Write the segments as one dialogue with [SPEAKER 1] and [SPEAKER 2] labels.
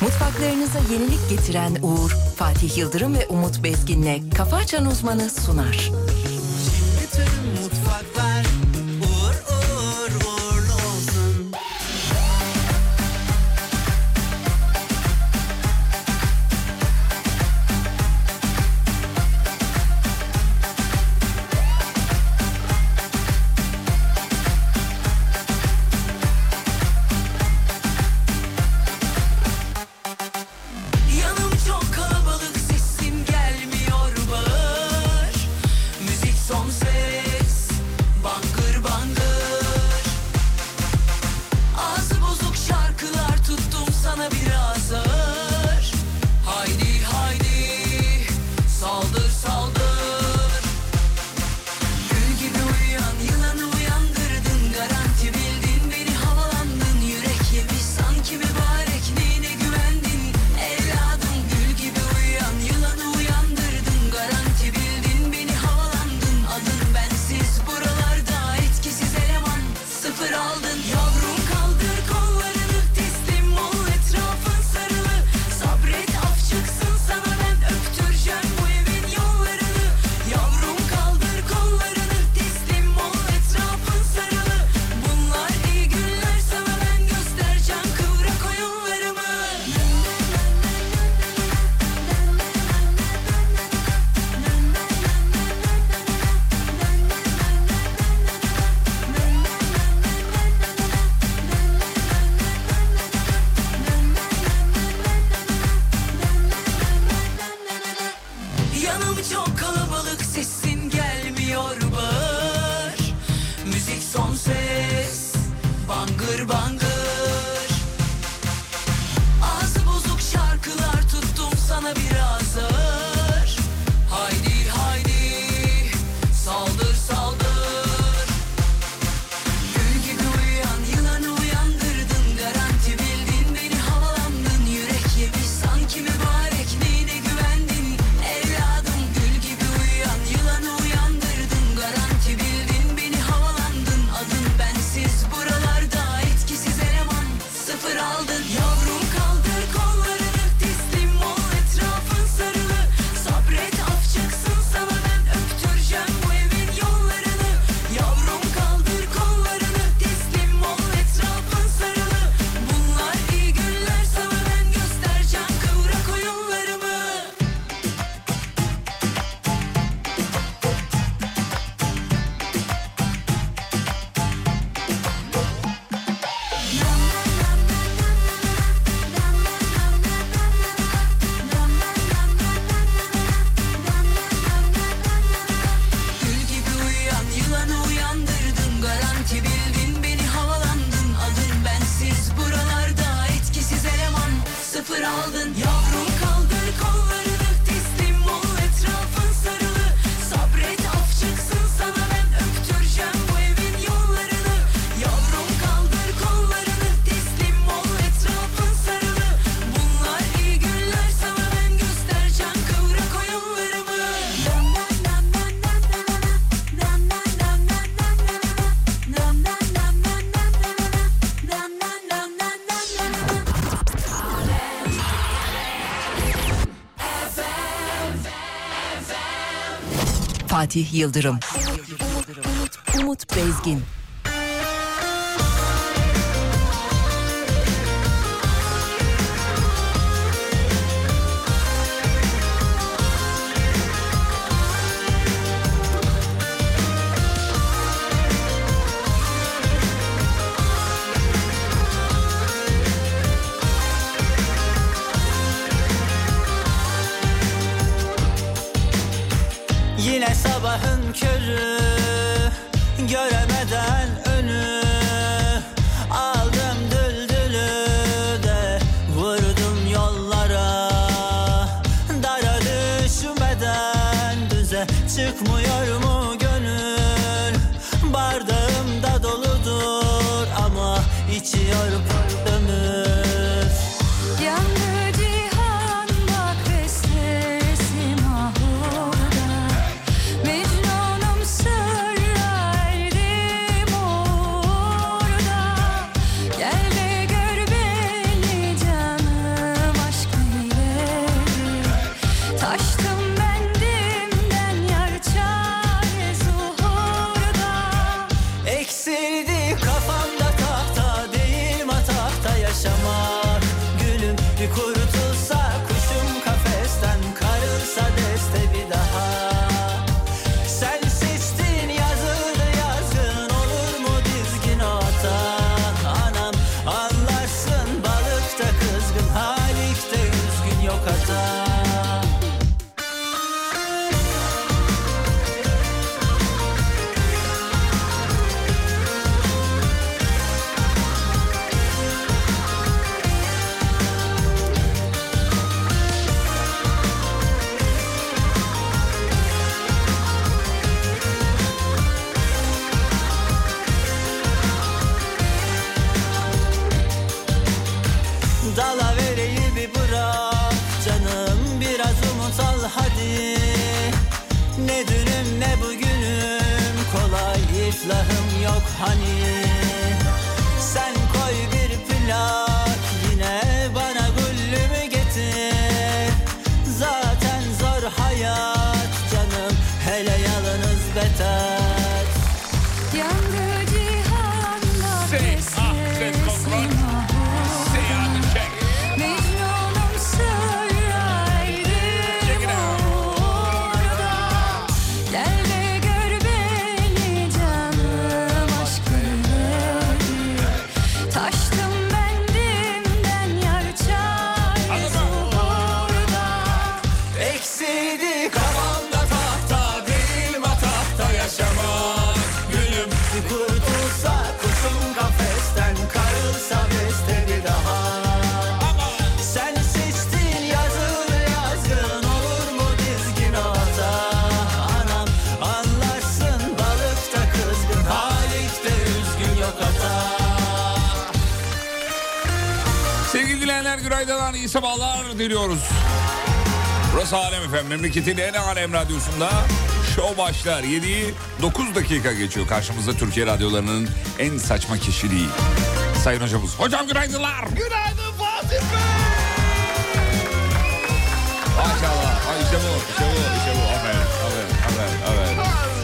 [SPEAKER 1] Mutfaklarınıza yenilik getiren Uğur, Fatih Yıldırım ve Umut Bezgin'le Kafa Açan Uzmanı sunar.
[SPEAKER 2] Bütün mutfaklar uğur uğur uğurlu olsun. Yanım çok kalabalık sesim gelmiyor bağır. Müzik son ses bangır bangır. Ağzı bozuk şarkılar tuttum sana biraz ağır. Haydi haydi saldır saldır. Gül gibi uyuyan yılanı uyandırdın Garanti bildin beni havalandın Yürek yemiş sanki mübarek neyine güvendin Evladım gül gibi uyuyan yılanı uyandırdın Garanti bildin beni havalandın Adın bensiz buralarda etkisiz eleman Sıfır aldın yavrum kaldır kollarını Teslim ol etrafın sarılı Sabret af çıksın sana ben öptüreceğim bu evin yollarını Yavrum kaldır kollarını teslim ol etrafın sarılı Bunlar iyi günler sana ben göstereceğim kıvrak oyunlarımı Yanım çok kalabalık sesin gelmiyor bağır Müzik son ses bangır bangır Ağzı bozuk şarkılar tuttum sana biraz ağır Haydi haydi saldır saldır Gül gibi uyuyan yılanı uyandırdın Garanti bildin beni havalandın Yürek yemiş sanki mübarek neyine güvendin Evladım gül gibi uyuyan yılanı uyandırdın Garanti bildin beni havalandın Adın bensiz buralarda etkisiz eleman Sıfır aldın yavrum kaldır kollarını Teslim ol etrafın sarılı Sabret af çıksın sana ben öptüreceğim bu evin yollarını Yavrum kaldır kollarını teslim ol etrafın sarılı Bunlar iyi günler sana ben göstereceğim kıvrak oyunlarımı Gül gibi uyuyan yılanı uyandırdın Garanti bildin beni havalandın Adın bensiz buralarda etkisiz eleman Sıfır aldın yavrum kaldır kollarını Teslim ol etrafın sarılı Sabret af çıksın sana ben öptüreceğim bu evin yollarını Yavrum kaldır kollarını Teslim ol etrafın sarılı Bunlar iyi günler sana ben göstereceğim Kıvrak oyunlarımı
[SPEAKER 1] Fatih Yıldırım. Umut, Umut Bezgin.
[SPEAKER 2] Yine sabahın körü Göremeden önü Aldım düldülü de Vurdum yollara Dara düşmeden düze Çıkmıyor mu gönül Bardağım da doludur Ama içiyor ömür
[SPEAKER 3] Yandı cihan bak ve sesim ahurda Mecnunum sırra erdim orada Gel de gör beni canım
[SPEAKER 4] kurtulsa kuşum kafesten Karılsa deste bir daha Sen seçtin yazılı yazın Olur mu dizgin atan Anam anlarsın balıkta kızgın Halikte üzgün yok hata Dala vereyi bir bırak canım biraz umut al hadi Ne dünüm ne bugünüm kolay iflahım yok hani Sen koy bir plak yine bana güllümü getir Zaten zor hayat canım hele yalanız beter
[SPEAKER 3] Yandı cihan bahçesi mahur Mecnunum sırraydım orada Gel ve gör beni canım aşkını Taştım bendimden yar çaresi orada
[SPEAKER 4] Eksiydi kafamda tahta Değil matahta yaşamak Gülüm kurtulsa kuşum kafesten Karılsa beste bir daha Sen seçtin yazılı yazgın Olur mu dizgin ata Anam anlarsın balıkta kızgın Halikte üzgün yok hata
[SPEAKER 5] Sevgili dinleyenler günaydınlar, iyi sabahlar diliyoruz. Burası Alem Efendim, memleketin en alem radyosunda şov başlar. 7'yi 9 dakika geçiyor. Karşımızda Türkiye radyolarının en saçma kişiliği. Sayın hocamız. Hocam günaydınlar. Günaydın Fatih Bey. Maşallah. Ay işte bu, işte bu, işte bu. Aferin, aferin, aferin,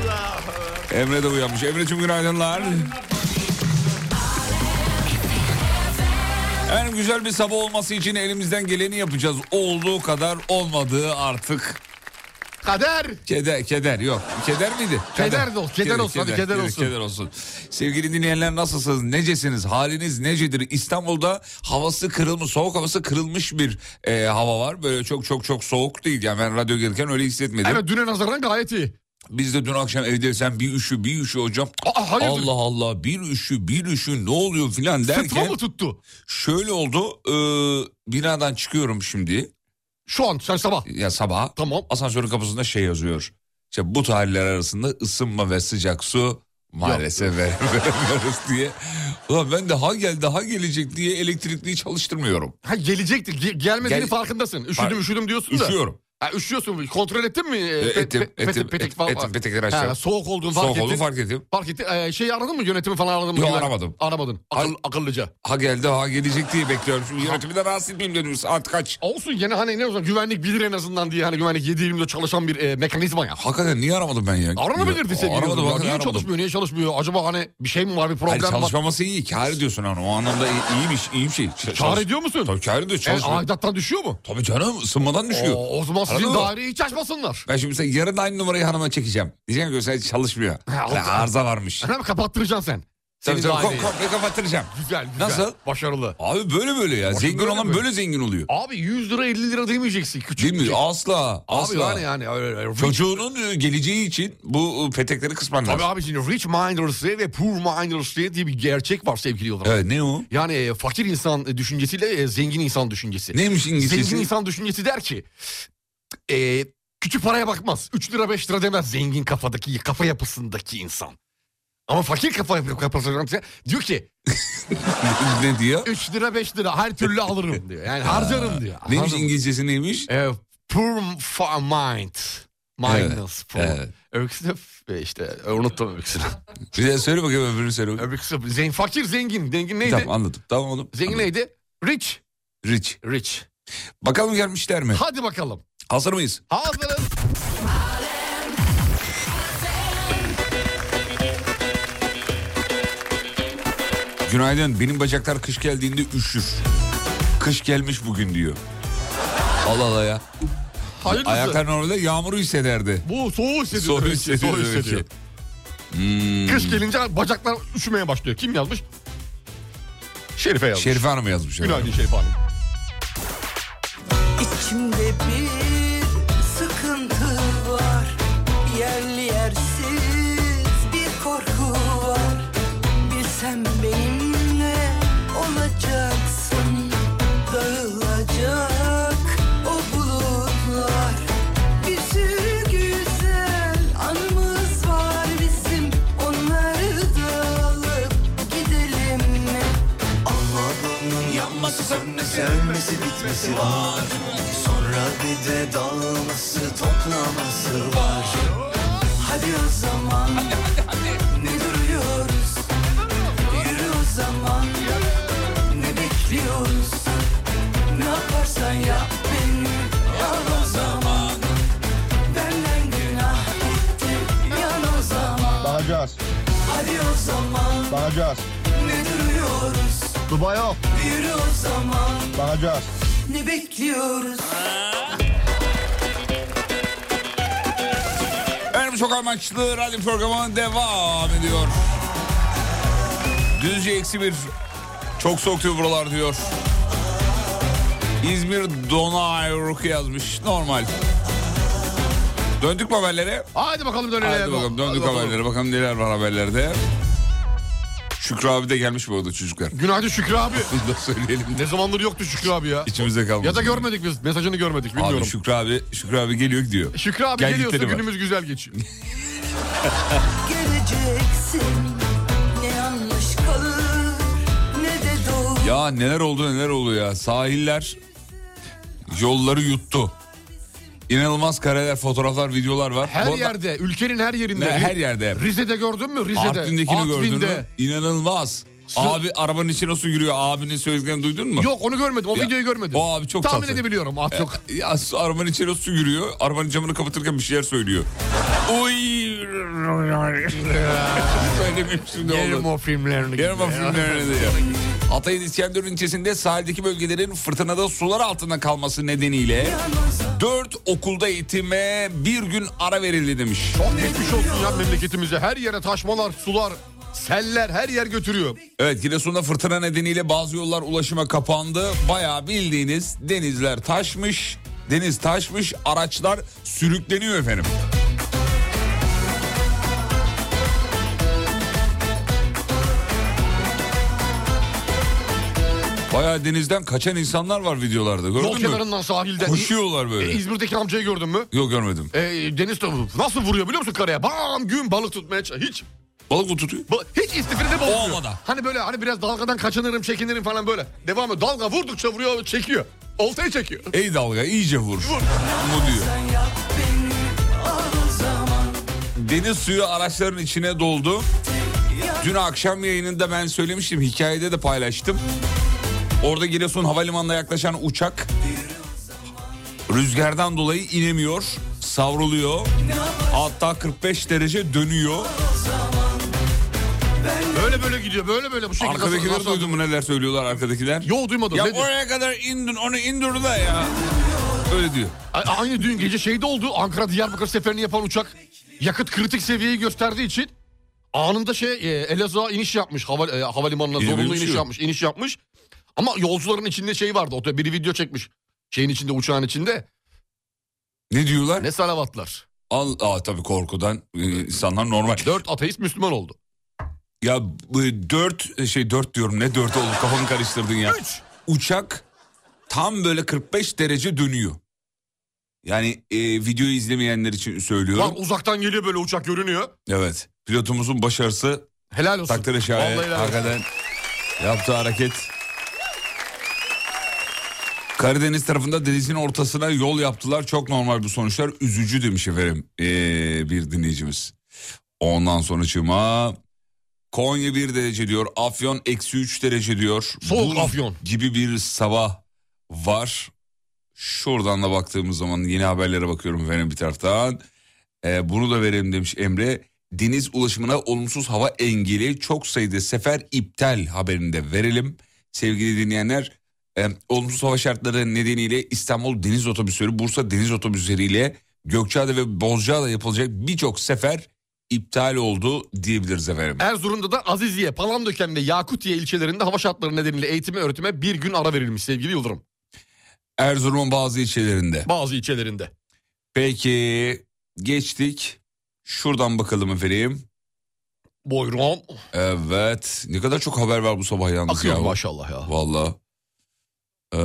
[SPEAKER 5] aferin. Emre de uyanmış. Emre'cim günaydınlar. Efendim güzel bir sabah olması için elimizden geleni yapacağız. Olduğu kadar olmadığı artık
[SPEAKER 6] Kader.
[SPEAKER 5] keder, keder yok. Keder miydi?
[SPEAKER 6] Keder de olsun, keder olsun, hadi keder olsun.
[SPEAKER 5] Keder olsun. Sevgili dinleyenler nasılsınız? Necesiniz? Haliniz necedir? İstanbul'da havası kırılmış, soğuk havası kırılmış bir e, hava var. Böyle çok çok çok soğuk değil. Yani ben radyo gelirken öyle hissetmedim.
[SPEAKER 6] Evet düne nazaran gayet iyi.
[SPEAKER 5] Biz de dün akşam evde sen bir üşü bir üşü hocam.
[SPEAKER 6] Aa, hayırdır?
[SPEAKER 5] Allah Allah bir üşü bir üşü ne oluyor filan derken.
[SPEAKER 6] Sıtma mı tuttu?
[SPEAKER 5] Şöyle oldu. e, binadan çıkıyorum şimdi.
[SPEAKER 6] Şu an sen sabah.
[SPEAKER 5] Ya sabah.
[SPEAKER 6] Tamam.
[SPEAKER 5] Asansörün kapısında şey yazıyor. İşte bu tarihler arasında ısınma ve sıcak su maalesef veremiyoruz diye. Ulan ben daha gel daha gelecek diye elektrikliyi çalıştırmıyorum.
[SPEAKER 6] Ha gelecektir. Ge- gelmediğinin
[SPEAKER 5] Gel-
[SPEAKER 6] farkındasın. Üşüdüm
[SPEAKER 5] Fark-
[SPEAKER 6] üşüdüm diyorsun da.
[SPEAKER 5] Üşüyorum.
[SPEAKER 6] Ha, üşüyorsun. Kontrol ettin mi?
[SPEAKER 5] E,
[SPEAKER 6] Pe-
[SPEAKER 5] etim,
[SPEAKER 6] pe-
[SPEAKER 5] etim,
[SPEAKER 6] petek- petek
[SPEAKER 5] etim,
[SPEAKER 6] falan-
[SPEAKER 5] etim, petekleri
[SPEAKER 6] Ha,
[SPEAKER 5] açacağım.
[SPEAKER 6] soğuk olduğunu fark
[SPEAKER 5] Soğuk
[SPEAKER 6] ettin.
[SPEAKER 5] oldu fark ettim.
[SPEAKER 6] Fark ettin. Ee, şeyi aradın mı? Yönetimi falan aradın mı?
[SPEAKER 5] Yok,
[SPEAKER 6] Güven-
[SPEAKER 5] aramadım.
[SPEAKER 6] Aramadın. Akıl,
[SPEAKER 5] Hayır.
[SPEAKER 6] akıllıca.
[SPEAKER 5] Ha geldi ha gelecek diye bekliyorum. Şimdi yönetimi de rahatsız etmeyeyim dedim. Saat kaç?
[SPEAKER 6] Olsun yine hani ne olsun güvenlik bilir en azından diye hani güvenlik 7-24 çalışan bir e, mekanizma ya.
[SPEAKER 5] Hakikaten niye aramadım ben ya?
[SPEAKER 6] Aranabilirdi sevgili
[SPEAKER 5] Aramadım.
[SPEAKER 6] Yıldırım ya.
[SPEAKER 5] hakikaten
[SPEAKER 6] Niye
[SPEAKER 5] aramadım.
[SPEAKER 6] çalışmıyor niye çalışmıyor? Acaba hani bir şey mi var bir
[SPEAKER 5] Hayır,
[SPEAKER 6] problem var?
[SPEAKER 5] çalışmaması iyi. Kâr diyorsun hani o anlamda iyi, iyiymiş. iyi bir şey. Ç-
[SPEAKER 6] Kâr
[SPEAKER 5] çalış-
[SPEAKER 6] ediyor musun? E,
[SPEAKER 5] Tabii kâr ediyor.
[SPEAKER 6] Evet,
[SPEAKER 5] Çalışmıyor.
[SPEAKER 6] aidattan düşüyor mu?
[SPEAKER 5] Tabii canım ısınmadan düşüyor.
[SPEAKER 6] Oo, o zaman sizin
[SPEAKER 5] Anladın mı?
[SPEAKER 6] daireyi hiç açmasınlar.
[SPEAKER 5] Ben şimdi mesela yarın aynı numarayı hanıma çekeceğim. Diyeceğim ki sen çalışmıyor.
[SPEAKER 6] Ha,
[SPEAKER 5] Yani
[SPEAKER 6] oldu.
[SPEAKER 5] arıza varmış.
[SPEAKER 6] Hemen kapattıracaksın sen.
[SPEAKER 5] Tabii
[SPEAKER 6] Senin
[SPEAKER 5] tabii
[SPEAKER 6] daireyi.
[SPEAKER 5] kom- komple kapattıracağım.
[SPEAKER 6] Güzel güzel.
[SPEAKER 5] Nasıl?
[SPEAKER 6] Başarılı.
[SPEAKER 5] Abi böyle böyle ya.
[SPEAKER 6] Bakın
[SPEAKER 5] zengin
[SPEAKER 6] böyle
[SPEAKER 5] olan
[SPEAKER 6] böyle.
[SPEAKER 5] böyle zengin oluyor.
[SPEAKER 6] Abi 100 lira 50 lira demeyeceksin. Küçük
[SPEAKER 5] Değil mi?
[SPEAKER 6] küçük.
[SPEAKER 5] Asla.
[SPEAKER 6] Abi
[SPEAKER 5] Asla.
[SPEAKER 6] yani yani öyle, öyle. Rich-
[SPEAKER 5] Çocuğunun e, geleceği için bu e, petekleri kısman
[SPEAKER 6] Tabii
[SPEAKER 5] lazım.
[SPEAKER 6] abi şimdi rich minders diye ve poor minders diye, diye bir gerçek var sevgili Yıldırım.
[SPEAKER 5] Evet ne o?
[SPEAKER 6] Yani e, fakir insan e, düşüncesiyle e, zengin insan düşüncesi.
[SPEAKER 5] Neymiş
[SPEAKER 6] Zengin
[SPEAKER 5] İngilizcesi?
[SPEAKER 6] insan düşüncesi der ki e, küçük paraya bakmaz. 3 lira 5 lira demez zengin kafadaki kafa yapısındaki insan. Ama fakir kafa yapı- kafasındaki diyor ki
[SPEAKER 5] ne diyor?
[SPEAKER 6] 3 lira 5 lira her türlü alırım diyor. Yani harcarım diyor.
[SPEAKER 5] Neymiş
[SPEAKER 6] Harcarım.
[SPEAKER 5] İngilizcesi neymiş?
[SPEAKER 6] E, poor fa- mind. Minus poor.
[SPEAKER 5] evet.
[SPEAKER 6] Öksü de f- e, işte e, unuttum öksünü.
[SPEAKER 5] Bir de söyle bakayım öbürünü söyle. bakayım.
[SPEAKER 6] Öksü zengin fakir zengin. Zengin neydi?
[SPEAKER 5] Tamam anladım. Tamam oğlum.
[SPEAKER 6] Zengin
[SPEAKER 5] Anladım.
[SPEAKER 6] neydi? Rich.
[SPEAKER 5] Rich.
[SPEAKER 6] Rich.
[SPEAKER 5] Bakalım gelmişler mi?
[SPEAKER 6] Hadi bakalım.
[SPEAKER 5] Hazır mıyız?
[SPEAKER 6] Hazırız.
[SPEAKER 5] Günaydın. Benim bacaklar kış geldiğinde üşür. Kış gelmiş bugün diyor. Allah Allah ya.
[SPEAKER 6] Hayırlısı.
[SPEAKER 5] Ayakların orada yağmuru hissederdi.
[SPEAKER 6] Bu soğuğu hissediyor.
[SPEAKER 5] Soğuğu
[SPEAKER 6] demek ki,
[SPEAKER 5] hissediyor.
[SPEAKER 6] soğuğu
[SPEAKER 5] demek ki.
[SPEAKER 6] hissediyor.
[SPEAKER 5] Hmm.
[SPEAKER 6] Kış gelince bacaklar üşümeye başlıyor. Kim yazmış? Şerife yazmış.
[SPEAKER 5] Şerife Hanım yazmış. herhalde.
[SPEAKER 6] Günaydın Şerife Hanım.
[SPEAKER 2] İçimde bir sıkıntı var Yerli yersiz bir korku var Bilsem benimle olacaksın Dağılacak o bulutlar Bir sürü güzel anımız var bizim Onları da alıp gidelim mi?
[SPEAKER 4] Allah'ın yanması sönmesi ölmesi bitmesi var Sonra bir de dağılması toplaması var
[SPEAKER 2] Hadi o zaman Ne duruyoruz Yürü o zaman Ne bekliyoruz Ne yaparsan yap beni Al o zaman Benden günah gitti Yan o zaman
[SPEAKER 7] Bakacağız.
[SPEAKER 2] Hadi o zaman
[SPEAKER 7] Bakacağız.
[SPEAKER 2] Ne duruyoruz
[SPEAKER 7] Dubai yok.
[SPEAKER 2] Yürü o zaman
[SPEAKER 7] Bakacağız.
[SPEAKER 2] Ne bekliyoruz
[SPEAKER 5] Efendim çok amaçlı radyo programı devam ediyor. Düzce eksi bir. Çok soğuk diyor buralar diyor. İzmir Donayruk yazmış. Normal. Döndük mü haberlere?
[SPEAKER 6] Hadi bakalım dönelim.
[SPEAKER 5] Hadi bakalım döndük
[SPEAKER 6] Hadi bakalım.
[SPEAKER 5] haberlere. Bakalım neler var haberlerde. Şükrü abi de gelmiş bu arada çocuklar.
[SPEAKER 6] Günaydın Şükrü abi.
[SPEAKER 5] Bunu da söyleyelim de
[SPEAKER 6] Ne zamandır yoktu Şükrü abi ya.
[SPEAKER 5] içimizde kalmasın.
[SPEAKER 6] Ya da görmedik biz. Mesajını görmedik bilmiyorum.
[SPEAKER 5] Abi Şükrü abi, Şükrü abi geliyor gidiyor.
[SPEAKER 6] Şükrü abi
[SPEAKER 5] Geldikleri
[SPEAKER 6] geliyorsa
[SPEAKER 5] var.
[SPEAKER 6] günümüz güzel geçiyor.
[SPEAKER 2] Geleceksin Ne yanlış kalır Ne de doğru
[SPEAKER 5] Ya neler oldu neler oluyor ya. Sahiller yolları yuttu. İnanılmaz kareler, fotoğraflar, videolar var.
[SPEAKER 6] Her
[SPEAKER 5] Bu arada-
[SPEAKER 6] yerde, ülkenin her yerinde.
[SPEAKER 5] Ne, her yerde.
[SPEAKER 6] Rize'de gördün mü? Rize'de.
[SPEAKER 5] Artvin'dekini gördün
[SPEAKER 6] Artvin'de.
[SPEAKER 5] mü? İnanılmaz. Abi arabanın içine su giriyor. Abinin söylediklerini duydun mu?
[SPEAKER 6] Yok onu görmedim. O
[SPEAKER 5] Ya,
[SPEAKER 6] videoyu görmedim.
[SPEAKER 5] o abi çok
[SPEAKER 6] Tahmin
[SPEAKER 5] tatlı. E,
[SPEAKER 6] edebiliyorum. At yok.
[SPEAKER 5] Ya su, arabanın içine su giriyor. Arabanın camını kapatırken bir şeyler söylüyor. Uy. Söylemeyeyim şimdi oldu.
[SPEAKER 6] o filmlerini.
[SPEAKER 5] Yarım filmlerine de ya. Hatay'ın İskenderun ilçesinde sahildeki bölgelerin fırtınada sular altında kalması nedeniyle 4 okulda eğitime bir gün ara verildi demiş.
[SPEAKER 6] Çok geçmiş olsun ya memleketimize. Her yere taşmalar, sular, seller her yer götürüyor.
[SPEAKER 5] Evet Giresun'da fırtına nedeniyle bazı yollar ulaşıma kapandı. Bayağı bildiğiniz denizler taşmış, deniz taşmış, araçlar sürükleniyor efendim. Bayağı denizden kaçan insanlar var videolarda gördün
[SPEAKER 6] Yol
[SPEAKER 5] mü?
[SPEAKER 6] kenarından sahilden.
[SPEAKER 5] Koşuyorlar
[SPEAKER 6] E,
[SPEAKER 5] böyle.
[SPEAKER 6] İzmir'deki amcayı gördün mü?
[SPEAKER 5] Yok görmedim.
[SPEAKER 6] E, deniz tavuğu nasıl vuruyor biliyor musun karaya? Bam gün balık tutmaya ç- hiç
[SPEAKER 5] Balık mı tutuyor?
[SPEAKER 6] ba- hiç istifrede bozmuyor.
[SPEAKER 5] Olmadı.
[SPEAKER 6] Hani böyle hani biraz dalgadan kaçınırım çekinirim falan böyle. Devam ediyor. Dalga vurdukça vuruyor çekiyor. Oltayı çekiyor.
[SPEAKER 5] Ey dalga iyice vur. Bu diyor. Deniz suyu araçların içine doldu. Dün akşam yayınında ben söylemiştim. Hikayede de paylaştım. Orada Giresun Havalimanı'na yaklaşan uçak rüzgardan dolayı inemiyor. Savruluyor. Hatta 45 derece dönüyor.
[SPEAKER 6] Böyle böyle gidiyor böyle böyle bu şekilde.
[SPEAKER 5] Arkadakiler
[SPEAKER 6] Nasıl-
[SPEAKER 5] duydun mu neler söylüyorlar arkadakiler?
[SPEAKER 6] Yo duymadım.
[SPEAKER 5] Ya
[SPEAKER 6] Ne diyor?
[SPEAKER 5] oraya kadar indin onu indir de ya. Öyle diyor.
[SPEAKER 6] A- Aynı dün gece şeyde oldu. Ankara Diyarbakır seferini yapan uçak yakıt kritik seviyeyi gösterdiği için anında şey e, Elazığ'a iniş yapmış. Hava, e, havalimanına
[SPEAKER 5] İyi de
[SPEAKER 6] zorunlu
[SPEAKER 5] bir şey
[SPEAKER 6] iniş
[SPEAKER 5] uçuyor.
[SPEAKER 6] yapmış. iniş yapmış. Ama yolcuların içinde şey vardı. Oto, biri video çekmiş. Şeyin içinde uçağın içinde.
[SPEAKER 5] Ne diyorlar?
[SPEAKER 6] Ne salavatlar.
[SPEAKER 5] Al, aa, tabii korkudan e, insanlar normal.
[SPEAKER 6] Dört ateist Müslüman oldu.
[SPEAKER 5] Ya bu dört e, şey dört diyorum ne dört oldu kafamı karıştırdın ya. Uçak tam böyle 45 derece dönüyor. Yani e, videoyu izlemeyenler için söylüyorum.
[SPEAKER 6] Lan uzaktan geliyor böyle uçak görünüyor.
[SPEAKER 5] Evet pilotumuzun başarısı
[SPEAKER 6] Helal olsun.
[SPEAKER 5] takdire
[SPEAKER 6] Vallahi
[SPEAKER 5] şayan
[SPEAKER 6] helal olsun.
[SPEAKER 5] hakikaten yaptığı hareket. Karadeniz tarafında denizin ortasına yol yaptılar. Çok normal bu sonuçlar. Üzücü demiş efendim ee, bir dinleyicimiz. Ondan sonra çıkma. Konya 1 derece diyor. Afyon eksi 3 derece diyor.
[SPEAKER 6] Soğuk
[SPEAKER 5] Buz
[SPEAKER 6] Afyon.
[SPEAKER 5] Gibi bir sabah var. Şuradan da baktığımız zaman yeni haberlere bakıyorum efendim bir taraftan. Ee, bunu da verelim demiş Emre. Deniz ulaşımına olumsuz hava engeli çok sayıda sefer iptal haberinde verelim. Sevgili dinleyenler E, olumsuz hava şartları nedeniyle İstanbul Deniz Otobüsleri, Bursa Deniz Otobüsleri ile Gökçeada ve Bozcaada yapılacak birçok sefer iptal oldu diyebiliriz efendim.
[SPEAKER 6] Erzurum'da da Aziziye, Palandöken ve Yakutiye ilçelerinde hava şartları nedeniyle eğitime öğretime bir gün ara verilmiş sevgili Yıldırım.
[SPEAKER 5] Erzurum'un bazı ilçelerinde.
[SPEAKER 6] Bazı ilçelerinde.
[SPEAKER 5] Peki geçtik. Şuradan bakalım efendim.
[SPEAKER 6] Buyurun.
[SPEAKER 5] Evet. Ne kadar çok haber var bu sabah yalnız
[SPEAKER 6] Akıyor
[SPEAKER 5] ya.
[SPEAKER 6] maşallah ya.
[SPEAKER 5] Valla. Ee,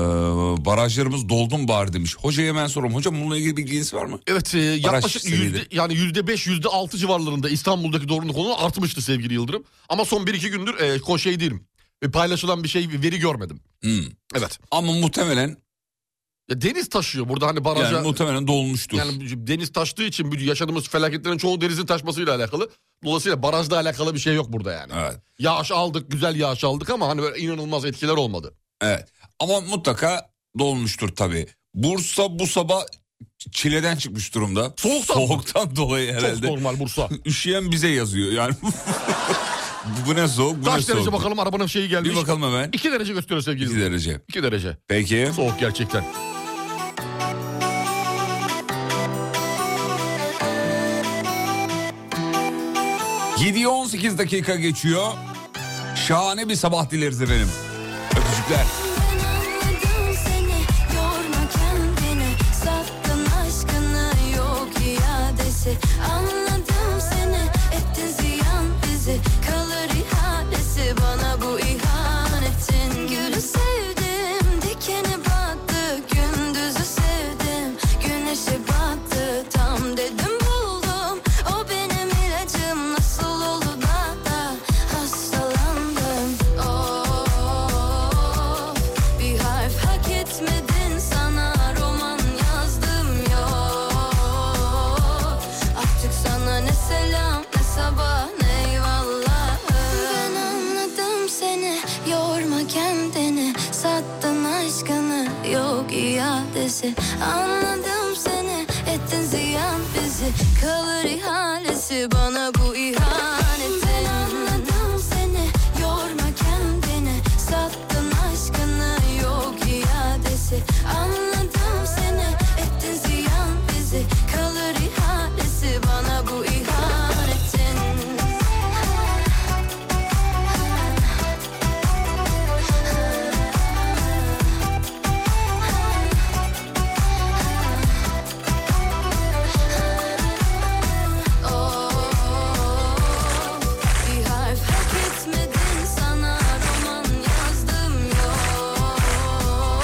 [SPEAKER 5] barajlarımız doldu mu bari demiş. Hocaya hemen soralım. Hocam bununla ilgili bilginiz var mı?
[SPEAKER 6] Evet e, yaklaşık
[SPEAKER 5] seviyede.
[SPEAKER 6] yüzde, yani yüzde beş yüzde altı civarlarında İstanbul'daki doğruluk oranı artmıştı sevgili Yıldırım. Ama son bir iki gündür e, ko- şey değilim. E, paylaşılan bir şey veri görmedim.
[SPEAKER 5] Hmm.
[SPEAKER 6] Evet.
[SPEAKER 5] Ama muhtemelen
[SPEAKER 6] Ya deniz taşıyor burada hani
[SPEAKER 5] yani
[SPEAKER 6] baraja. Yani,
[SPEAKER 5] muhtemelen dolmuştur.
[SPEAKER 6] deniz taştığı için bu yaşadığımız felaketlerin çoğu denizin taşmasıyla alakalı. Dolayısıyla barajla alakalı bir şey yok burada yani.
[SPEAKER 5] Evet.
[SPEAKER 6] Yağış aldık, güzel yağış aldık ama hani böyle inanılmaz etkiler olmadı.
[SPEAKER 5] Evet. Ama mutlaka dolmuştur tabii. Bursa bu sabah çileden çıkmış durumda.
[SPEAKER 6] Soğuktan mı?
[SPEAKER 5] Soğuktan dolayı herhalde.
[SPEAKER 6] Çok normal Bursa.
[SPEAKER 5] Üşüyen bize yazıyor yani. bu ne soğuk bu ne
[SPEAKER 6] Kaç
[SPEAKER 5] soğuk.
[SPEAKER 6] derece bakalım arabanın şeyi gelmiş.
[SPEAKER 5] Bir bakalım hemen.
[SPEAKER 6] 2 derece gösteriyor sevgili
[SPEAKER 5] 2
[SPEAKER 6] Yıldırım.
[SPEAKER 5] derece.
[SPEAKER 6] 2 derece.
[SPEAKER 5] Peki.
[SPEAKER 6] Soğuk gerçekten.
[SPEAKER 5] Yediye 18 dakika geçiyor. Şahane bir sabah dileriz efendim. Öpücükler.
[SPEAKER 3] Ben anladım seni, yorma kendini Sattın aşkını, yok iadesi Anladım seni, ettin ziyan bizi Kalır ihanesi bana bu ihanetin Gülü sevdim, dikeni battı Gündüzü sevdim, güneşe battı Tam dedim buldum, o benim ilacım Nasıl oldu da da hastalandım Oh, bir harf hak etmedin sana roman yazdım yok Artık sana ne selam ne sabah ne eyvallah Ben anladım seni yorma kendini Sattın aşkını yok iadesi Anladım seni ettin ziyan bizi Kalır ihalesi bana bu ihanetin Anladım seni yorma kendini Sattın aşkını yok iadesi Anladım seni ettin ziyan bizi Kalır ihalesi bana bu ihanetin Oh, bir harf hak etmedin sana roman yazdım yok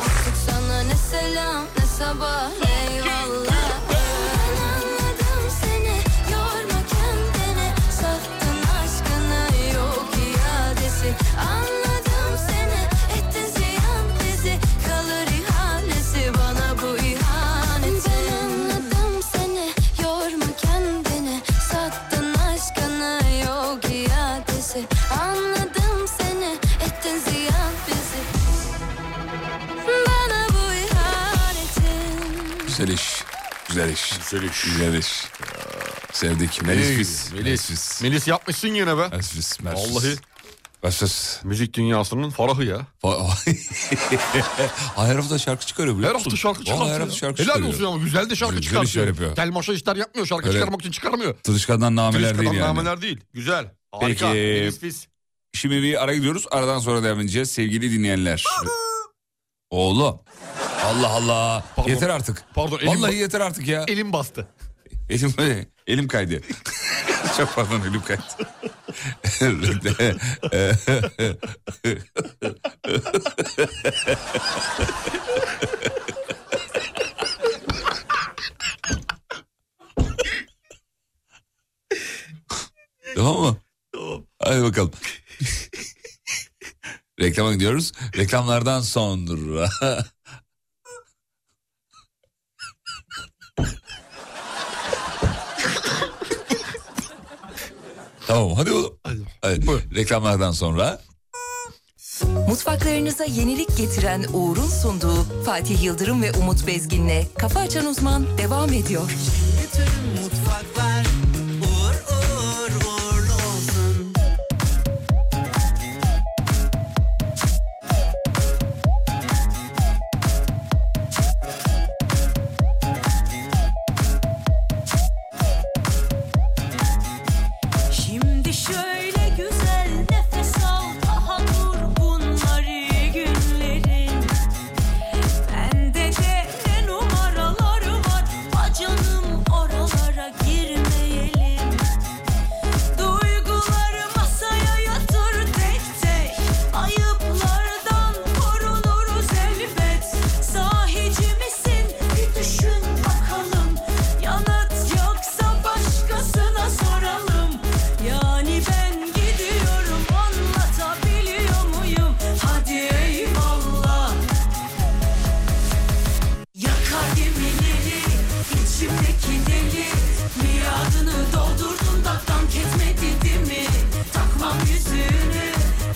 [SPEAKER 3] Artık sana ne selam ne sabah ne eyvallah Ben anladım seni yorma kendini Sattın aşkını yok iadesi Anladım seni ettin ziyan bizi Kalır ihanesi bana bu ihanetin anladım seni yorma kendini Sattın aşkını yok iadesi Anladım seni ettin ziyan bizi Bana bu ihanetin
[SPEAKER 5] Güzel iş. Güzel iş. Güzel iş. Güzel iş. Sevdik. Melisfis.
[SPEAKER 6] Melis. Melis yapmışsın yine be.
[SPEAKER 5] Melisfis. Melisfis.
[SPEAKER 6] Vallahi.
[SPEAKER 5] Melisfis.
[SPEAKER 6] Müzik dünyasının farahı ya.
[SPEAKER 5] Her hafta şarkı çıkarıyor biliyor
[SPEAKER 6] Her
[SPEAKER 5] musun?
[SPEAKER 6] hafta şarkı
[SPEAKER 5] Vallahi
[SPEAKER 6] çıkartıyor.
[SPEAKER 5] Her hafta şarkı
[SPEAKER 6] Helal
[SPEAKER 5] çıkarıyor.
[SPEAKER 6] olsun ama güzel de şarkı
[SPEAKER 5] Güzel
[SPEAKER 6] çıkartıyor.
[SPEAKER 5] işler yapıyor.
[SPEAKER 6] Tel maşa işler yapmıyor. Şarkı
[SPEAKER 5] Öyle.
[SPEAKER 6] çıkarmak için çıkarmıyor.
[SPEAKER 5] Tırışkandan nameler
[SPEAKER 6] Tırışkadan
[SPEAKER 5] değil yani.
[SPEAKER 6] nameler değil. Güzel. Harika.
[SPEAKER 5] Peki.
[SPEAKER 6] Melis Fis.
[SPEAKER 5] Şimdi bir ara gidiyoruz. Aradan sonra devam edeceğiz sevgili dinleyenler. Oğlum. Allah Allah.
[SPEAKER 6] Pardon.
[SPEAKER 5] Yeter artık.
[SPEAKER 6] Pardon, elim
[SPEAKER 5] Vallahi
[SPEAKER 6] ba-
[SPEAKER 5] yeter artık ya.
[SPEAKER 6] Elim bastı.
[SPEAKER 5] Elim, elim kaydı. Çok pardon elim kaydı. tamam mı? Tamam. Hadi bakalım. Reklama gidiyoruz. Reklamlardan sonra... tamam hadi oğlum. Hadi. Reklamlardan sonra...
[SPEAKER 1] Mutfaklarınıza yenilik getiren Uğur'un sunduğu Fatih Yıldırım ve Umut Bezgin'le Kafa Açan Uzman devam ediyor.
[SPEAKER 2] Bütün mutfaklar uğur uğur uğurlu olsun.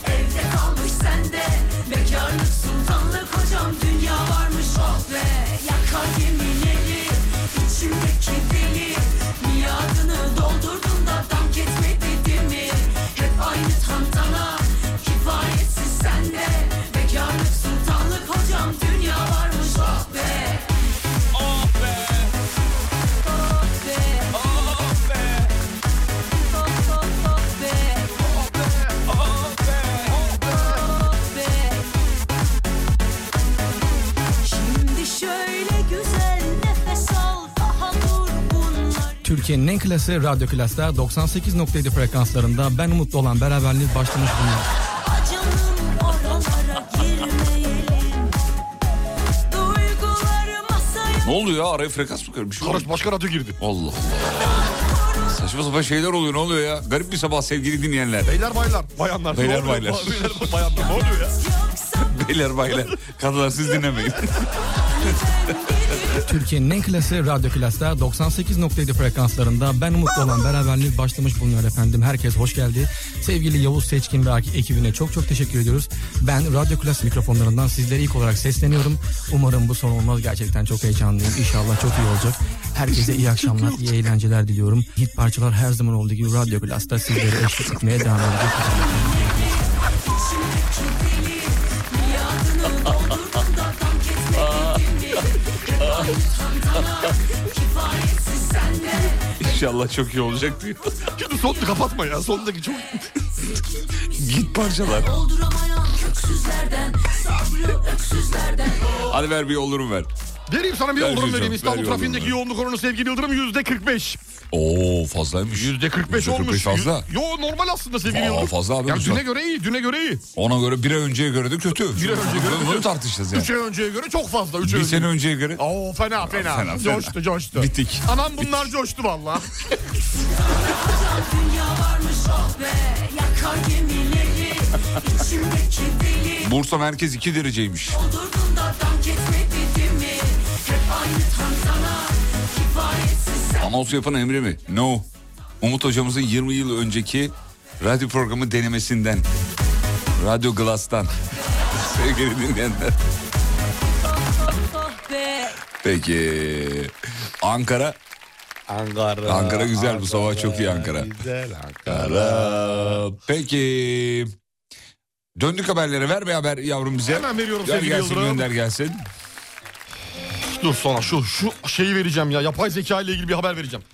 [SPEAKER 2] oh Ah Ah Ah Ah
[SPEAKER 7] Türkiye'nin en klası Radyo Klas'ta 98.7 frekanslarında ben umutlu olan beraberliğiniz başlamış bulunuyor.
[SPEAKER 2] Canım oralara girmeyelim Duyguları masaya
[SPEAKER 5] Ne oluyor ya? Araya frekans mı kırmış?
[SPEAKER 6] Karış başka radyo girdi.
[SPEAKER 5] Allah Allah. Saçma sapan şeyler oluyor ne oluyor ya? Garip bir sabah sevgili dinleyenler.
[SPEAKER 6] Beyler baylar. Bayanlar.
[SPEAKER 5] Beyler,
[SPEAKER 6] Ne oluyor?
[SPEAKER 5] baylar.
[SPEAKER 6] Beyler bayanlar. Ne oluyor ya?
[SPEAKER 5] Beyler baylar. Kadınlar siz dinlemeyin.
[SPEAKER 7] Türkiye'nin en klası Radyo Klas'ta 98.7 frekanslarında ben umutlu olan beraberliğiniz başlamış bulunuyor efendim. Herkes hoş geldi. Sevgili Yavuz Seçkin ve ekibine çok çok teşekkür ediyoruz. Ben Radyo Klas mikrofonlarından sizlere ilk olarak sesleniyorum. Umarım bu son olmaz. Gerçekten çok heyecanlıyım. İnşallah çok iyi olacak. Herkese iyi akşamlar, iyi eğlenceler diliyorum. Hit parçalar her zaman olduğu gibi Radyo Klas'ta sizlere eşlik etmeye devam edecek.
[SPEAKER 5] İnşallah çok iyi olacak diyor.
[SPEAKER 6] Şimdi sonunu kapatma ya. Sondaki çok...
[SPEAKER 5] Git parçalar.
[SPEAKER 2] Dolduramayan köksüzlerden Sabrı öksüzlerden
[SPEAKER 5] Hadi ver bir olurum ver.
[SPEAKER 6] Vereyim sana bir
[SPEAKER 5] Ver
[SPEAKER 6] yoldurum
[SPEAKER 5] hocam,
[SPEAKER 6] vereyim.
[SPEAKER 5] ver
[SPEAKER 6] İstanbul
[SPEAKER 5] yoldurum
[SPEAKER 6] trafiğindeki
[SPEAKER 5] ver.
[SPEAKER 6] yoğunluk oranı sevgili Yıldırım yüzde 45.
[SPEAKER 5] Oo fazlaymış.
[SPEAKER 6] Yüzde 45 olmuş.
[SPEAKER 5] fazla.
[SPEAKER 6] Yo normal aslında sevgili
[SPEAKER 5] Aa,
[SPEAKER 6] Yıldırım.
[SPEAKER 5] fazla abi,
[SPEAKER 6] Yani
[SPEAKER 5] güzel.
[SPEAKER 6] düne göre iyi, düne göre iyi.
[SPEAKER 5] Ona göre bir ay önceye göre de kötü.
[SPEAKER 6] Bir ay önceye göre de
[SPEAKER 5] Bunu
[SPEAKER 6] kötü.
[SPEAKER 5] tartışacağız yani.
[SPEAKER 6] Üç ay önceye göre çok fazla. Üç ay
[SPEAKER 5] Bir
[SPEAKER 6] önce.
[SPEAKER 5] sene önceye göre.
[SPEAKER 6] Oo fena fena.
[SPEAKER 5] Fena, fena.
[SPEAKER 6] Coştu coştu.
[SPEAKER 5] Bittik.
[SPEAKER 6] Anam bunlar coştu valla.
[SPEAKER 2] Dünya varmış oh be Yakar gemileri İçimdeki deli
[SPEAKER 5] Bursa merkez 2 dereceymiş.
[SPEAKER 2] Doldurdun da dank etmedi değil mi Hep aynı tantana Kifayetsiz sen
[SPEAKER 5] Anons yapan Emre mi? No. Umut hocamızın 20 yıl önceki radyo programı denemesinden. Radyo Glass'tan. Sevgili dinleyenler.
[SPEAKER 2] oh be
[SPEAKER 5] Peki. Ankara.
[SPEAKER 6] Ankara.
[SPEAKER 5] Ankara güzel bu sabah çok iyi Ankara.
[SPEAKER 6] Güzel Ankara.
[SPEAKER 5] Ankara. Peki. Döndük haberlere. Ver bir haber yavrum bize.
[SPEAKER 6] Hemen veriyorum
[SPEAKER 5] Ver
[SPEAKER 6] sevgili
[SPEAKER 5] gelsin
[SPEAKER 6] Yıldırım.
[SPEAKER 5] gönder gelsin.
[SPEAKER 6] Dur sonra şu şu şeyi vereceğim ya. Yapay zeka ile ilgili bir haber vereceğim.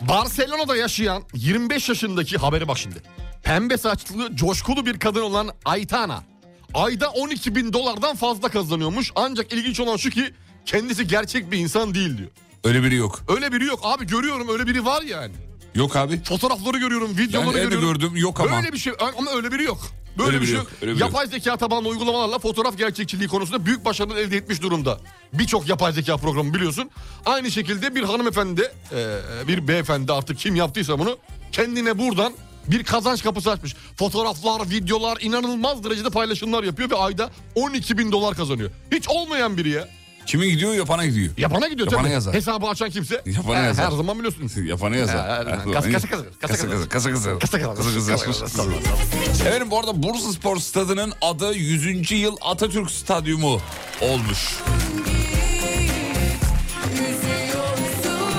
[SPEAKER 6] Barcelona'da yaşayan 25 yaşındaki habere bak şimdi. Pembe saçlı, coşkulu bir kadın olan Aytana. Ayda 12 bin dolardan fazla kazanıyormuş. Ancak ilginç olan şu ki kendisi gerçek bir insan değil diyor.
[SPEAKER 5] Öyle biri yok.
[SPEAKER 6] Öyle biri yok. Abi görüyorum öyle biri var yani.
[SPEAKER 5] Yok abi.
[SPEAKER 6] Fotoğrafları görüyorum,
[SPEAKER 5] Ben
[SPEAKER 6] videoları
[SPEAKER 5] de
[SPEAKER 6] görüyorum.
[SPEAKER 5] gördüm yok ama.
[SPEAKER 6] Böyle bir şey ama öyle biri yok. Böyle
[SPEAKER 5] Öyle
[SPEAKER 6] bir
[SPEAKER 5] biri
[SPEAKER 6] şey
[SPEAKER 5] yok,
[SPEAKER 6] yok.
[SPEAKER 5] öyle biri
[SPEAKER 6] Yapay zeka tabanlı uygulamalarla fotoğraf gerçekçiliği konusunda büyük başarılar elde etmiş durumda. Birçok yapay zeka programı biliyorsun. Aynı şekilde bir hanımefendi, e, bir beyefendi artık kim yaptıysa bunu kendine buradan bir kazanç kapısı açmış. Fotoğraflar, videolar inanılmaz derecede paylaşımlar yapıyor ve ayda 12 bin dolar kazanıyor. Hiç olmayan biri ya.
[SPEAKER 5] Kimin gidiyor yapana gidiyor.
[SPEAKER 6] Yapana gidiyor
[SPEAKER 5] Yapana
[SPEAKER 6] tabii.
[SPEAKER 5] yazar.
[SPEAKER 6] Hesabı açan kimse.
[SPEAKER 5] Yapana
[SPEAKER 6] Ha,
[SPEAKER 5] yazar.
[SPEAKER 6] Her zaman biliyorsunuz.
[SPEAKER 5] Yapana yazar. Hani
[SPEAKER 6] Ha, kasa- kasa- kasa- kasa-
[SPEAKER 5] kasa- kasa- kasa- kasa-
[SPEAKER 6] Kasa- kasa-
[SPEAKER 5] kasa-
[SPEAKER 6] kasa-
[SPEAKER 5] kasa-
[SPEAKER 6] kasa-
[SPEAKER 5] kasa- Efendim bu arada Bursa Spor Stadı'nın adı 100. yıl Atatürk Stadyumu olmuş.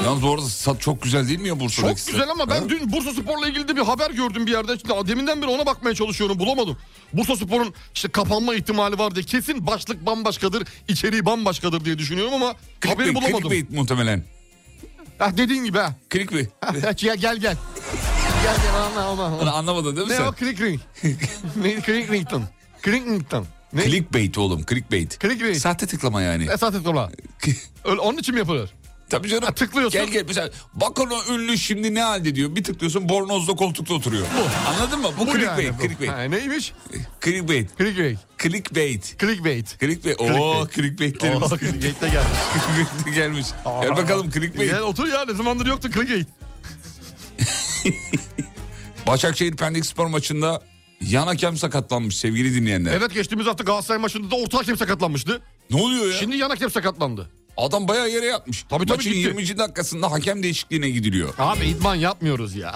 [SPEAKER 5] Yalnız bu arada stat çok güzel değil mi ya Bursa'daki
[SPEAKER 6] Çok
[SPEAKER 5] stat?
[SPEAKER 6] güzel ama
[SPEAKER 5] Ha?
[SPEAKER 6] ben dün Bursa Spor'la ilgili de bir haber gördüm bir yerde. Şimdi deminden beri ona bakmaya çalışıyorum bulamadım. Bursa Spor'un işte kapanma ihtimali var diye kesin başlık bambaşkadır, içeriği bambaşkadır diye düşünüyorum ama haberi
[SPEAKER 5] Clickbait-
[SPEAKER 6] bulamadım.
[SPEAKER 5] Clickbait muhtemelen.
[SPEAKER 6] Ha, dediğin gibi ha.
[SPEAKER 5] Clickbait.
[SPEAKER 6] ya gel gel. Gel gel anla anla.
[SPEAKER 5] Bunu
[SPEAKER 6] anla.
[SPEAKER 5] anlamadın değil mi
[SPEAKER 6] Ne o
[SPEAKER 5] sen?
[SPEAKER 6] Crickring? ne Crickrington? Crickrington. Ne?
[SPEAKER 5] Clickbait oğlum clickbait.
[SPEAKER 6] Clickbait.
[SPEAKER 5] Sahte tıklama yani.
[SPEAKER 6] Esat et ola. Öyle, onun için mi yapılır?
[SPEAKER 5] Tabii canım.
[SPEAKER 6] tıklıyorsun.
[SPEAKER 5] Gel gel mesela bakın o ünlü şimdi ne halde diyor. Bir tıklıyorsun bornozda koltukta oturuyor. Anladın mı? Bu, clickbait.
[SPEAKER 6] yani bu.
[SPEAKER 5] clickbait.
[SPEAKER 6] Ha, neymiş?
[SPEAKER 5] Clickbait.
[SPEAKER 6] Clickbait.
[SPEAKER 5] Clickbait.
[SPEAKER 6] Clickbait.
[SPEAKER 5] Clickbait. Oo clickbaitlerimiz.
[SPEAKER 6] Oh, clickbait'te gelmiş.
[SPEAKER 5] Clickbait gelmiş. Gel bakalım clickbait.
[SPEAKER 6] Gel otur ya ne zamandır yoktu clickbait.
[SPEAKER 5] Başakşehir Pendik Spor maçında yan hakem sakatlanmış sevgili dinleyenler.
[SPEAKER 6] Evet geçtiğimiz hafta Galatasaray maçında da orta hakem sakatlanmıştı.
[SPEAKER 5] Ne oluyor ya?
[SPEAKER 6] Şimdi yan hakem sakatlandı.
[SPEAKER 5] Adam bayağı yere yatmış.
[SPEAKER 6] Tabii, tabii,
[SPEAKER 5] Maçın
[SPEAKER 6] gitti.
[SPEAKER 5] 20. dakikasında hakem değişikliğine gidiliyor.
[SPEAKER 6] Abi idman yapmıyoruz ya.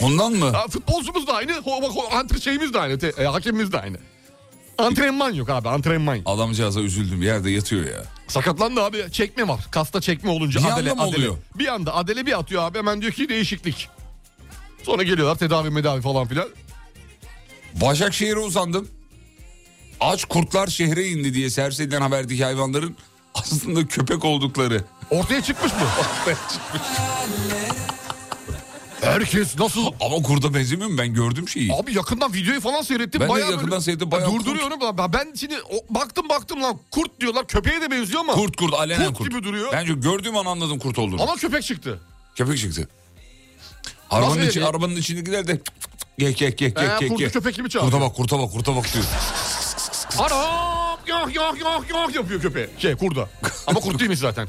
[SPEAKER 5] Ondan mı?
[SPEAKER 6] ya futbolcumuz da aynı, ho- ho- antre şeyimiz de aynı, te- e, hakemimiz de aynı. Antrenman yok abi antrenman. yok.
[SPEAKER 5] Adamcağıza üzüldüm yerde yatıyor ya.
[SPEAKER 6] Sakatlandı abi çekme var. Kasta çekme olunca
[SPEAKER 5] Bir anda
[SPEAKER 6] adele,
[SPEAKER 5] mı
[SPEAKER 6] adele.
[SPEAKER 5] oluyor?
[SPEAKER 6] Bir anda adele bir atıyor abi hemen diyor ki değişiklik. Sonra geliyorlar tedavi medavi falan filan.
[SPEAKER 5] Başakşehir'e uzandım. Aç kurtlar şehre indi diye servis edilen haberdeki hayvanların aslında köpek oldukları.
[SPEAKER 6] Ortaya çıkmış mı?
[SPEAKER 5] ortaya çıkmış.
[SPEAKER 6] Herkes nasıl...
[SPEAKER 5] Ama kurda benzemiyor mu? Ben gördüm şeyi.
[SPEAKER 6] Abi yakından videoyu falan seyrettim.
[SPEAKER 5] Ben de
[SPEAKER 6] bayağı böyle-
[SPEAKER 5] yakından seyrettim,
[SPEAKER 6] Ya
[SPEAKER 5] bayağı
[SPEAKER 6] Durduruyorum. Ben- Ben şimdi o- baktım baktım lan kurt diyorlar. Köpeğe de benziyor ama.
[SPEAKER 5] Kurt kurt alenen kurt.
[SPEAKER 6] Kurt gibi duruyor.
[SPEAKER 5] Bence gördüğüm an anladım kurt olduğunu.
[SPEAKER 6] Ama köpek çıktı.
[SPEAKER 5] Köpek çıktı. Arabanın,
[SPEAKER 6] Nasıl
[SPEAKER 5] içi,
[SPEAKER 6] yani?
[SPEAKER 5] arabanın içindekiler de gek gek gek
[SPEAKER 6] Ee,
[SPEAKER 5] gek gek.
[SPEAKER 6] kurdu
[SPEAKER 5] gek.
[SPEAKER 6] köpek gibi çağırıyor.
[SPEAKER 5] Kurta bak kurta bak kurta bak diyor.
[SPEAKER 6] Anam yok yok yok yok yapıyor köpeğe. Şey kurda. Ama kurt değilmiş zaten.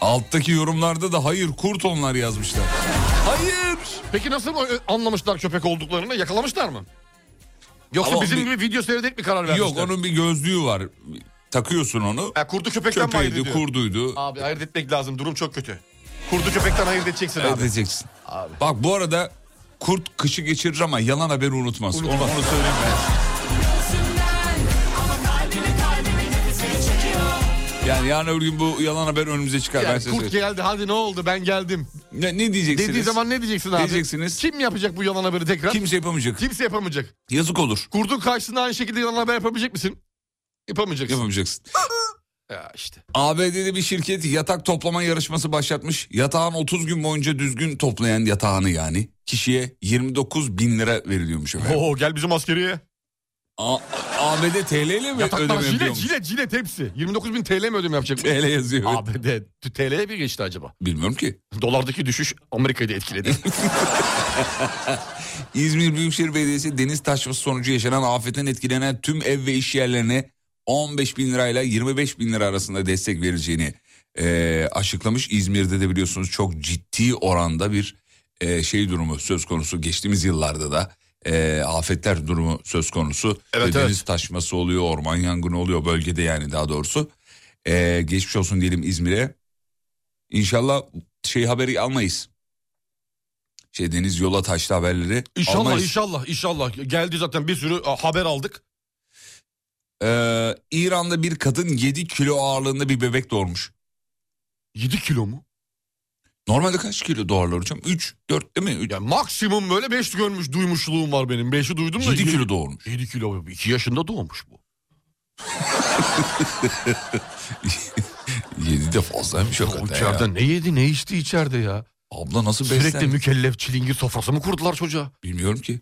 [SPEAKER 5] Alttaki yorumlarda da hayır kurt onlar yazmışlar. Hayır.
[SPEAKER 6] Peki nasıl o- e, anlamışlar köpek olduklarını? Yakalamışlar mı? Yoksa
[SPEAKER 5] Ama
[SPEAKER 6] bizim
[SPEAKER 5] bir-
[SPEAKER 6] gibi video seyrederek mi karar vermişler?
[SPEAKER 5] Yok onun bir gözlüğü var. Takıyorsun onu.
[SPEAKER 6] Ha, kurdu köpekten mi ayırt
[SPEAKER 5] Köpeğiydi,
[SPEAKER 6] ediyor?
[SPEAKER 5] kurduydu.
[SPEAKER 6] Abi ayırt etmek lazım. Durum çok kötü. Kurdu köpekten ayırt edeceksin abi.
[SPEAKER 5] Edeceksin. Bak bu arada kurt kışı geçirir ama yalan haberi unutmaz. Onu, onu söyleyeyim ben. Yani yarın öbür gün bu yalan haber önümüze çıkar. ben
[SPEAKER 6] Yani
[SPEAKER 5] size
[SPEAKER 6] kurt
[SPEAKER 5] söyleyeyim.
[SPEAKER 6] geldi hadi ne oldu ben geldim.
[SPEAKER 5] Ne, ne diyeceksiniz?
[SPEAKER 6] Dediği zaman ne diyeceksin abi?
[SPEAKER 5] Diyeceksiniz.
[SPEAKER 6] Kim yapacak bu yalan haberi tekrar?
[SPEAKER 5] Kimse yapamayacak.
[SPEAKER 6] Kimse yapamayacak.
[SPEAKER 5] Yazık olur.
[SPEAKER 6] Kurdun karşısında aynı şekilde yalan haber yapabilecek misin? Yapamayacaksın.
[SPEAKER 5] Yapamayacaksın.
[SPEAKER 6] Ya işte.
[SPEAKER 5] ABD'de bir şirket yatak toplama yarışması başlatmış. Yatağın 30 gün boyunca düzgün toplayan yatağını yani. Kişiye 29 bin lira veriliyormuş efendim.
[SPEAKER 6] Oo gel bizim askeriye.
[SPEAKER 5] A- ABD TL ile mi
[SPEAKER 6] Yataklar
[SPEAKER 5] ödeme
[SPEAKER 6] jilet
[SPEAKER 5] yapıyormuş?
[SPEAKER 6] jilet jilet hepsi. 29 bin TL mi ödeme yapacak?
[SPEAKER 5] TL yazıyor.
[SPEAKER 6] ABD TL'ye bir geçti acaba?
[SPEAKER 5] Bilmiyorum ki.
[SPEAKER 6] Dolardaki düşüş Amerika'yı da etkiledi.
[SPEAKER 5] İzmir Büyükşehir Belediyesi deniz taşması sonucu yaşanan afetten etkilenen tüm ev ve iş yerlerine 15 bin lirayla 25 bin lira arasında destek verileceğini eee, açıklamış. İzmir'de de biliyorsunuz çok ciddi oranda bir eee, şey durumu söz konusu. Geçtiğimiz yıllarda da eee, afetler durumu söz konusu.
[SPEAKER 6] Evet,
[SPEAKER 5] Ve
[SPEAKER 6] evet.
[SPEAKER 5] Deniz taşması oluyor, orman yangını oluyor bölgede yani daha doğrusu. Eee, Ee, geçmiş olsun diyelim İzmir'e. İnşallah şey haberi almayız. Şey deniz yola taşlı haberleri
[SPEAKER 6] inşallah
[SPEAKER 5] almayız.
[SPEAKER 6] inşallah inşallah. Geldi zaten bir sürü a, haber aldık.
[SPEAKER 5] Ee, İran'da bir kadın 7 kilo ağırlığında bir bebek doğurmuş.
[SPEAKER 6] 7 kilo mu?
[SPEAKER 5] Normalde kaç kilo doğarlar hocam? 3, 4 değil mi? Üç-
[SPEAKER 6] Ya maksimum böyle 5 görmüş duymuşluğum var benim. 5'i duydum da.
[SPEAKER 5] 7 kilo doğurmuş.
[SPEAKER 6] 7 kilo. 2 yaşında doğmuş bu.
[SPEAKER 5] 7 de fazlaymış o
[SPEAKER 6] O
[SPEAKER 5] kadar
[SPEAKER 6] içeride
[SPEAKER 5] ya.
[SPEAKER 6] ne yedi ne içti içeride ya.
[SPEAKER 5] Abla nasıl
[SPEAKER 6] Sürekli
[SPEAKER 5] beslendi?
[SPEAKER 6] mükellef çilingir sofrası mı kurdular çocuğa?
[SPEAKER 5] Bilmiyorum ki.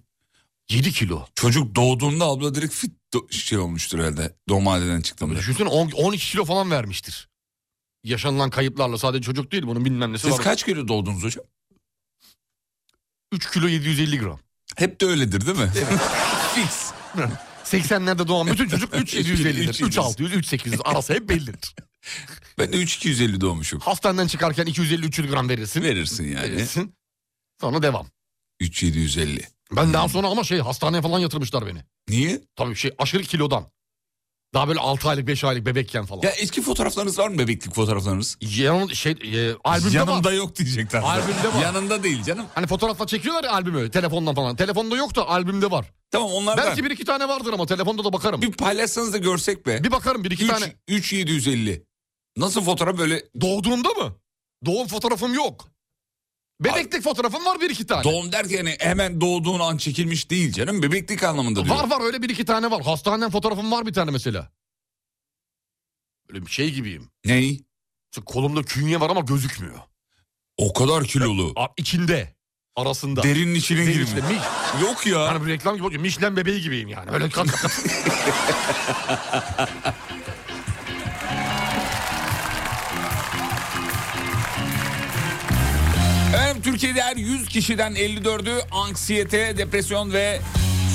[SPEAKER 6] 7 kilo.
[SPEAKER 5] Çocuk doğduğunda abla direkt fit do- şey olmuştur herhalde. Doğum halden çıktığında.
[SPEAKER 6] Düşünsene 10 12 kilo falan vermiştir. Yaşanılan kayıplarla sadece çocuk değil bunun bilmem nesi
[SPEAKER 5] Siz
[SPEAKER 6] var.
[SPEAKER 5] kaç kilo doğdunuz hocam?
[SPEAKER 6] 3 kilo 750 gram.
[SPEAKER 5] Hep de öyledir değil mi? Fix.
[SPEAKER 6] 80'lerde doğan bütün çocuk 3
[SPEAKER 5] Üç
[SPEAKER 6] 750'dir.
[SPEAKER 5] yedi yüz.
[SPEAKER 6] 3 600, 3 800 arası hep bellidir.
[SPEAKER 5] Ben de 3-250 doğmuşum.
[SPEAKER 6] Hastaneden çıkarken 250 300 gram verirsin.
[SPEAKER 5] Verirsin yani.
[SPEAKER 6] Verirsin. Sonra devam.
[SPEAKER 5] 3-750.
[SPEAKER 6] Ben daha sonra ama şey hastaneye falan yatırmışlar beni.
[SPEAKER 5] Hmm. Niye?
[SPEAKER 6] Tabii şey aşırı kilodan. Daha böyle 6 aylık 5 aylık bebekken falan.
[SPEAKER 5] Ya eski fotoğraflarınız var mı bebeklik fotoğraflarınız?
[SPEAKER 6] Yanım, şey, e, albümde
[SPEAKER 5] Yanımda
[SPEAKER 6] var.
[SPEAKER 5] yok diyecekler.
[SPEAKER 6] Albümde var.
[SPEAKER 5] Yanında değil canım.
[SPEAKER 6] Hani fotoğrafla çekiyorlar ya albümü telefondan falan. Telefonda yok da albümde var.
[SPEAKER 5] Tamam onlar var.
[SPEAKER 6] Belki bir iki tane vardır ama telefonda da bakarım. Bir,
[SPEAKER 5] Bir paylaşsanız da görsek be.
[SPEAKER 6] bakarım bir iki
[SPEAKER 5] 3,
[SPEAKER 6] tane.
[SPEAKER 5] 3750. Nasıl fotoğraf böyle
[SPEAKER 6] Doğduğumda mı? Doğum fotoğrafım yok. Bebeklik fotoğrafım var bir iki tane.
[SPEAKER 5] doğum derken yani hemen doğduğun an çekilmiş değil canım. Bebeklik anlamında diyor.
[SPEAKER 6] Var var öyle bir iki tane var. Hastaneden fotoğrafım var bir tane mesela. Böyle bir şey gibiyim.
[SPEAKER 5] Ney?
[SPEAKER 6] Şu Kolumda künye var ama gözükmüyor.
[SPEAKER 5] O kadar kilolu.
[SPEAKER 6] A- İçinde. Arasında.
[SPEAKER 5] Derinin içine
[SPEAKER 6] Değil
[SPEAKER 5] girmiş.
[SPEAKER 6] işte, mi-
[SPEAKER 5] Yok ya.
[SPEAKER 6] Yani bir reklam gibi. Michelin bebeği gibiyim yani. Öyle kat kat.
[SPEAKER 5] Efendim Türkiye'de her 100 kişiden 54'ü anksiyete, depresyon ve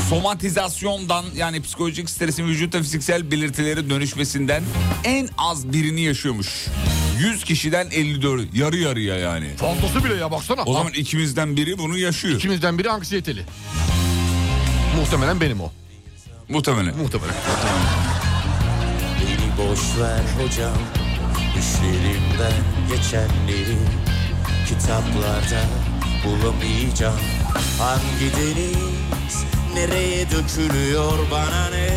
[SPEAKER 5] somatizasyondan yani psikolojik stresin vücutta fiziksel belirtilere dönüşmesinden en az birini yaşıyormuş. 100 kişiden 54 yarı yarıya yani.
[SPEAKER 6] Fantası bile ya baksana.
[SPEAKER 5] O zaman ikimizden biri bunu yaşıyor.
[SPEAKER 6] İkimizden biri anksiyeteli. Muhtemelen benim o.
[SPEAKER 5] Muhtemelen.
[SPEAKER 6] Muhtemelen.
[SPEAKER 8] Beni boş ver hocam Düşlerimden geçenleri Kitaplarda bulamayacağım Hangi deniz nereye dökülüyor bana ne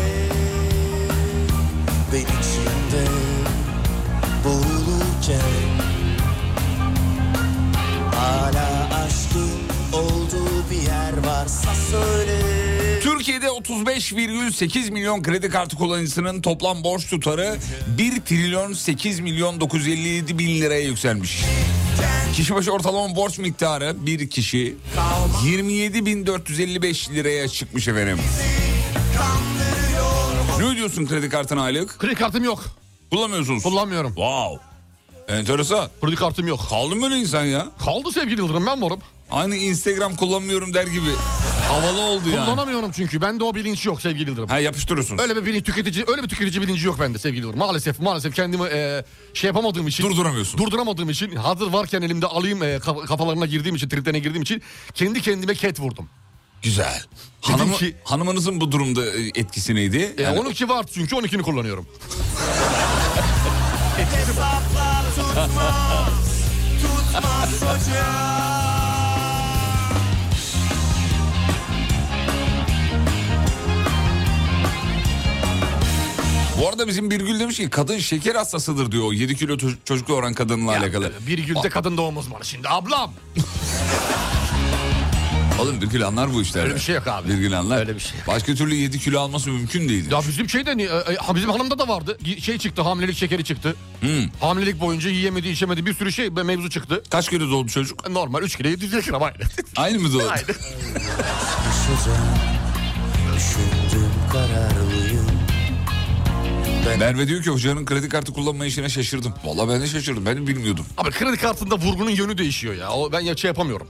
[SPEAKER 8] Ben içimde boğulurken Hala aşkın olduğu bir yer varsa söyle
[SPEAKER 5] Türkiye'de 35,8 milyon kredi kartı kullanıcısının toplam borç tutarı 1 trilyon 8 milyon 957 bin liraya yükselmiş. Kişi başı ortalama borç miktarı bir kişi 27.455 liraya çıkmış efendim. Ne ödüyorsun kredi kartına aylık?
[SPEAKER 6] Kredi kartım yok.
[SPEAKER 5] Kullanmıyorsunuz.
[SPEAKER 6] Kullanmıyorum.
[SPEAKER 5] wow. Enteresan.
[SPEAKER 6] Kredi kartım yok.
[SPEAKER 5] Kaldı mı öyle insan ya?
[SPEAKER 6] Kaldı sevgili Yıldırım ben varım.
[SPEAKER 5] Aynı Instagram kullanmıyorum der gibi. Havalı oldu yani.
[SPEAKER 6] Kullanamıyorum çünkü. Bende o bilinç yok sevgili Yıldırım.
[SPEAKER 5] Ha yapıştırıyorsun.
[SPEAKER 6] Öyle bir bilinç tüketici, öyle bir tüketici bilinci yok bende sevgili Yıldırım. Maalesef maalesef kendimi e, şey yapamadığım için.
[SPEAKER 5] Durduramıyorsun.
[SPEAKER 6] Durduramadığım için hazır varken elimde alayım e, kaf- kafalarına girdiğim için triplerine girdiğim için kendi kendime ket vurdum.
[SPEAKER 5] Güzel. Hanımı,
[SPEAKER 6] ki-
[SPEAKER 5] hanımınızın bu durumda e, etkisi neydi?
[SPEAKER 6] E,
[SPEAKER 5] Yani
[SPEAKER 6] 12 var çünkü 12'ni kullanıyorum.
[SPEAKER 5] Bu arada bizim Birgül demiş ki kadın şeker hastasıdır diyor. 7 kilo to- çocuk doğuran kadınla alakalı.
[SPEAKER 6] Bir günde kadın doğum uzmanı şimdi ablam.
[SPEAKER 5] Oğlum Birgül anlar bu işlerden.
[SPEAKER 6] Öyle bir şey yok abi.
[SPEAKER 5] Birgül anlar.
[SPEAKER 6] Öyle bir şey yok.
[SPEAKER 5] Başka türlü 7 kilo alması mümkün değil.
[SPEAKER 6] Ya bizim şeyde ni- e, e, ha, bizim hanımda da vardı. Y- Şey çıktı hamilelik şekeri çıktı. Hamilelik boyunca yiyemedi içemedi bir sürü şey be- mevzu çıktı.
[SPEAKER 5] Hmm. Kaç kilo doğdu çocuk?
[SPEAKER 6] Normal 3 kilo 700 gram aynı.
[SPEAKER 5] Aynı mı doğdu?
[SPEAKER 8] Koşacağım Düşündüm kararlıyım
[SPEAKER 5] Merve diyor ki hocanın kredi kartı kullanma işine şaşırdım. Vallahi ben de şaşırdım. Ben de bilmiyordum.
[SPEAKER 6] Abi kredi kartında vurgunun yönü değişiyor ya. O, ben ya şey yapamıyorum.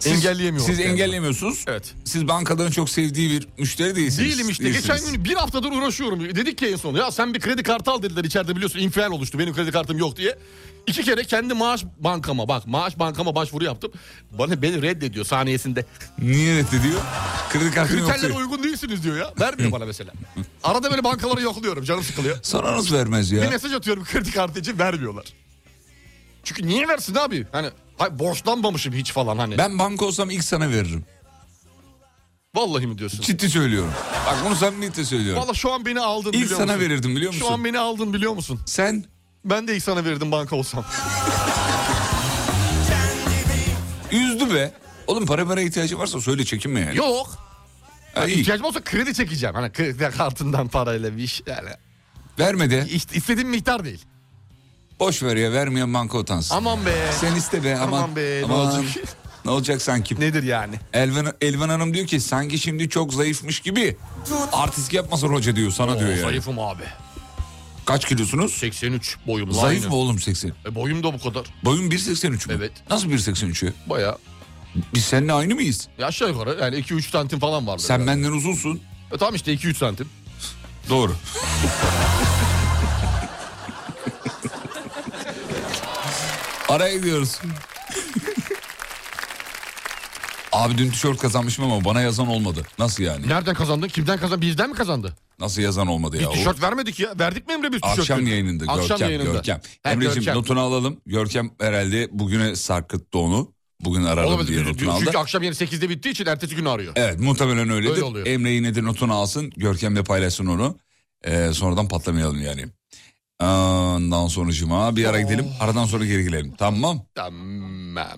[SPEAKER 5] Siz-
[SPEAKER 6] Engelleyemiyorum
[SPEAKER 5] Siz
[SPEAKER 6] kendimi.
[SPEAKER 5] engelleyemiyorsunuz.
[SPEAKER 6] Evet.
[SPEAKER 5] Siz bankaların çok sevdiği bir müşteri değilsiniz.
[SPEAKER 6] Değilim işte.
[SPEAKER 5] Değilsiniz.
[SPEAKER 6] Geçen gün bir haftadır uğraşıyorum. Dedik ki en son ya sen bir kredi kartı al dediler içeride biliyorsun infial oluştu benim kredi kartım yok diye. İki kere kendi maaş bankama bak maaş bankama başvuru yaptım. Bana beni reddediyor saniyesinde.
[SPEAKER 5] Niye reddediyor? Kredi kartı yok.
[SPEAKER 6] Kriterlere uygun değilsiniz diyor ya. Vermiyor bana mesela. Arada böyle bankaları yokluyorum canım sıkılıyor.
[SPEAKER 5] Sana nasıl vermez ya?
[SPEAKER 6] Bir mesaj atıyorum kredi kartı için vermiyorlar. Çünkü niye versin abi? Hani hay, borçlanmamışım hiç falan hani.
[SPEAKER 5] Ben banka olsam ilk sana veririm.
[SPEAKER 6] Vallahi mi diyorsun?
[SPEAKER 5] Ciddi söylüyorum. Bak bunu samimiyetle söylüyorum.
[SPEAKER 6] Vallahi şu an beni aldın
[SPEAKER 5] İlk
[SPEAKER 6] biliyor
[SPEAKER 5] sana
[SPEAKER 6] musun?
[SPEAKER 5] verirdim biliyor musun?
[SPEAKER 6] Şu an beni aldın biliyor musun?
[SPEAKER 5] Sen
[SPEAKER 6] Ben de ilk sana verirdim banka olsam.
[SPEAKER 5] üzdü be. Oğlum para para ihtiyacı varsa söyle çekinme yani.
[SPEAKER 6] Yok.
[SPEAKER 5] Ha, iyi.
[SPEAKER 6] İhtiyacım olsa kredi çekeceğim. Hani kredi kartından parayla bir iş. Yani
[SPEAKER 5] Verme de.
[SPEAKER 6] ist- istediğim miktar değil.
[SPEAKER 5] Boş ver ya vermeyen banka utansın.
[SPEAKER 6] Aman be.
[SPEAKER 5] Sen iste be aman.
[SPEAKER 6] Aman be, ne olacak?
[SPEAKER 5] Ne olacak sanki?
[SPEAKER 6] Nedir yani?
[SPEAKER 5] Elvan, Elvan Hanım diyor ki sanki şimdi çok zayıfmış gibi. Artist yapmasın hoca diyor sana diyor yani.
[SPEAKER 6] Zayıfım abi.
[SPEAKER 5] Kaç kilosunuz?
[SPEAKER 6] 83 boyum.
[SPEAKER 5] Zayıf
[SPEAKER 6] aynı.
[SPEAKER 5] mı oğlum 80?
[SPEAKER 6] E, boyum da bu kadar.
[SPEAKER 5] Boyun 1.83 mü?
[SPEAKER 6] Evet.
[SPEAKER 5] Nasıl 1.83'ü?
[SPEAKER 6] Baya
[SPEAKER 5] Biz seninle aynı mıyız?
[SPEAKER 6] ya aşağı yukarı yani 2-3 santim falan vardı.
[SPEAKER 5] Sen benden uzunsun.
[SPEAKER 6] tam işte 2-3 santim.
[SPEAKER 5] Doğru. Araya gidiyoruz. Abi dün tişört kazanmışım ama bana yazan olmadı. Nasıl yani?
[SPEAKER 6] Nereden kazandın? Kimden kazandın? Bizden mi kazandı?
[SPEAKER 5] Nasıl yazan olmadı ya?
[SPEAKER 6] Bir
[SPEAKER 5] O-
[SPEAKER 6] tişört vermedik ya. Verdik mi Emre biz tişört?
[SPEAKER 5] Akşam yayınında Görkem.
[SPEAKER 6] Akşam yayınında.
[SPEAKER 5] Görkem.
[SPEAKER 6] Ha,
[SPEAKER 5] Emre'ciğim
[SPEAKER 6] Görkem.
[SPEAKER 5] notunu alalım. Görkem herhalde bugüne sarkıttı onu. Bugün ararım
[SPEAKER 6] Olamadı.
[SPEAKER 5] diye notunu aldı.
[SPEAKER 6] Çünkü akşam yeri 8'de bittiği için ertesi günü arıyor.
[SPEAKER 5] Evet muhtemelen öyledir.
[SPEAKER 6] Öyle oluyor.
[SPEAKER 5] Emre yine de notunu alsın. Görkem'le paylaşsın onu. Ee, sonradan patlamayalım yani. Ondan sonucuma bir ara gidelim. Aradan sonra geri gelelim. Tamam.
[SPEAKER 6] Oh. Tamam.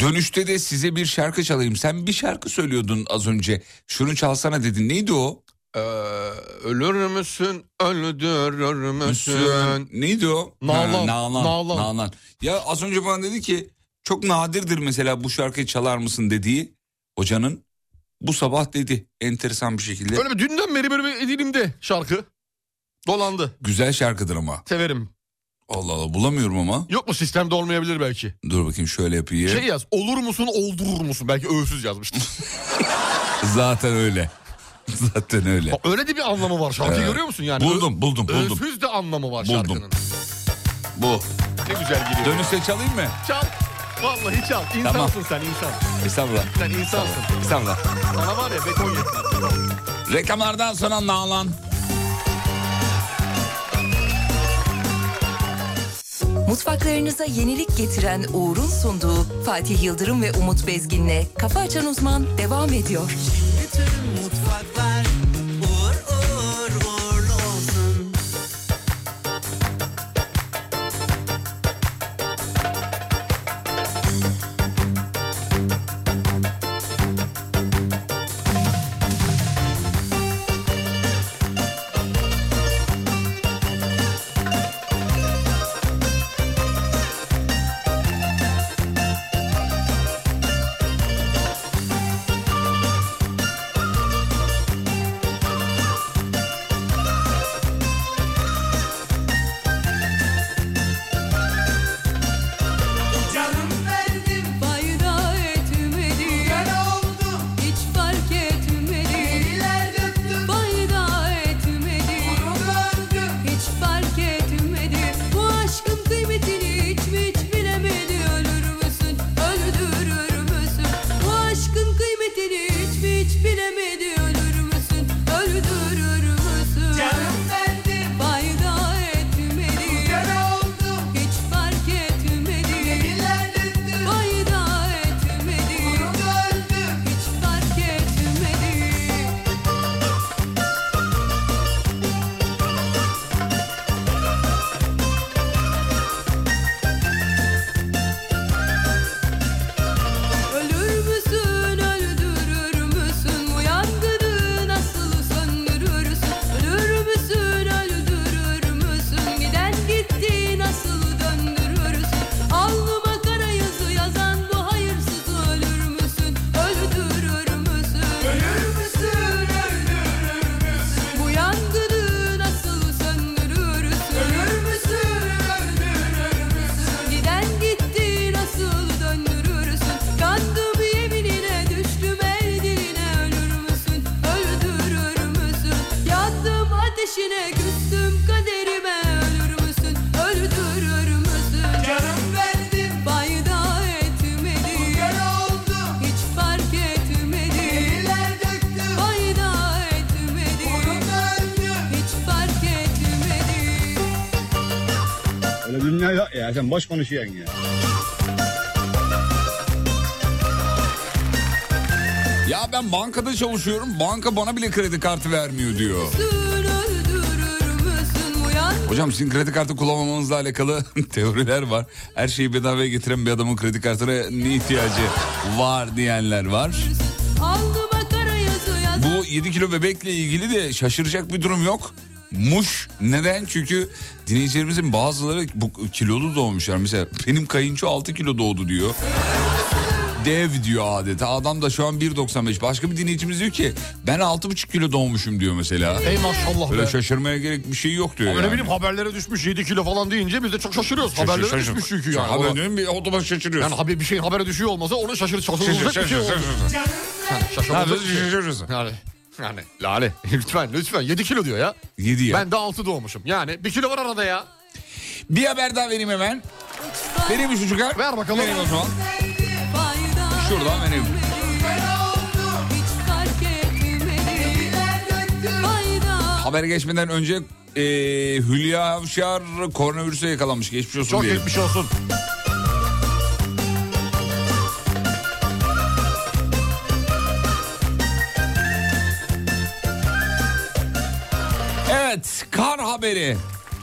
[SPEAKER 5] Dönüşte de size bir şarkı çalayım. Sen bir şarkı söylüyordun az önce. Şunu çalsana dedin. Neydi o?
[SPEAKER 6] Ee, ölür müsün? Öldürür müsün?
[SPEAKER 5] Neydi o?
[SPEAKER 6] Nalan.
[SPEAKER 5] Ha, Nalan.
[SPEAKER 6] Nalan.
[SPEAKER 5] Nalan. Ya az önce bana dedi ki çok nadirdir mesela bu şarkıyı çalar mısın dediği hocanın bu sabah dedi enteresan bir şekilde.
[SPEAKER 6] Böyle bir dünden beri böyle bir dilimde şarkı. Dolandı.
[SPEAKER 5] Güzel şarkıdır ama.
[SPEAKER 6] Severim.
[SPEAKER 5] Allah Allah bulamıyorum ama.
[SPEAKER 6] Yok mu sistemde olmayabilir belki.
[SPEAKER 5] Dur bakayım şöyle yapayım.
[SPEAKER 6] Şey yaz. Olur musun oldurur musun? Belki öğüsüz yazmıştır.
[SPEAKER 5] Zaten öyle. Zaten öyle.
[SPEAKER 6] Bak, Öyle de bir anlamı var şarkı
[SPEAKER 5] Evet.
[SPEAKER 6] görüyor musun yani?
[SPEAKER 5] Buldum buldum
[SPEAKER 6] Ö-
[SPEAKER 5] buldum.
[SPEAKER 6] Öğüsüz de anlamı var
[SPEAKER 5] Buldum.
[SPEAKER 6] şarkının.
[SPEAKER 5] Bu.
[SPEAKER 6] Ne güzel giriyor.
[SPEAKER 5] Dönüşte çalayım mı?
[SPEAKER 6] Çal. Vallahi çal. İnsansın sen insan.
[SPEAKER 5] Estağfurullah.
[SPEAKER 6] Sen insansın.
[SPEAKER 5] Estağfurullah.
[SPEAKER 6] Sana var ya beton yetmez.
[SPEAKER 5] Reklamlardan sonra Nalan.
[SPEAKER 1] Mutfaklarınıza yenilik getiren Uğur'un sunduğu Fatih Yıldırım ve Umut Bezgin'le Kafa Açan Uzman devam ediyor.
[SPEAKER 2] Bütün mutfaklar uğur uğur uğurlu olsun. ateşine küstüm kaderime ölür müsün öldürür müsün Canım verdim fayda etmedi oldu hiç fark etmedi Eller döktüm fayda etmedi hiç fark etmedi
[SPEAKER 9] Öyle dünya yok ya sen boş konuşuyorsun ya.
[SPEAKER 5] Ya ben bankada çalışıyorum. Banka bana bile kredi kartı vermiyor diyor.
[SPEAKER 2] Öldürür müsün uyan
[SPEAKER 5] Hocam sizin kredi kartı kullanmamanızla alakalı teoriler var. Her şeyi bedavaya getiren bir adamın kredi kartına ne ihtiyacı var diyenler var.
[SPEAKER 2] aldı makara yazı yaz
[SPEAKER 5] Bu 7 kilo bebekle ilgili de şaşıracak bir durum yok. Muş. Neden? Çünkü dinleyicilerimizin bazıları bu kilolu doğmuşlar. Mesela benim kayınço 6 kilo doğdu diyor. Dev diyor adeta. Adam da şu an 1.95. Başka bir dinleyicimiz diyor ki ben 6.5 kilo doğmuşum diyor mesela.
[SPEAKER 6] Ey maşallah
[SPEAKER 5] Böyle
[SPEAKER 6] be.
[SPEAKER 5] şaşırmaya gerek bir şey yok diyor
[SPEAKER 6] Ama
[SPEAKER 5] yani.
[SPEAKER 6] Ne bileyim haberlere düşmüş 7 kilo falan deyince biz de çok şaşırıyoruz.
[SPEAKER 5] Şaşır-
[SPEAKER 6] haberlere
[SPEAKER 5] şaşır-
[SPEAKER 6] düşmüş çünkü yani.
[SPEAKER 5] Haber
[SPEAKER 6] Ona-
[SPEAKER 5] diyorum, bir otoban şaşırıyorsun.
[SPEAKER 6] yani haber, bir şeyin habere düşüyor olmasa ona şaşır
[SPEAKER 5] Şaşır-
[SPEAKER 6] şaşırılacak bir
[SPEAKER 5] şaşır-
[SPEAKER 6] şey oldu.
[SPEAKER 5] şaşır-
[SPEAKER 6] Yani şaşırılacak bir
[SPEAKER 5] şaşır-
[SPEAKER 6] şey.
[SPEAKER 5] şaşırıyorsun.
[SPEAKER 6] Yani, yani lale lütfen lütfen 7 kilo diyor ya.
[SPEAKER 5] Yedi ya.
[SPEAKER 6] Ben de 6 doğmuşum. Yani 1 kilo var arada ya.
[SPEAKER 5] Bir haber daha vereyim hemen. Vereyim mi çocuklar?
[SPEAKER 6] Ver bakalım.
[SPEAKER 5] Vereyim o zaman.
[SPEAKER 2] fayda
[SPEAKER 5] Şuradan hani vereyim.
[SPEAKER 2] hiç fark etmedi fayda
[SPEAKER 5] Haber geçmeden önce e, Hülya Avşar koronavirüse yakalanmış. Geçmiş olsun
[SPEAKER 6] Çok
[SPEAKER 5] diyelim.
[SPEAKER 6] geçmiş olsun.
[SPEAKER 5] Evet kar haberi.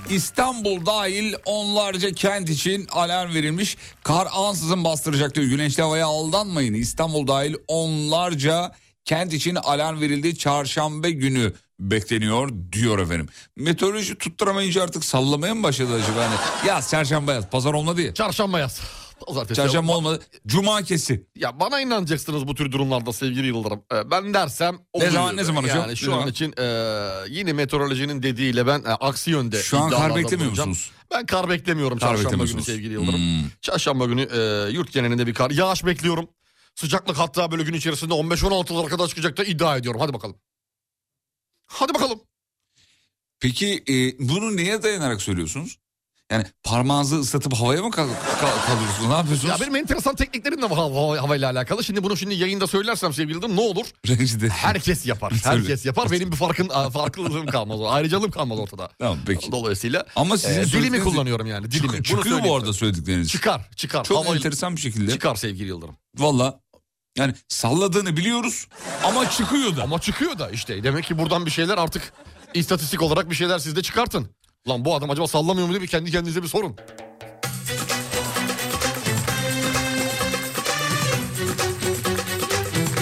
[SPEAKER 5] İstanbul dahil onlarca kent için alarm verilmiş. Kar ansızın bastıracak diyor. Güneşli havaya aldanmayın. İstanbul dahil onlarca kent için alarm verildi. Çarşamba günü bekleniyor diyor efendim. Meteoroloji tutturamayınca artık sallamaya mı başladı acaba? Hani, yaz çarşamba yaz pazar olmadı ya.
[SPEAKER 6] Çarşamba yaz. Pazartesi.
[SPEAKER 5] Çarşamba olmadı. Cuma kesin.
[SPEAKER 6] Ya bana inanacaksınız bu tür durumlarda sevgili Yıldırım. Ee, ben dersem oluyor.
[SPEAKER 5] zaman- ne zaman hocam?
[SPEAKER 6] Yani
[SPEAKER 5] Ne
[SPEAKER 6] şu an
[SPEAKER 5] zaman?
[SPEAKER 6] için e, yine meteorolojinin dediğiyle ben e, aksi yönde
[SPEAKER 5] Şu an kar
[SPEAKER 6] iddialarda
[SPEAKER 5] beklemiyor
[SPEAKER 6] bulunacağım.
[SPEAKER 5] musunuz?
[SPEAKER 6] Ben kar beklemiyorum
[SPEAKER 5] Kar
[SPEAKER 6] çarşamba günü
[SPEAKER 5] beklemiyorsunuz.
[SPEAKER 6] sevgili Yıldırım. Çarşamba günü e, yurt genelinde bir kar. Yağış bekliyorum. Sıcaklık hatta böyle gün içerisinde 15-16'lara kadar çıkacak da iddia ediyorum. Hadi bakalım. Hadi bakalım.
[SPEAKER 5] Peki e, bunu neye dayanarak söylüyorsunuz? Yani parmağınızı ıslatıp havaya mı kal- kal- kalıyorsunuz? Ne yapıyorsunuz?
[SPEAKER 6] Ya benim enteresan tekniklerim de var hava, hava- havayla alakalı. Şimdi bunu şimdi yayında söylersem sevgili Yıldırım ne olur?
[SPEAKER 5] Rencide.
[SPEAKER 6] Herkes yapar.
[SPEAKER 5] Tabii.
[SPEAKER 6] Herkes yapar. Benim bir farkın a, farklılığım kalmaz. Ayrıcalığım kalmaz ortada.
[SPEAKER 5] Tamam peki.
[SPEAKER 6] Dolayısıyla
[SPEAKER 5] Ama sizin
[SPEAKER 6] e, dilimi
[SPEAKER 5] söylediğiniz-
[SPEAKER 6] kullanıyorum yani dilimi. Bunu
[SPEAKER 5] Çık- çıkıyor bu
[SPEAKER 6] söyleyeyim.
[SPEAKER 5] arada söyledikleriniz.
[SPEAKER 6] Çıkar, çıkar.
[SPEAKER 5] Çok
[SPEAKER 6] Havayla-
[SPEAKER 5] enteresan bir şekilde.
[SPEAKER 6] Çıkar sevgili Yıldırım.
[SPEAKER 5] Valla yani salladığını biliyoruz ama çıkıyor da.
[SPEAKER 6] Ama çıkıyor da işte. Demek ki buradan bir şeyler artık istatistik olarak bir şeyler siz de çıkartın. Lan bu adam acaba sallamıyor mu diye bir kendi kendinize bir sorun.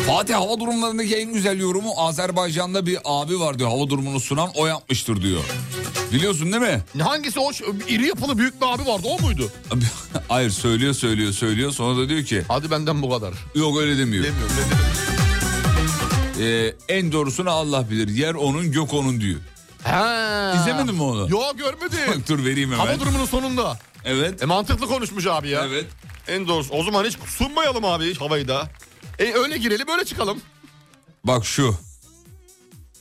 [SPEAKER 5] Fatih hava durumlarındaki en güzel yorumu Azerbaycan'da bir abi var diyor. Hava durumunu sunan o yapmıştır diyor. Biliyorsun değil mi?
[SPEAKER 6] Ne, Hangisi o ş- iri yapılı büyük bir abi vardı o muydu?
[SPEAKER 5] Hayır söylüyor söylüyor söylüyor sonra da diyor ki
[SPEAKER 6] Hadi benden bu kadar.
[SPEAKER 5] yok öyle demiyor.
[SPEAKER 6] Demiyorum.
[SPEAKER 5] Ee, en doğrusunu Allah bilir. Yer onun gök onun diyor.
[SPEAKER 6] He.
[SPEAKER 5] İzlemedin mi onu?
[SPEAKER 6] Yo görmedim.
[SPEAKER 5] Bak dur vereyim hemen.
[SPEAKER 6] Hava durumunun sonunda.
[SPEAKER 5] Evet.
[SPEAKER 6] E mantıklı konuşmuş abi ya.
[SPEAKER 5] Evet.
[SPEAKER 6] En doğrusu. O zaman hiç sunmayalım abi hiç havayı da. E öyle girelim öyle çıkalım.
[SPEAKER 5] Bak şu.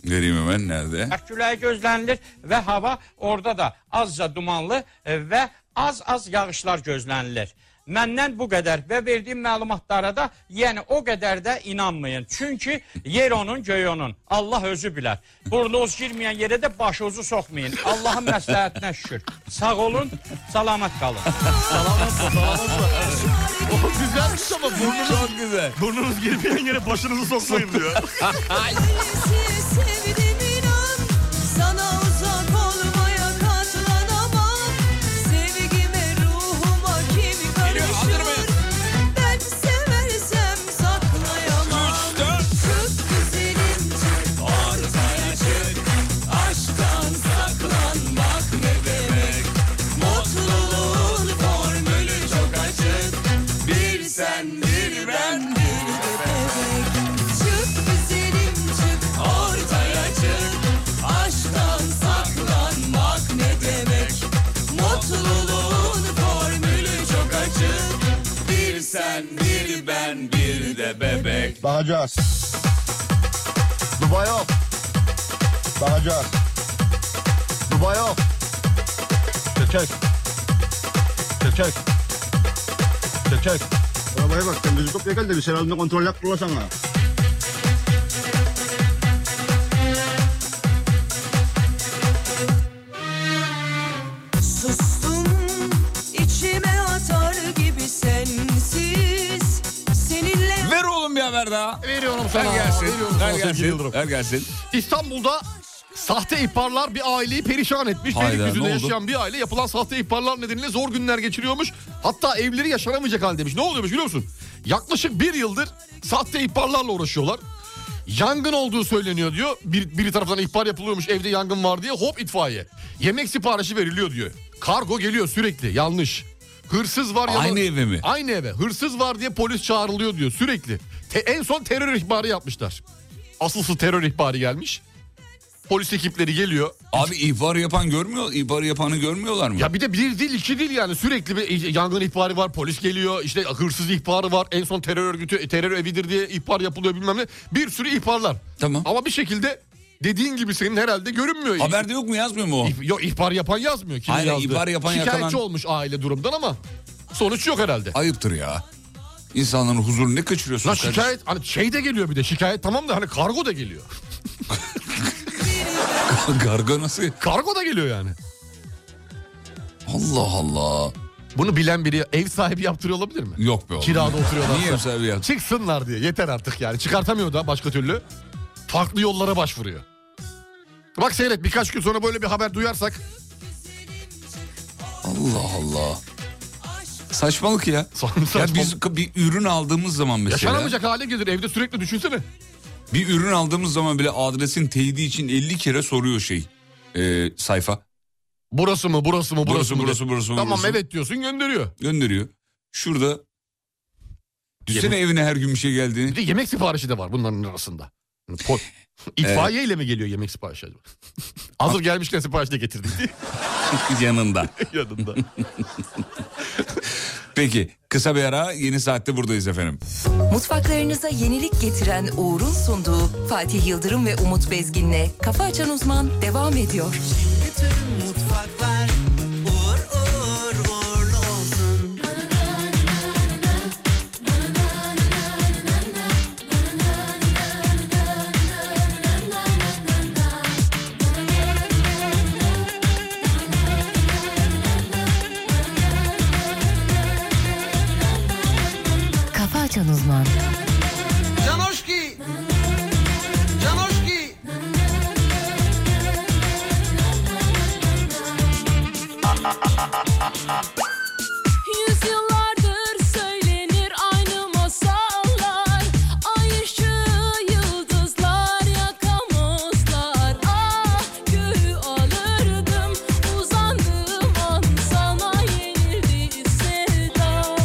[SPEAKER 5] Vereyim hemen nerede?
[SPEAKER 10] Aküler gözlənilir və hava orada da azca dumanlı e, və az-az yağışlar gözlənilir. Məndən bu qədər və verdiyim məlumatlara da yəni o qədər də inanmayın. Çünki yer onun, göy onun. Allah özü bilər. Burnunuz girməyən yerə də başınızı soxmayın. Allahın məsləhətinə şükür. Sağ olun, salamat qalın.
[SPEAKER 6] O güzelmiş ama burnunuz,
[SPEAKER 5] Çok güzel.
[SPEAKER 6] burnunuz girmeyen yere başınızı sokmayın diyor.
[SPEAKER 2] Seni sevdim inan Sana uzak olmaya katlanamam Sevgime ruhuma kim karışır Ben seversem saklayamam Çık güzelim çık ortaya çık Aşktan saklanmak ne demek Mutluluğun formülü çok açık Bir sen bir ben bir de bebek Çık güzelim çık ortaya çık Aşktan saklanmak ne demek Mutluluğun formülü çok açık Bir sen bir ben bir de bebek
[SPEAKER 9] Bakacağız. Dubai yok. Bakacağız.
[SPEAKER 11] Çekek. Çekek. Çekek. Arabaya bak sen bizi toplayacak halde bir seralında kontrol yaptılar ha.
[SPEAKER 2] Sustum içime atar gibi sensiz Seninle
[SPEAKER 5] Ver oğlum bir haber daha.
[SPEAKER 6] Veriyorum sana.
[SPEAKER 5] Ver gelsin.
[SPEAKER 6] Veriyorum
[SPEAKER 5] Ver
[SPEAKER 6] sana sevgili
[SPEAKER 5] gelsin.
[SPEAKER 6] Yıldırım.
[SPEAKER 5] Ver gelsin.
[SPEAKER 6] İstanbul'da sahte ihbarlar bir aileyi perişan etmiş.
[SPEAKER 5] Hayda,
[SPEAKER 6] Beylikdüzü'nde
[SPEAKER 5] ne oldu?
[SPEAKER 6] yaşayan bir aile yapılan sahte ihbarlar nedeniyle zor günler geçiriyormuş. Hatta evleri yaşanamayacak haldeymiş. Ne oluyormuş biliyor musun? Yaklaşık bir yıldır sahte ihbarlarla uğraşıyorlar. Yangın olduğu söyleniyor diyor. Bir, biri tarafından ihbar yapılıyormuş evde yangın var diye hop itfaiye. Yemek siparişi veriliyor diyor. Kargo geliyor sürekli yanlış. Hırsız var ya
[SPEAKER 5] Aynı eve mi?
[SPEAKER 6] Aynı eve. Hırsız var diye polis çağrılıyor diyor sürekli. Te- en son terör ihbarı yapmışlar. Asılsız terör ihbarı gelmiş. Polis ekipleri geliyor.
[SPEAKER 5] Abi ihbar yapan görmüyor, ihbar yapanı görmüyorlar mı?
[SPEAKER 6] Ya bir de bir değil iki değil yani sürekli bir e, yangın ihbarı var polis geliyor işte hırsız ihbarı var en son terör örgütü e, terör evidir diye ihbar yapılıyor bilmem ne bir sürü ihbarlar.
[SPEAKER 5] Tamam.
[SPEAKER 6] Ama bir şekilde dediğin gibi senin herhalde görünmüyor.
[SPEAKER 5] Haberde yok mu yazmıyor mu o?
[SPEAKER 6] İh- Yok ihbar yapan yazmıyor. Kim
[SPEAKER 5] Aynen,
[SPEAKER 6] yazdı?
[SPEAKER 5] ihbar yapan
[SPEAKER 6] Şikayetçi
[SPEAKER 5] yakalan-
[SPEAKER 6] olmuş aile durumdan ama sonuç yok herhalde.
[SPEAKER 5] Ayıptır ya. İnsanların huzurunu ne kaçırıyorsun?
[SPEAKER 6] Lan şikayet hani şey de geliyor bir de şikayet tamam da hani kargo da geliyor.
[SPEAKER 5] Garga nasıl?
[SPEAKER 6] Kargo da geliyor yani.
[SPEAKER 5] Allah Allah.
[SPEAKER 6] Bunu bilen biri ev sahibi yaptırıyor olabilir mi?
[SPEAKER 5] Yok be oğlum.
[SPEAKER 6] Kirada oturuyorlar.
[SPEAKER 5] Niye efsane ya?
[SPEAKER 6] Çıksınlar diye yeter artık yani çıkartamıyor da başka türlü. Farklı yollara başvuruyor. Bak seyret birkaç gün sonra böyle bir haber duyarsak
[SPEAKER 5] Allah Allah. Saçmalık ya.
[SPEAKER 6] Saçma-
[SPEAKER 5] Ya biz k- bir ürün aldığımız zaman mesela.
[SPEAKER 6] yaşanamayacak hale gelir evde sürekli düşünsene.
[SPEAKER 5] Bir ürün aldığımız zaman bile adresin teyidi için 50 kere soruyor şey. Ee, sayfa.
[SPEAKER 6] Burası mı burası mı burası,
[SPEAKER 5] Burası
[SPEAKER 6] mı?
[SPEAKER 5] burası burası
[SPEAKER 6] Tamam
[SPEAKER 5] burası.
[SPEAKER 6] evet diyorsun gönderiyor.
[SPEAKER 5] Gönderiyor. Şurada. Düşsene evine her gün bir şey geldiğini.
[SPEAKER 6] Bir de yemek siparişi de var bunların arasında. Yani po- İtfaiye ile mi geliyor yemek siparişi acaba? Hazır gelmişken sipariş de getirdik diye
[SPEAKER 5] Yanında.
[SPEAKER 6] yanında.
[SPEAKER 5] Peki kısa bir ara yeni saatte buradayız efendim.
[SPEAKER 1] Mutfaklarınıza yenilik getiren Uğur'un sunduğu Fatih Yıldırım ve Umut Bezgin'le Kafa Açan Uzman devam ediyor.
[SPEAKER 2] Bütün mutfaklar uğur uğur uğurlu olsun.
[SPEAKER 1] Kafa Açan Uzman
[SPEAKER 2] Canoşki! Canoşki!
[SPEAKER 12] Yüzyıllardır söylenir aynı masallar Ay ışığı yıldızlar yakamazlar Ah gül alırdım uzandığım an Sana yenildi sevdam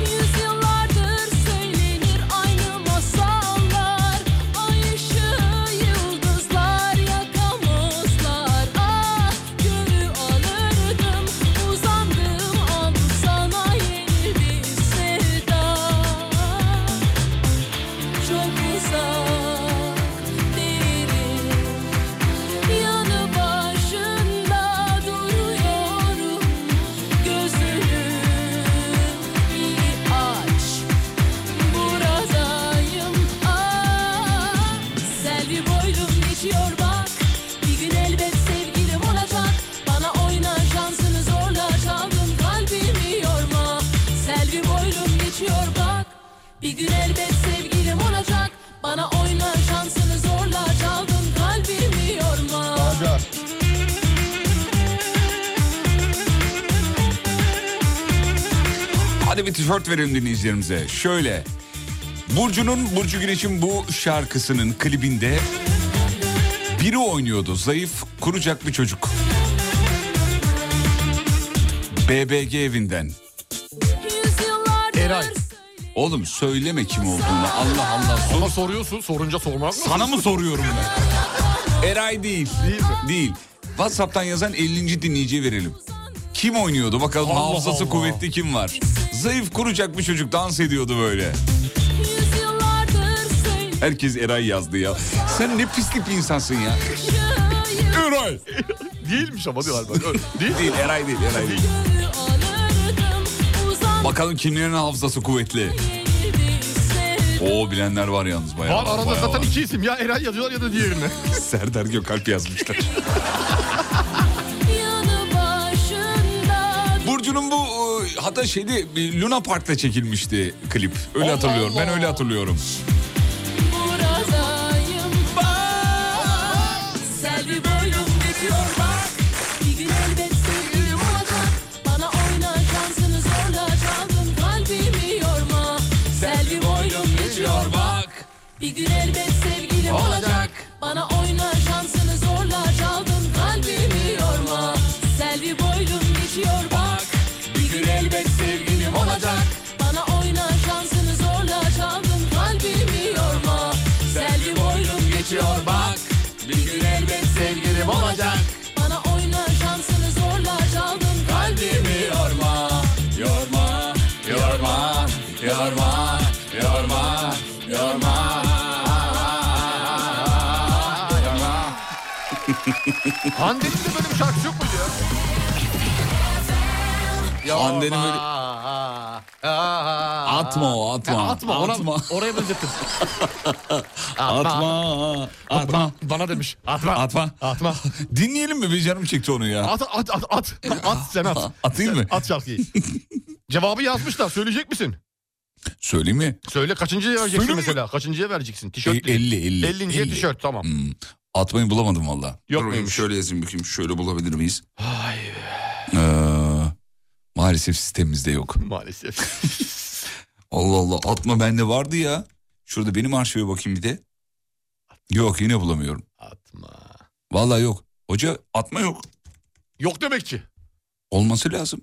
[SPEAKER 12] Yüzyıllardır söylenir aynı masallar Ay ışığı yıldızlar yakamazlar Ah gönül alırdım uzandığım an Sana yeni bir sevda Çok uzak değilim Yanı başında duruyorum Gözünü bir aç Buradayım ah Selvi boylum geçiyor bak Bir gün elbet sevgilim olacak Bana oyna şansını zorla Çaldım kalbimi yorma Selvi boylum geçiyor bak Bir gün elbet sevgilim olacak Bana oyna şansını zorla Çaldım kalbimi yorma
[SPEAKER 11] Aga.
[SPEAKER 5] Hadi bir tişört verelim dinleyicilerimize. Şöyle. Burcu'nun Burcu Güneş'in bu şarkısının klibinde biri oynuyordu. Zayıf, kurucak bir çocuk. BBG evinden.
[SPEAKER 12] Yüzyıllardır
[SPEAKER 6] Eray.
[SPEAKER 5] Oğlum söyleme kim olduğunu. Allah Allah. Sor-
[SPEAKER 6] Ama soruyorsun sorunca sormaz mı?
[SPEAKER 5] Sana mı soruyorum ben? Eray değil. Değil Değil. WhatsApp'tan yazan 50. dinleyiciye verelim. Kim oynuyordu bakalım
[SPEAKER 6] Allah
[SPEAKER 5] hafızası
[SPEAKER 6] Allah.
[SPEAKER 5] kuvvetli kim var? Zayıf kurucak bir çocuk dans ediyordu böyle.
[SPEAKER 12] Yüzyıllardır söylenir
[SPEAKER 5] Herkes Eray yazdı ya. Sen ne pislik bir insansın ya. Eray.
[SPEAKER 6] Değilmiş ama diyorlar bak. Öyle.
[SPEAKER 5] Değil, değil Eray değil Eray değil. Bakalım kimlerin hafızası kuvvetli. Oo bilenler var yalnız bayağı.
[SPEAKER 6] Var arada
[SPEAKER 5] bayağı
[SPEAKER 6] zaten
[SPEAKER 5] var.
[SPEAKER 6] iki isim ya Eray yazıyorlar ya da diğerine.
[SPEAKER 5] Serdar Gökalp yazmışlar.
[SPEAKER 12] Yanı başında
[SPEAKER 5] Burcu'nun bu e, hatta şeyde bir Luna Park'ta çekilmişti klip. Öyle hatırlıyorum. Ben öyle hatırlıyorum.
[SPEAKER 12] buradayım bak Selvi boylum geçiyor bak Bir gün elbet sevgilim olacak Bana oyna şansını zorla çaldın kalbimi yorma Selvi boylum geçiyor bak Bir gün elbet sevgilim olacak Bana oyna şansını zorla çaldın kalbimi yorma Selvi boylum geçiyor bak Bir gün elbet sevgilim olacak Bana oyna şansını zorla çaldın kalbimi yorma Selvi boylum geçiyor bak Bir gün elbet sevgilim olacak Bana oyna şansını zorla çaldın kalbimi yorma
[SPEAKER 5] Yorma, yorma, yorma, yorma, yorma.
[SPEAKER 6] Hande'nin de böyle bir şarkısı yok muydu ya?
[SPEAKER 5] Hande'nin böyle-
[SPEAKER 6] Yorma, ah,
[SPEAKER 5] Atma o, atma.
[SPEAKER 6] Ha, atma, ona-
[SPEAKER 5] Atma.
[SPEAKER 6] oraya benzettim.
[SPEAKER 5] Atma, atma,
[SPEAKER 6] Bana demiş. Atma.
[SPEAKER 5] atma.
[SPEAKER 6] Atma.
[SPEAKER 5] Dinleyelim mi? Bir canım çekti onu ya.
[SPEAKER 6] At at at at. At sen at.
[SPEAKER 5] Atayım mı?
[SPEAKER 6] At şarkıyı. Cevabı yazmışlar. Söyleyecek misin?
[SPEAKER 5] Söyleyeyim mi?
[SPEAKER 6] Söyle kaçıncıya
[SPEAKER 5] Söyle
[SPEAKER 6] vereceksin
[SPEAKER 5] mi?
[SPEAKER 6] mesela? Kaçıncıya vereceksin?
[SPEAKER 5] E,
[SPEAKER 6] Tişört
[SPEAKER 5] 50, 50.
[SPEAKER 6] 50. 50'ye tişört tamam.
[SPEAKER 5] Hmm, Atmayı bulamadım valla.
[SPEAKER 6] Yok
[SPEAKER 5] Dur bakayım
[SPEAKER 6] muymuş?
[SPEAKER 5] Şöyle yazayım bakayım. Şöyle bulabilir miyiz?
[SPEAKER 6] Ay
[SPEAKER 5] Ee, maalesef sistemimizde yok.
[SPEAKER 6] maalesef.
[SPEAKER 5] Allah Allah atma bende vardı ya. Şurada benim arşive bakayım bir de. Yok yine bulamıyorum.
[SPEAKER 6] Atma.
[SPEAKER 5] Vallahi yok. Hoca atma yok.
[SPEAKER 6] Yok demek ki.
[SPEAKER 5] Olması lazım.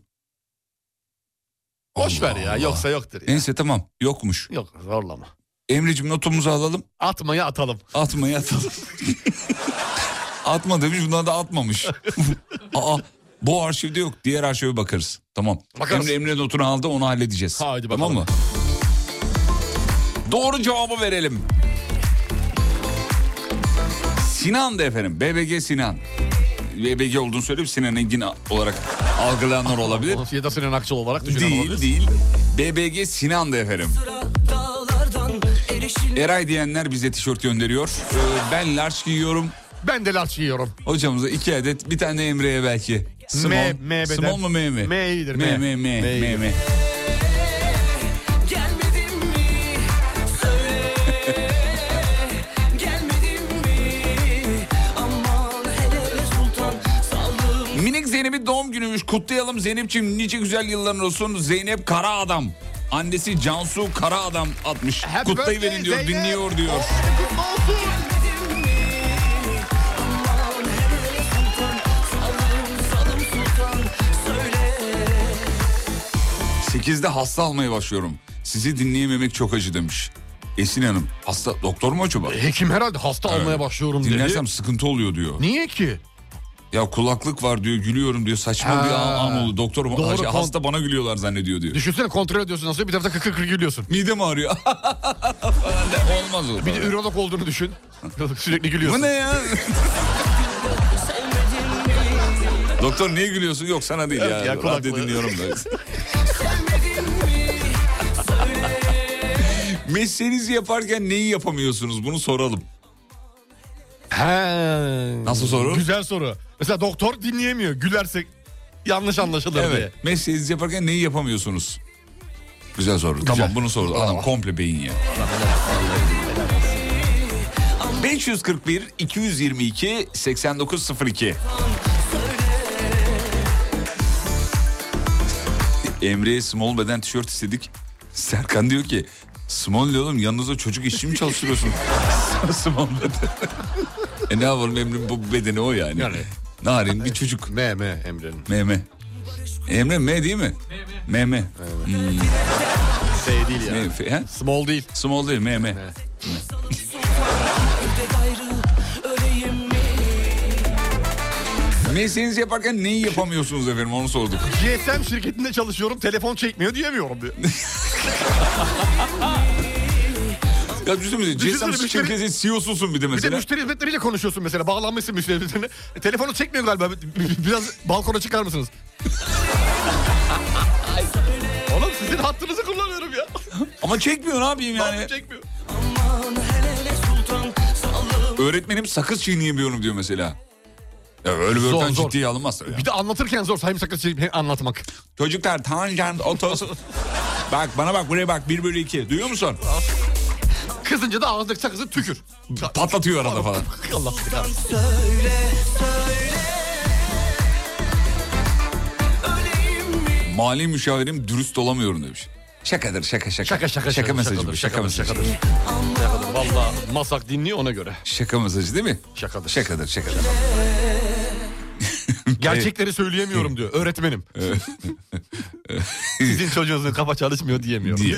[SPEAKER 6] Boş
[SPEAKER 5] Allah
[SPEAKER 6] ver ya.
[SPEAKER 5] Allah.
[SPEAKER 6] Yoksa yoktur ya.
[SPEAKER 5] Neyse tamam yokmuş.
[SPEAKER 6] Yok zorlama.
[SPEAKER 5] Emre'cim notumuzu alalım.
[SPEAKER 6] Atmaya atalım.
[SPEAKER 5] Atmayı atalım. atma demiş bunlar da atmamış. Aa, bu arşivde yok. Diğer arşive bakarız. Tamam.
[SPEAKER 6] Bakarız.
[SPEAKER 5] Emre, Emre notunu aldı onu halledeceğiz.
[SPEAKER 6] Haydi
[SPEAKER 5] Tamam
[SPEAKER 6] bakalım.
[SPEAKER 5] mı? Doğru cevabı verelim. Sinan da efendim. BBG Sinan. BBG olduğunu söyleyip Sinan Engin olarak algılayanlar olabilir.
[SPEAKER 6] Olası Ya da Sinan Akçıl olarak düşünen
[SPEAKER 5] Değil
[SPEAKER 6] olabilir.
[SPEAKER 5] değil. BBG Sinan da efendim. Eray diyenler bize tişört gönderiyor. Ee, Ben large giyiyorum.
[SPEAKER 6] Ben de larç yiyorum.
[SPEAKER 5] Hocamıza iki adet bir tane de Emre'ye belki. Small,
[SPEAKER 6] M- M beden.
[SPEAKER 5] Small mu M mi?
[SPEAKER 6] M iyidir,
[SPEAKER 5] M.
[SPEAKER 6] M.
[SPEAKER 5] M, M,
[SPEAKER 6] M
[SPEAKER 5] M,
[SPEAKER 6] iyidir.
[SPEAKER 5] M.
[SPEAKER 2] Gelmedin mi? Söyle Gelmedin mi? Aman hele sultan Saldım
[SPEAKER 5] Minik Zeynep'in doğum günüymüş. Kutlayalım Zeynep'ciğim. Nice güzel yılların olsun. Zeynep Kara Adam. Annesi Cansu Kara Adam atmış.
[SPEAKER 6] Happy
[SPEAKER 5] Kutlayıverin
[SPEAKER 6] birthday
[SPEAKER 5] diyor,
[SPEAKER 6] Zeynep.
[SPEAKER 5] dinliyor diyor. Sekizde hasta almaya başlıyorum. Sizi dinleyememek çok acı demiş. Esin Hanım hasta doktor mu acaba?
[SPEAKER 6] Hekim herhalde hasta almaya başlıyorum dedi.
[SPEAKER 5] Dinlersem sıkıntı oluyor diyor.
[SPEAKER 6] Niye ki?
[SPEAKER 5] Ya kulaklık var diyor gülüyorum diyor saçma bir
[SPEAKER 6] Ha.
[SPEAKER 5] an, an oldu. Doktor
[SPEAKER 6] Doğru,
[SPEAKER 5] ha- şey,
[SPEAKER 6] kon-
[SPEAKER 5] hasta bana gülüyorlar zannediyor diyor.
[SPEAKER 6] Düşünsene kontrol ediyorsun nasıl bir tarafta kıkır kıkır gülüyorsun.
[SPEAKER 5] Midem ağrıyor. Falan de- Olmaz o.
[SPEAKER 6] Bir de ürolog olduğunu düşün. Sürekli gülüyorsun.
[SPEAKER 5] Bu ne ya? Doktor niye gülüyorsun? Yok sana değil ya.
[SPEAKER 6] ya,
[SPEAKER 5] Radyo
[SPEAKER 6] kulaklığı.
[SPEAKER 5] dinliyorum da. Mesleğinizi yaparken neyi yapamıyorsunuz? Bunu soralım.
[SPEAKER 6] He.
[SPEAKER 5] Nasıl soru?
[SPEAKER 6] Güzel soru. Mesela doktor dinleyemiyor. Gülersek yanlış anlaşılır diye.
[SPEAKER 5] Evet. Mesleğinizi yaparken neyi yapamıyorsunuz? Güzel soru. Tamam bunu sordu. Adam komple beyin ya. 541 222 8902 Emre'ye small beden tişört istedik. Serkan diyor ki small ne oğlum yanınıza çocuk işçi mi çalıştırıyorsun? small beden. e ne yapalım Emre'nin bu bedeni o yani.
[SPEAKER 6] Yani.
[SPEAKER 5] Narin bir çocuk.
[SPEAKER 6] M M Emre'nin.
[SPEAKER 5] Meme. Emre M değil mi? Meme.
[SPEAKER 6] S Şey değil ya.
[SPEAKER 5] Meme. F- he?
[SPEAKER 6] Small değil.
[SPEAKER 5] Small değil meme.
[SPEAKER 2] Evde gayrı öleyim mi?
[SPEAKER 5] Mesleğinizi yaparken neyi yapamıyorsunuz efendim onu sorduk.
[SPEAKER 6] GSM şirketinde çalışıyorum. Telefon çekmiyor diyemiyorum diyor.
[SPEAKER 5] Ya düşünsene
[SPEAKER 6] Düşünsene
[SPEAKER 5] GSM
[SPEAKER 6] müşteri-
[SPEAKER 5] şirketin CEO'susun E bir de
[SPEAKER 6] şey. Bir de
[SPEAKER 5] mesela.
[SPEAKER 6] müşteri hizmetleriyle konuşuyorsun mesela. Bağlanmışsın müşteri hizmetlerine. E, telefonu çekmiyor galiba. Biraz balkona çıkar mısınız? Oğlum sizin hattınızı kullanıyorum ya.
[SPEAKER 5] Ama çekmiyor ne yapayım yani.
[SPEAKER 6] Çekmiyor.
[SPEAKER 5] Öğretmenim sakız çiğneyemiyorum diyor mesela. Ya öyle bir
[SPEAKER 6] Zor,
[SPEAKER 5] öğretmen
[SPEAKER 6] zor.
[SPEAKER 5] ciddiye alınmaz tabii ya.
[SPEAKER 6] Bir de anlatırken zor. Sayım sakız çekip anlatmak.
[SPEAKER 5] Çocuklar tangent otos. bak bana bak buraya bak 1 bölü 2 duyuyor musun?
[SPEAKER 6] Kızınca da ağzındaki sakızı tükür.
[SPEAKER 5] Patlatıyor arada falan.
[SPEAKER 6] Allah sizi kahretsin.
[SPEAKER 5] Mali müşavirim dürüst olamıyorum demiş. Şakadır şaka şaka.
[SPEAKER 6] Şaka şaka
[SPEAKER 5] Şaka mesajı bu şaka mesajı.
[SPEAKER 6] Şakadır. Şakadır. Valla masak dinliyor ona göre.
[SPEAKER 5] Şaka mesajı değil mi?
[SPEAKER 6] Şakadır.
[SPEAKER 5] Şakadır şakadır.
[SPEAKER 6] Gerçekleri söyleyemiyorum diyor öğretmenim. Sizin çocuğunuzun kafa çalışmıyor diyemiyorum.
[SPEAKER 5] Diye.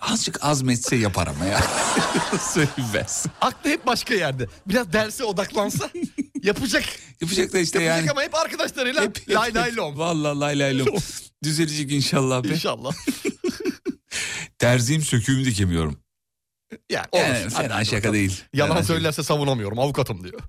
[SPEAKER 5] Azıcık azmetse yapar ama ya. Söylemez.
[SPEAKER 6] Aklı hep başka yerde. Biraz derse odaklansa yapacak.
[SPEAKER 5] Yapacak da işte
[SPEAKER 6] Yapacak
[SPEAKER 5] yani.
[SPEAKER 6] ama hep arkadaşlarıyla lay lay lom.
[SPEAKER 5] Vallahi lay lay lom. Düzelecek inşallah be.
[SPEAKER 6] İnşallah.
[SPEAKER 5] Terziyim söküğümü dikemiyorum.
[SPEAKER 6] Yani, olur.
[SPEAKER 5] Yani fena şaka değil.
[SPEAKER 6] Yalan
[SPEAKER 5] Fena
[SPEAKER 6] söylerse savunamıyorum avukatım diyor.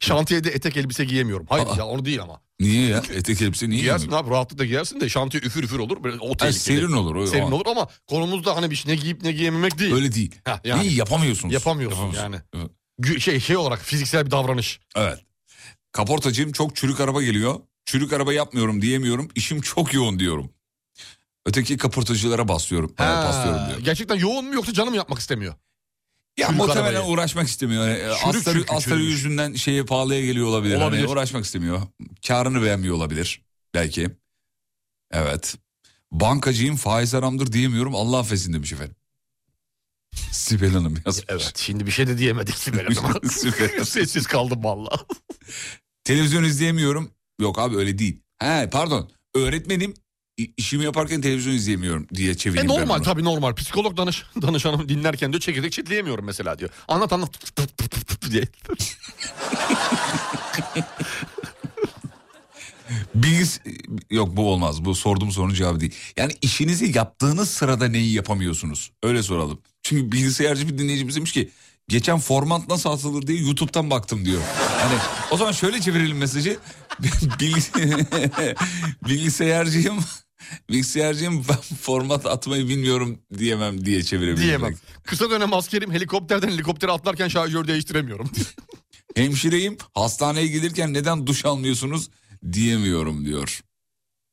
[SPEAKER 6] Şantiyede etek elbise giyemiyorum. Hayır
[SPEAKER 5] Aa.
[SPEAKER 6] ya onu değil ama.
[SPEAKER 5] şey- Niye ya? Etek elbise niye?
[SPEAKER 6] Giyersin abi rahatlıkla giyersin de şantiye üfür üfür olur. Böyle o
[SPEAKER 5] Ha,
[SPEAKER 6] tehlikeli.
[SPEAKER 5] serin olur. o-
[SPEAKER 6] Serin olur ama konumuzda hani bir şey ne giyip ne giyememek değil.
[SPEAKER 5] Öyle değil.
[SPEAKER 6] Ha, yani.
[SPEAKER 5] Neyi yapamıyorsunuz?
[SPEAKER 6] Yapamıyorsun
[SPEAKER 5] yani.
[SPEAKER 6] Gü- Şey, şey olarak fiziksel bir davranış.
[SPEAKER 5] Evet. Kaportacığım çok çürük araba geliyor. Çürük araba yapmıyorum diyemiyorum. İşim çok yoğun diyorum. Öteki kaportacılara basıyorum. e,
[SPEAKER 6] Ha,
[SPEAKER 5] Paslıyorum diyor.
[SPEAKER 6] Gerçekten yoğun mu yoksa canım yapmak istemiyor?
[SPEAKER 5] Ya
[SPEAKER 6] çürük
[SPEAKER 5] muhtemelen
[SPEAKER 6] arabayı.
[SPEAKER 5] uğraşmak istemiyor. Yani, e,
[SPEAKER 6] Çürük
[SPEAKER 5] astarı,
[SPEAKER 6] çünkü,
[SPEAKER 5] astarı
[SPEAKER 6] çürümüş.
[SPEAKER 5] yüzünden şeye pahalıya geliyor olabilir. Hani
[SPEAKER 6] Olabilir.
[SPEAKER 5] uğraşmak istemiyor. Karını beğenmiyor olabilir. Belki. Evet. Bankacıyım faiz haramdır diyemiyorum. Allah affetsin demiş efendim. Sibel Hanım yazmış.
[SPEAKER 6] Evet. Şimdi bir şey de diyemedik Sibel
[SPEAKER 5] Sibel.
[SPEAKER 6] Hanım'a. Sessiz kaldım valla.
[SPEAKER 5] Televizyon izleyemiyorum. Yok abi öyle değil. He pardon. Öğretmenim i- işimi yaparken televizyon izleyemiyorum diye
[SPEAKER 6] E
[SPEAKER 5] çevireyim ben
[SPEAKER 6] normal
[SPEAKER 5] bunu.
[SPEAKER 6] tabii normal. Psikolog danış, danışanım dinlerken diyor çekirdek çitleyemiyorum mesela diyor. Anlat anlat Pıt pıt pıt pıt pıt diye.
[SPEAKER 5] Bilgis yok bu olmaz. Bu sorduğum sorunun cevabı değil. Yani işinizi yaptığınız sırada neyi yapamıyorsunuz? Öyle soralım. Çünkü bilgisayarcı bir dinleyicimiz demiş ki geçen format nasıl atılır diye YouTube'dan baktım diyor. Hani o zaman şöyle çevirelim mesajı. Bilgis- bilgisayarcıyım bilgisayarcıyım ben format atmayı bilmiyorum diyemem diye çevirebilirim.
[SPEAKER 6] Diyemem. Kısa dönem askerim helikopterden helikoptere atlarken şarjör değiştiremiyorum.
[SPEAKER 5] Hemşireyim hastaneye gelirken neden duş almıyorsunuz diyemiyorum diyor.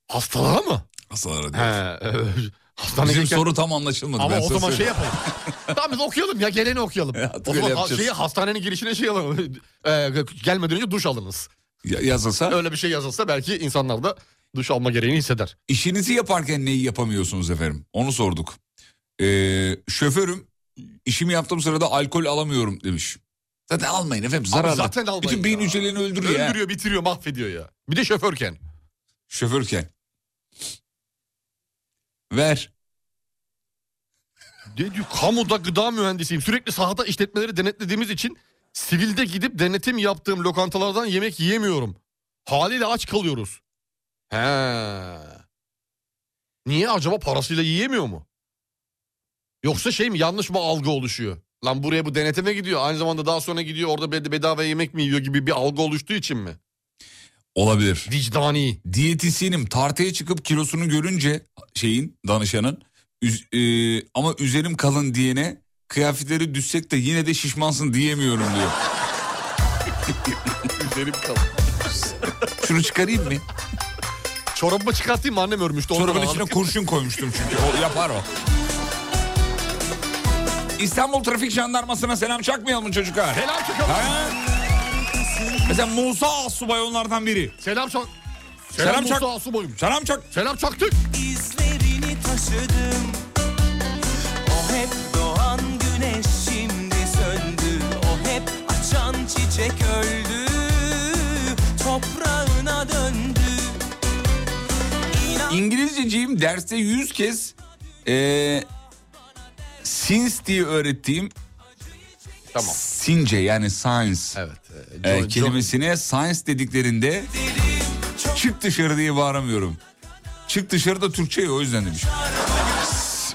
[SPEAKER 6] Hastalığa mı?
[SPEAKER 5] Hastalara diyor.
[SPEAKER 6] He. evet. Hastaneye
[SPEAKER 5] Bizim
[SPEAKER 6] gelirken-
[SPEAKER 5] soru tam anlaşılmadı.
[SPEAKER 6] Ama
[SPEAKER 5] ben
[SPEAKER 6] o
[SPEAKER 5] sana
[SPEAKER 6] zaman şey
[SPEAKER 5] söyleyeyim.
[SPEAKER 6] yapalım. tamam biz okuyalım ya geleni okuyalım.
[SPEAKER 5] Ya,
[SPEAKER 6] o
[SPEAKER 5] öyle
[SPEAKER 6] zaman ha-
[SPEAKER 5] yapacağız.
[SPEAKER 6] şeyi hastanenin girişine şey alalım. Ee, gelmeden önce duş alınız.
[SPEAKER 5] Ya- yazılsa
[SPEAKER 6] Öyle bir şey yazılsa belki insanlar da duş alma gereğini hisseder.
[SPEAKER 5] işinizi yaparken neyi yapamıyorsunuz efendim? Onu sorduk. Ee, şoförüm işimi yaptığım sırada alkol alamıyorum demiş. Zaten almayın efendim
[SPEAKER 6] Ama
[SPEAKER 5] zararlı.
[SPEAKER 6] zaten almayın
[SPEAKER 5] Bütün beyin
[SPEAKER 6] ya.
[SPEAKER 5] hücrelerini öldürüyor, ya.
[SPEAKER 6] Öldürüyor, bitiriyor, mahvediyor ya. Bir de şoförken.
[SPEAKER 5] Şoförken. Ver.
[SPEAKER 6] Ne diyor? Kamuda gıda mühendisiyim. Sürekli sahada işletmeleri denetlediğimiz için sivilde gidip denetim yaptığım lokantalardan yemek yiyemiyorum. Haliyle aç kalıyoruz. He. Niye acaba parasıyla yiyemiyor mu? Yoksa şey mi yanlış mı algı oluşuyor? Lan buraya bu denetime gidiyor. Aynı zamanda daha sonra gidiyor orada bed- bedava yemek mi yiyor gibi bir algı oluştuğu için mi?
[SPEAKER 5] Olabilir.
[SPEAKER 6] Vicdani.
[SPEAKER 5] Diyetisyenim tartıya çıkıp kilosunu görünce şeyin danışanın üz- e, ama üzerim kalın diyene kıyafetleri düşsek de yine de şişmansın diyemiyorum diyor.
[SPEAKER 6] Üzerim kalın.
[SPEAKER 5] Şunu çıkarayım mı?
[SPEAKER 6] Çorabımı çıkartayım mı annem örmüştü. Ondan
[SPEAKER 5] Çorabın
[SPEAKER 6] aldım.
[SPEAKER 5] içine kurşun koymuştum çünkü. O yapar o. İstanbul Trafik Jandarması'na selam çakmayalım mı çocuklar?
[SPEAKER 6] Selam çıkalım.
[SPEAKER 5] Ha? Mesela Musa Asubay onlardan biri.
[SPEAKER 6] Selam çak.
[SPEAKER 5] Selam
[SPEAKER 6] Selam,
[SPEAKER 5] çak.
[SPEAKER 6] Mustafa Asuboy'um.
[SPEAKER 5] Selam çak.
[SPEAKER 6] Selam çaktık.
[SPEAKER 2] İzlerini taşıdım O hep doğan güneş şimdi söndü O hep açan çiçek öldü Toprağına döndü
[SPEAKER 5] İngilizceciğim derste 100 kez eee since diye öğrettiğim
[SPEAKER 6] Tamam.
[SPEAKER 5] since yani science
[SPEAKER 6] Evet. e,
[SPEAKER 5] eee,
[SPEAKER 6] John-
[SPEAKER 5] kelimesine science dediklerinde çık dışarı diye bağıramıyorum. Çık dışarı da Türkçe ya o yüzden demiş.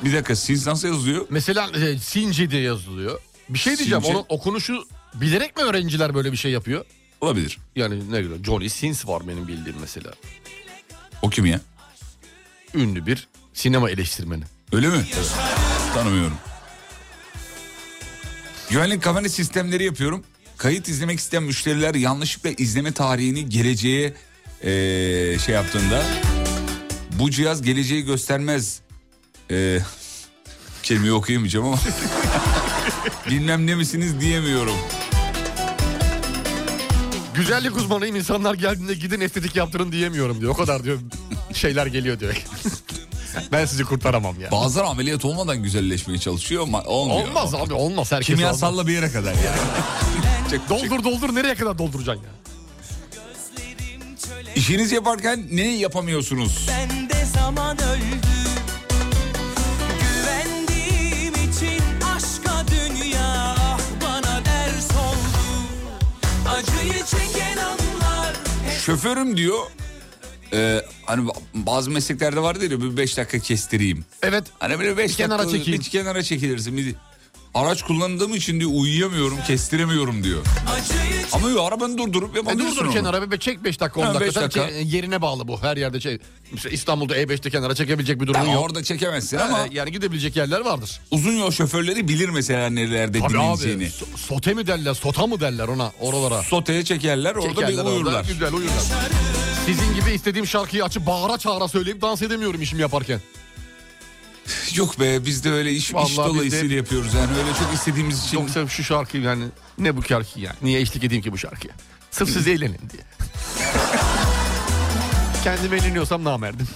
[SPEAKER 5] Bir dakika siz nasıl yazılıyor?
[SPEAKER 6] Mesela e, Sinci diye yazılıyor. Bir şey diyeceğim.
[SPEAKER 5] Sinci?
[SPEAKER 6] Onun okunuşu bilerek mi öğrenciler böyle bir şey yapıyor?
[SPEAKER 5] Olabilir.
[SPEAKER 6] Yani ne güzel. Johnny Sins var benim bildiğim mesela.
[SPEAKER 5] O kim ya?
[SPEAKER 6] Ünlü bir sinema eleştirmeni.
[SPEAKER 5] Öyle mi? Tanımıyorum. Güvenlik kamera sistemleri yapıyorum. Kayıt izlemek isteyen müşteriler yanlışlıkla izleme tarihini geleceğe eee, şey yaptığında bu cihaz geleceği göstermez. Eee kelimeyi okuyamayacağım ama bilmem ne misiniz diyemiyorum.
[SPEAKER 6] Güzellik uzmanıyım insanlar geldiğinde gidin estetik yaptırın diyemiyorum diyor. O kadar diyor şeyler geliyor diyor. ben sizi kurtaramam ya.
[SPEAKER 5] Bazıları ameliyat olmadan güzelleşmeye çalışıyor ama olmuyor.
[SPEAKER 6] Olmaz abi olmaz herkes
[SPEAKER 5] Kimyasalla bir yere kadar yani.
[SPEAKER 6] olmaz. Doldur doldur nereye kadar dolduracaksın ya?
[SPEAKER 5] İşinizi yaparken ne yapamıyorsunuz?
[SPEAKER 2] Bende zaman öldü Güvendiğim için aşka dünya bana ders oldu Acıyı çeken anlar
[SPEAKER 5] Şoförüm diyor. e, hani bazı mesleklerde var diyor bir 5 dakika kestireyim.
[SPEAKER 6] Evet.
[SPEAKER 5] Hani böyle 5
[SPEAKER 6] Bir kenara
[SPEAKER 5] dakika
[SPEAKER 6] çekeyim.
[SPEAKER 5] bir kenara çekilirsin. Bir- araç kullandığım için diyor uyuyamıyorum, kestiremiyorum diyor. Ama yok arabanı durdurup
[SPEAKER 6] E
[SPEAKER 5] yapabiliyorsun
[SPEAKER 6] dur dur
[SPEAKER 5] onu.
[SPEAKER 6] kenara bir- bir çek 5 dakika 10
[SPEAKER 5] Ha, beş
[SPEAKER 6] dakika. Tabii
[SPEAKER 5] dakika.
[SPEAKER 6] ki Yerine bağlı bu. Her yerde şey. Mesela İstanbul'da E5'te kenara çekebilecek bir durum
[SPEAKER 5] Tamam,
[SPEAKER 6] yok.
[SPEAKER 5] orada çekemezsin
[SPEAKER 6] Ha,
[SPEAKER 5] ama
[SPEAKER 6] yani gidebilecek yerler vardır.
[SPEAKER 5] uzun yol şoförleri bilir mesela nelerde
[SPEAKER 6] Tabii
[SPEAKER 5] dinleneceğini.
[SPEAKER 6] abi. so- Sote mi derler, sota mı derler ona oralara?
[SPEAKER 5] Soteye çekerler, orada bir
[SPEAKER 6] Çekerler orada,
[SPEAKER 5] uyurlar.
[SPEAKER 6] güzel uyurlar. Sizin gibi istediğim şarkıyı açıp bağıra çağıra söyleyip dans edemiyorum işimi yaparken.
[SPEAKER 5] Yok be biz de öyle iş, iş
[SPEAKER 6] Vallahi biz de-
[SPEAKER 5] dolayısıyla yapıyoruz yani öyle çok istediğimiz için.
[SPEAKER 6] Yoksa şu şarkıyı yani ne bu şarkı yani? Niye eşlik edeyim ki bu şarkıya? Sırf siz eğlenin diye. Kendime eğleniyorsam namerdim.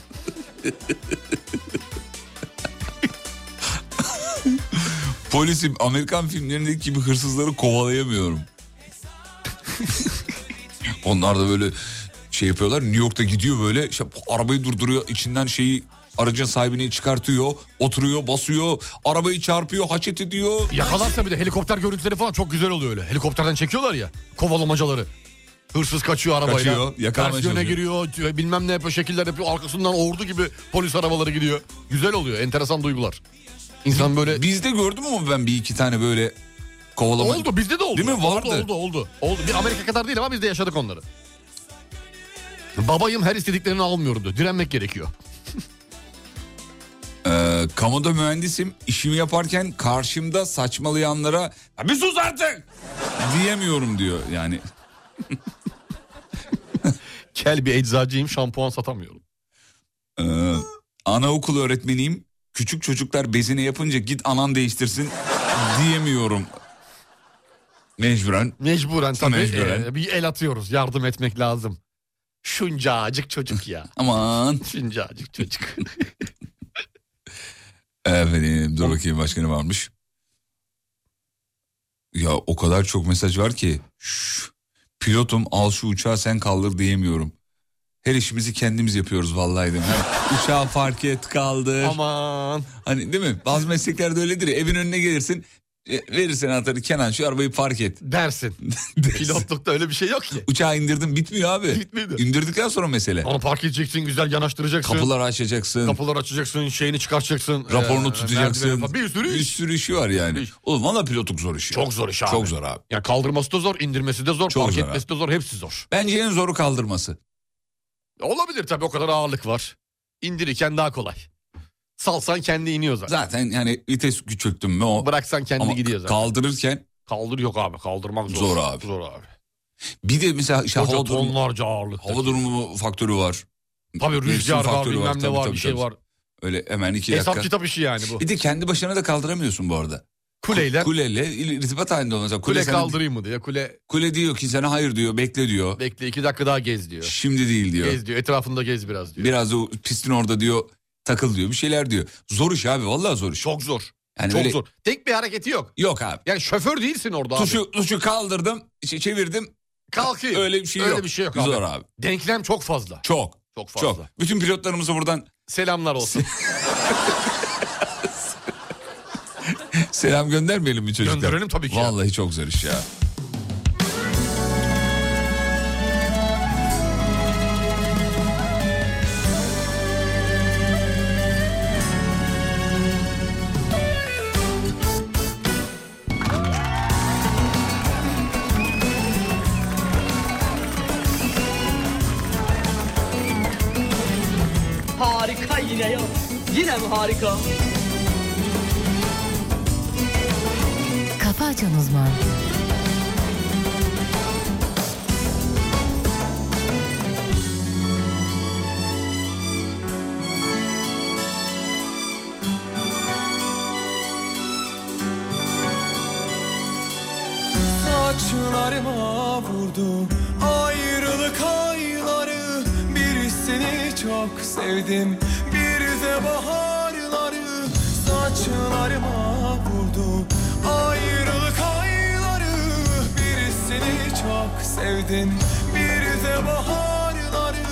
[SPEAKER 5] Polisim Amerikan filmlerindeki gibi hırsızları kovalayamıyorum. Onlar da böyle şey yapıyorlar. New York'ta gidiyor böyle şey- arabayı durduruyor. içinden şeyi aracın sahibini çıkartıyor. Oturuyor basıyor. Arabayı çarpıyor. Haçet ediyor.
[SPEAKER 6] Yakalarsa bir de helikopter görüntüleri falan çok güzel oluyor öyle. Helikopterden çekiyorlar ya kovalamacaları. Hırsız kaçıyor arabayla.
[SPEAKER 5] Kaçıyor, yakalamaya
[SPEAKER 6] Ters yöne
[SPEAKER 5] çalışıyor.
[SPEAKER 6] giriyor. t- Bilmem ne yapıyor. Şekiller yapıyor. Arkasından ordu gibi polis arabaları gidiyor. Güzel oluyor. Enteresan duygular. İnsan böyle...
[SPEAKER 5] Bizde gördüm ama ben bir iki tane böyle kovalama.
[SPEAKER 6] Oldu bizde de oldu.
[SPEAKER 5] Değil mi? Vardı.
[SPEAKER 6] Oldu oldu oldu. oldu. Bir Amerika kadar değil ama biz de yaşadık onları. Babayım her istediklerini almıyordu. Direnmek gerekiyor.
[SPEAKER 5] Ee, kamuda mühendisim. İşimi yaparken karşımda saçmalayanlara "Ya bir sus artık diyemiyorum diyor yani.
[SPEAKER 6] Kel bir eczacıyım şampuan satamıyorum.
[SPEAKER 5] Ee, anaokul öğretmeniyim. Küçük çocuklar bezine yapınca git anan değiştirsin diyemiyorum. Mecburen.
[SPEAKER 6] Mecburen tabii
[SPEAKER 5] Mecburen.
[SPEAKER 6] e, bir el atıyoruz. Yardım etmek lazım. Şuncacık çocuk ya.
[SPEAKER 5] Aman.
[SPEAKER 6] Şuncacık çocuk.
[SPEAKER 5] Efendim dur bakayım başka ne varmış. Ya o kadar çok mesaj var ki. Şş, pilotum al şu uçağı sen kaldır diyemiyorum. Her işimizi kendimiz yapıyoruz vallahi dedim. Uçağı fark et kaldır.
[SPEAKER 6] Aman.
[SPEAKER 5] Hani değil mi? Bazı mesleklerde öyledir ya. Evin önüne gelirsin. e, Verirsen anahtarı Kenan şu arabayı park et.
[SPEAKER 6] Dersin.
[SPEAKER 5] dersin.
[SPEAKER 6] Pilotlukta öyle bir şey yok ki.
[SPEAKER 5] Uçağı indirdim bitmiyor abi.
[SPEAKER 6] Bitmiyor.
[SPEAKER 5] İndirdikten sonra mesele.
[SPEAKER 6] Onu park edeceksin güzel yanaştıracaksın. Kapılar,
[SPEAKER 5] Kapıları açacaksın.
[SPEAKER 6] açacaksın şeyini çıkartacaksın.
[SPEAKER 5] raporunu
[SPEAKER 6] e, merdiveni
[SPEAKER 5] tutacaksın.
[SPEAKER 6] falan. Bir sürü
[SPEAKER 5] Bir
[SPEAKER 6] iş.
[SPEAKER 5] sürü işi var yani.
[SPEAKER 6] İş.
[SPEAKER 5] Oğlum valla pilotluk zor işi.
[SPEAKER 6] Çok zor iş abi.
[SPEAKER 5] Çok zor abi.
[SPEAKER 6] Yani kaldırması da zor, indirmesi de zor,
[SPEAKER 5] Çok
[SPEAKER 6] park
[SPEAKER 5] zor
[SPEAKER 6] etmesi de zor, hepsi zor.
[SPEAKER 5] Bence en zoru kaldırması.
[SPEAKER 6] Olabilir tabii o kadar ağırlık var. İndirirken daha kolay. Salsan kendi iniyor zaten.
[SPEAKER 5] Zaten yani vites küçülttün mü o.
[SPEAKER 6] Bıraksan kendi
[SPEAKER 5] Ama
[SPEAKER 6] gidiyor zaten.
[SPEAKER 5] kaldırırken
[SPEAKER 6] Kaldır yok abi kaldırmak zor.
[SPEAKER 5] Zor abi.
[SPEAKER 6] Zor abi.
[SPEAKER 5] bir de mesela işte
[SPEAKER 6] Koca
[SPEAKER 5] hava durumu,
[SPEAKER 6] tonlarca ağırlık.
[SPEAKER 5] hava durumu faktörü var.
[SPEAKER 6] Tabii
[SPEAKER 5] Mevsim
[SPEAKER 6] rüzgar var
[SPEAKER 5] faktörü
[SPEAKER 6] bilmem ne
[SPEAKER 5] tabii,
[SPEAKER 6] var
[SPEAKER 5] tabii,
[SPEAKER 6] bir şey
[SPEAKER 5] tabii.
[SPEAKER 6] var.
[SPEAKER 5] Öyle hemen iki
[SPEAKER 6] Hesap
[SPEAKER 5] dakika.
[SPEAKER 6] kitap işi şey yani bu.
[SPEAKER 5] Bir de kendi başına da kaldıramıyorsun bu arada.
[SPEAKER 6] Kuleyle kule,
[SPEAKER 5] Kuleyle il- irtibat halinde olmasa. Kule, sana-
[SPEAKER 6] kaldırayım mı diye kule
[SPEAKER 5] Kule diyor ki sana hayır diyor bekle diyor.
[SPEAKER 6] bekle iki dakika daha gez diyor.
[SPEAKER 5] Şimdi değil diyor.
[SPEAKER 6] Gez diyor etrafında gez biraz diyor.
[SPEAKER 5] Biraz da o pistin orada diyor takıl diyor bir şeyler diyor. Zor iş abi vallahi zor iş.
[SPEAKER 6] Çok zor.
[SPEAKER 5] Yani
[SPEAKER 6] Çok
[SPEAKER 5] öyle-
[SPEAKER 6] zor. Tek bir hareketi yok.
[SPEAKER 5] Yok abi.
[SPEAKER 6] Yani şoför değilsin orada abi.
[SPEAKER 5] Tuşu, tuşu kaldırdım şey çevirdim
[SPEAKER 6] Kalkayım.
[SPEAKER 5] öyle bir şey
[SPEAKER 6] Öyle
[SPEAKER 5] yok.
[SPEAKER 6] bir şey yok abi.
[SPEAKER 5] Zor abi.
[SPEAKER 6] Denklem çok fazla.
[SPEAKER 5] Çok.
[SPEAKER 6] Çok fazla.
[SPEAKER 5] Çok. Bütün pilotlarımıza buradan
[SPEAKER 6] Selamlar olsun.
[SPEAKER 5] selam göndermeyelim mi çocuklar?
[SPEAKER 6] Gönderelim tabii ki ya.
[SPEAKER 5] Vallahi çok zor iş ya.
[SPEAKER 13] Harika yine ya. Yine mi harika?
[SPEAKER 14] Kafa Açan Uzman.
[SPEAKER 15] Saçlarıma vurdu ayrılık ayları Birisini çok sevdim bir de baharları Saçlarıma vurdu ayrılık ayları Birisini çok sevdim bir de baharları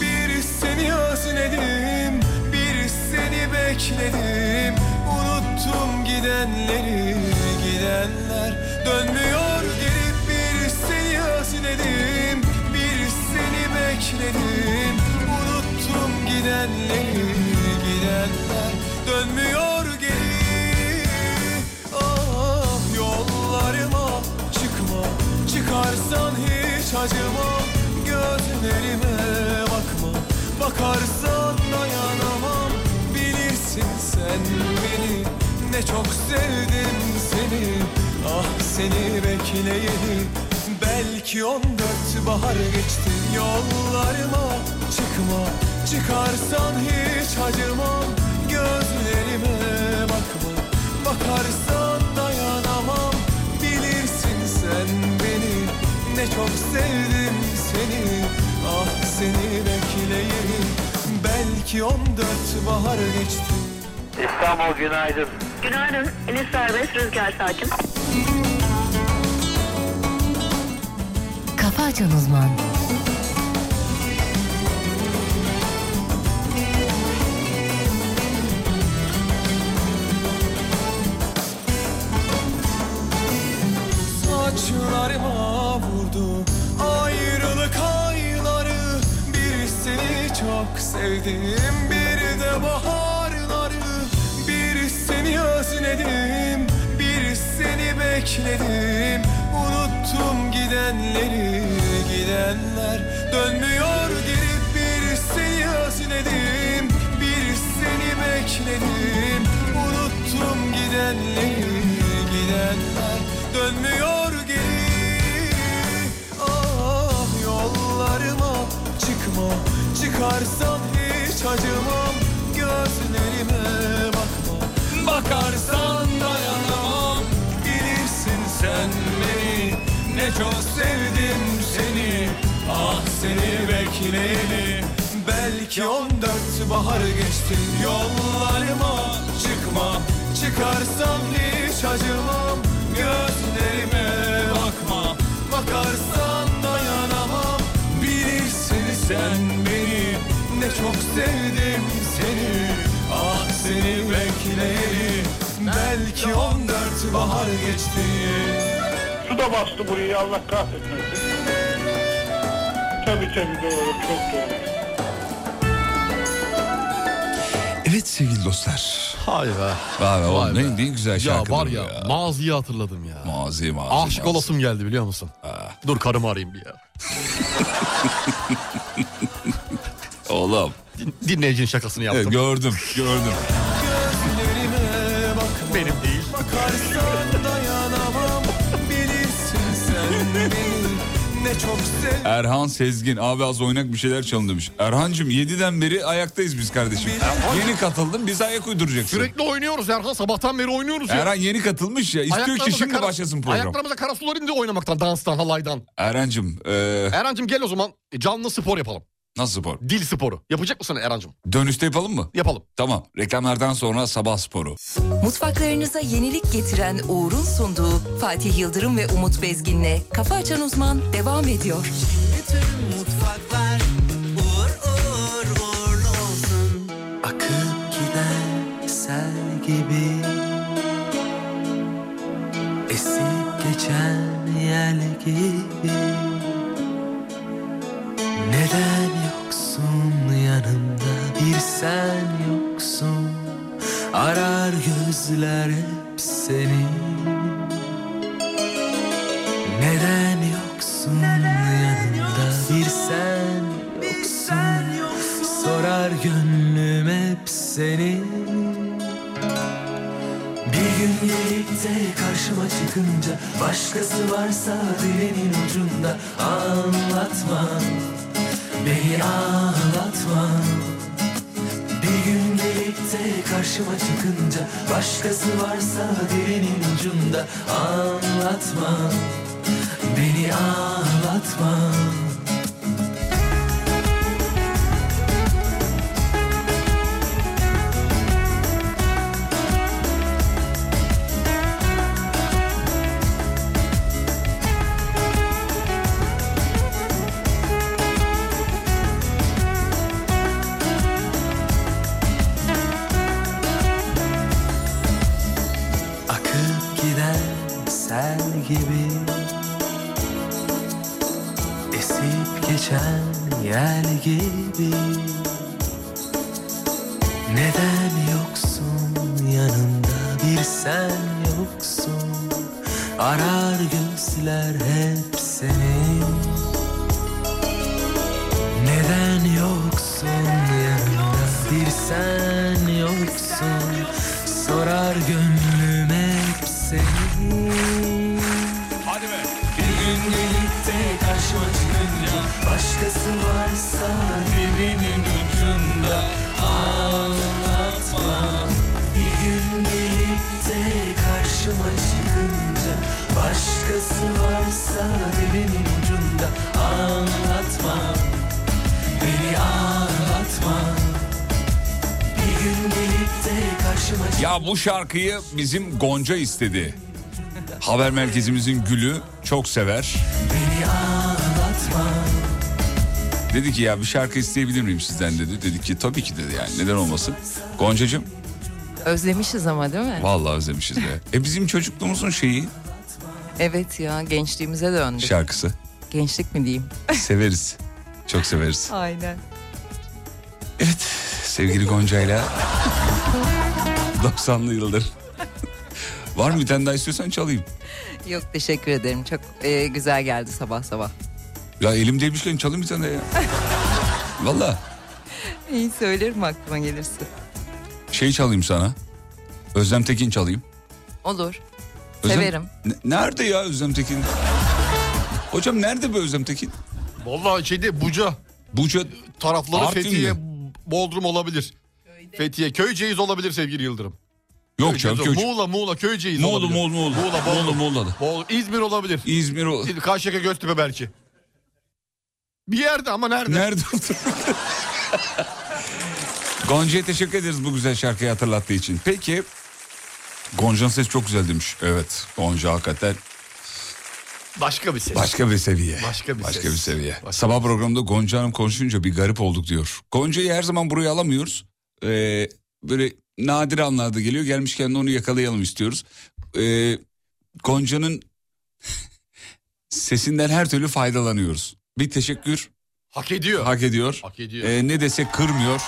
[SPEAKER 15] Birisini özledim birisini bekledim Unuttum gidenleri gidenler dönmüyor gelip bir seni özledim bir seni bekledim unuttum gidenleri gidenler dönmüyor gelip ah yollarıma çıkma çıkarsan hiç acıma gözlerime bakma bakarsan dayanamam bilirsin sen beni ne çok sevdim seni Ah seni bekleyeli Belki on dört bahar geçti Yollarıma çıkma Çıkarsan hiç acımam Gözlerime bakma Bakarsan dayanamam Bilirsin sen beni Ne çok sevdim seni Ah seni bekleyeli Belki on dört bahar geçti
[SPEAKER 16] İstanbul günaydın.
[SPEAKER 17] Günaydın. Enes Serbest, Rüzgar Sakin.
[SPEAKER 14] Kafa Açan Uzman.
[SPEAKER 15] Saçlarıma vurdu ayrılık ayları Birisini çok sevdim bir de baharları Birisini özledim birisini bekledim Unuttum gidenleri gidenler dönmüyor gelip birisini özledim birisini bekledim Unuttum gidenleri gidenler dönmüyor geri Ah yollarıma çıkma çıkarsam hiç acımam Gözlerime bakma bakarsan dayanamam Bilirsin sen beni ne çok sevdim seni Ah seni bekleyeli Belki on dört bahar geçti Yollarıma çıkma Çıkarsam hiç acımam Gözlerime bakma Bakarsan dayanamam Bilirsin sen beni Ne çok sevdim seni Ah seni bekleyeli Belki on dört bahar geçti Su da bastı burayı Allah kahretmesin
[SPEAKER 18] Tabii tabii doğru çok doğru.
[SPEAKER 5] Evet sevgili dostlar.
[SPEAKER 6] Hay be.
[SPEAKER 5] Vay be oğlum,
[SPEAKER 6] Vay
[SPEAKER 5] ne, ne güzel
[SPEAKER 6] Ya
[SPEAKER 5] şarkıdır
[SPEAKER 6] var
[SPEAKER 5] bu
[SPEAKER 6] ya,
[SPEAKER 5] ya.
[SPEAKER 6] maziyi hatırladım ya.
[SPEAKER 5] Mazi mazi.
[SPEAKER 6] Aşık olasım geldi biliyor musun? Dur karımı arayayım bir ya.
[SPEAKER 5] Oğlum.
[SPEAKER 6] Dinleyicinin şakasını yaptım.
[SPEAKER 5] gördüm gördüm.
[SPEAKER 15] Gözlerime bakma Benim değil Bakarsan dayanamam Bilirsin sen beni Ne çok sevdim
[SPEAKER 5] Erhan Sezgin abi az oynak bir şeyler çalın demiş. Erhancığım 7'den beri ayaktayız biz kardeşim. Yeni katıldın biz ayak uyduracaksın.
[SPEAKER 6] Sürekli oynuyoruz Erhan sabahtan beri oynuyoruz ya.
[SPEAKER 5] Erhan yeni katılmış ya istiyor ki
[SPEAKER 6] Ayaklarımıza
[SPEAKER 5] şimdi
[SPEAKER 6] kara-
[SPEAKER 5] başlasın program.
[SPEAKER 6] Ayaklarımıza karasular indi oynamaktan, danstan, halaydan.
[SPEAKER 5] Erhancığım e,
[SPEAKER 6] Erhan'cığım gel o zaman e, canlı spor yapalım.
[SPEAKER 5] nasıl spor?
[SPEAKER 6] Dil sporu. Yapacak mısın Erhan'cığım?
[SPEAKER 5] Dönüşte yapalım mı?
[SPEAKER 6] Yapalım.
[SPEAKER 5] Tamam reklamlardan sonra sabah sporu.
[SPEAKER 1] Mutfaklarınıza yenilik getiren Uğur'un sunduğu Fatih Yıldırım ve Umut Bezgin'le Kafa Açan Uzman devam ediyor.
[SPEAKER 2] Tüm mutfaklar uğur uğur uğurlu olsun.
[SPEAKER 19] Akıp giden sel gibi Esip geçen yel gibi Neden yoksun yanımda bir sen yoksun Arar gözler hep seni Neden yoksun yanımda bir sen yoksun Sorar gönlüme gelip de karşıma çıkınca Başkası varsa dilinin ucunda Anlatma Beni ağlatma Bir gün gelip de karşıma çıkınca Başkası varsa dilinin ucunda Anlatma Beni ağlatma Akıp giden sel gibi Esip geçen yel gibi Neden yoksun yanımda bir sen yoksun Arar gözler hep seni Neden yoksun yanımda bir sen yoksun Sorar gönlüm hep seni
[SPEAKER 5] Hadi be
[SPEAKER 19] Bir gün gelip de karşıma çıkınca Başkası varsa dibinin ucunda Anlatma Bir gün gelip de karşıma çıkınca Başkası varsa dibinin ucunda Anlatma Beni ağlatma Bir gün gelip de karşıma
[SPEAKER 5] Ya bu şarkıyı bizim Gonca istedi. Haber merkezimizin gülü çok sever.
[SPEAKER 19] Beni ağlatma
[SPEAKER 5] Dedi ki ya bir şarkı isteyebilir miyim sizden dedi. Dedik ki tabii ki dedi yani neden olmasın. Goncacığım
[SPEAKER 1] Özlemişiz ama değil mi?
[SPEAKER 5] vallahi özlemişiz de. E bizim çocukluğumuzun şeyi
[SPEAKER 1] Evet ya gençliğimize döndük.
[SPEAKER 5] şarkısı.
[SPEAKER 1] Gençlik mi diyeyim?
[SPEAKER 5] Severiz. Çok severiz.
[SPEAKER 1] Aynen.
[SPEAKER 5] Sevgili Gonca'yla 90'lı yıldır. Var mı bir tane daha istiyorsan çalayım.
[SPEAKER 1] Yok teşekkür ederim. Çok e, güzel geldi sabah sabah.
[SPEAKER 5] Ya elimdeymişken çalayım bir tane ya. Valla
[SPEAKER 1] İyi söylerim aklıma gelirse.
[SPEAKER 5] şey çalayım sana. Özlem Tekin çalayım.
[SPEAKER 1] Olur.
[SPEAKER 5] Özlem-
[SPEAKER 1] Severim.
[SPEAKER 5] Ne- nerede ya Özlem Tekin? Hocam nerede bu Özlem Tekin?
[SPEAKER 6] Vallahi şeyde Buca.
[SPEAKER 5] Buca
[SPEAKER 6] tarafları
[SPEAKER 5] Artvin
[SPEAKER 6] Fethiye,
[SPEAKER 5] mi?
[SPEAKER 6] Bodrum olabilir. Fethiye, Köyceğiz olabilir sevgili Yıldırım.
[SPEAKER 5] Yok
[SPEAKER 6] Köyceğiz
[SPEAKER 5] canım
[SPEAKER 6] ol-
[SPEAKER 5] Köyceğiz.
[SPEAKER 6] Muğla, Muğla, Köyceğiz
[SPEAKER 5] Muğla,
[SPEAKER 6] olabilir.
[SPEAKER 5] Muğla, Muğla.
[SPEAKER 6] Muğla, Bodrum.
[SPEAKER 5] Muğla, Muğla'da.
[SPEAKER 6] Bol- İzmir olabilir.
[SPEAKER 5] İzmir olabilir.
[SPEAKER 6] Karşıyaka Göztepe belki. Bir yerde ama nerede?
[SPEAKER 5] Nerede Gonca'ya teşekkür ederiz bu güzel şarkıyı hatırlattığı için. Peki Gonca'nın sesi çok güzel demiş. Evet Gonca hakikaten
[SPEAKER 6] Başka bir ses.
[SPEAKER 5] başka bir seviye.
[SPEAKER 6] Başka bir ses.
[SPEAKER 5] Başka bir seviye. Sabah programında Gonca Hanım konuşunca bir garip olduk diyor. Gonca'yı her zaman buraya alamıyoruz. Ee, böyle nadir anlarda geliyor. Gelmişken de onu yakalayalım istiyoruz. Ee, Gonca'nın sesinden her türlü faydalanıyoruz. Bir teşekkür.
[SPEAKER 6] Hak ediyor.
[SPEAKER 5] Hak ediyor.
[SPEAKER 6] Hak ediyor.
[SPEAKER 5] Ee, ne desek kırmıyor.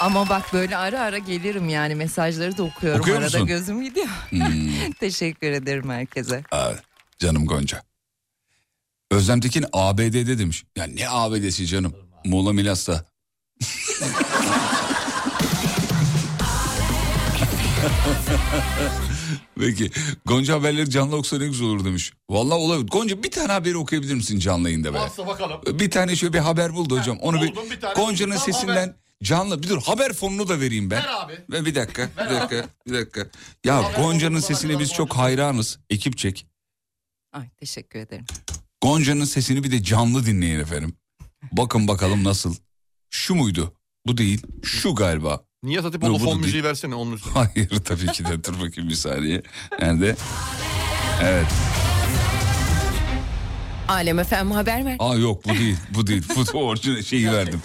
[SPEAKER 1] Ama bak böyle ara ara gelirim yani mesajları da okuyorum.
[SPEAKER 5] Okuyor
[SPEAKER 1] Arada
[SPEAKER 5] musun?
[SPEAKER 1] gözüm gidiyor.
[SPEAKER 5] Hmm.
[SPEAKER 1] Teşekkür ederim herkese.
[SPEAKER 5] Aa, canım Gonca. Özlem Tekin ABD'de demiş. Ya ne ABD'si canım? Muğla Milas'ta. Peki Gonca haberleri canlı okusa ne güzel olur demiş. Vallahi olabilir. Gonca bir tane haberi okuyabilir misin canlı yayında be?
[SPEAKER 6] Varsa bakalım.
[SPEAKER 5] Bir tane şöyle bir haber buldu hocam. Onu bir,
[SPEAKER 6] buldum bir tane.
[SPEAKER 5] Gonca'nın
[SPEAKER 6] Tam
[SPEAKER 5] sesinden
[SPEAKER 6] haber.
[SPEAKER 5] canlı. Bir dur haber fonunu da vereyim ben.
[SPEAKER 6] Ver abi.
[SPEAKER 5] Ve bir dakika, bir dakika, bir dakika. Ya Gonca'nın sesine biz çok hayranız. Ekip çek.
[SPEAKER 1] Ay teşekkür ederim.
[SPEAKER 5] Gonca'nın sesini bir de canlı dinleyin efendim. Bakın bakalım nasıl. Şu muydu? Bu değil. Şu galiba.
[SPEAKER 6] Niye Hatip
[SPEAKER 5] Yok,
[SPEAKER 6] oğlu
[SPEAKER 5] bu da
[SPEAKER 6] fon
[SPEAKER 5] değil.
[SPEAKER 6] müziği versene onun üstüne.
[SPEAKER 5] Hayır tabii ki de dur bakayım bir saniye. Nerede? Evet.
[SPEAKER 1] Alem efendim haber ver.
[SPEAKER 5] Aa yok bu değil. Bu değil. Bu orijinal şeyi verdim.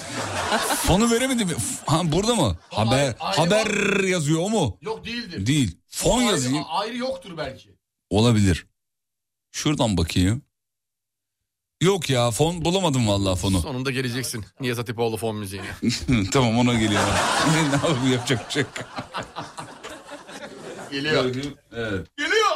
[SPEAKER 5] Fonu veremedim. mi? F- Ha, burada mı? Haber haber yazıyor o mu?
[SPEAKER 6] Yok değildir.
[SPEAKER 5] Değil. Fon yazayım.
[SPEAKER 6] Ayrı yoktur belki.
[SPEAKER 5] Olabilir. Şuradan bakayım. Yok ya fon bulamadım vallahi fonu.
[SPEAKER 6] Sonunda geleceksin. Niye Hatipoğlu fon müziğine.
[SPEAKER 5] tamam ona geliyor. ne ne yapayım, yapacak bir şey yok.
[SPEAKER 6] Geliyor.
[SPEAKER 5] Evet.
[SPEAKER 6] Geliyor.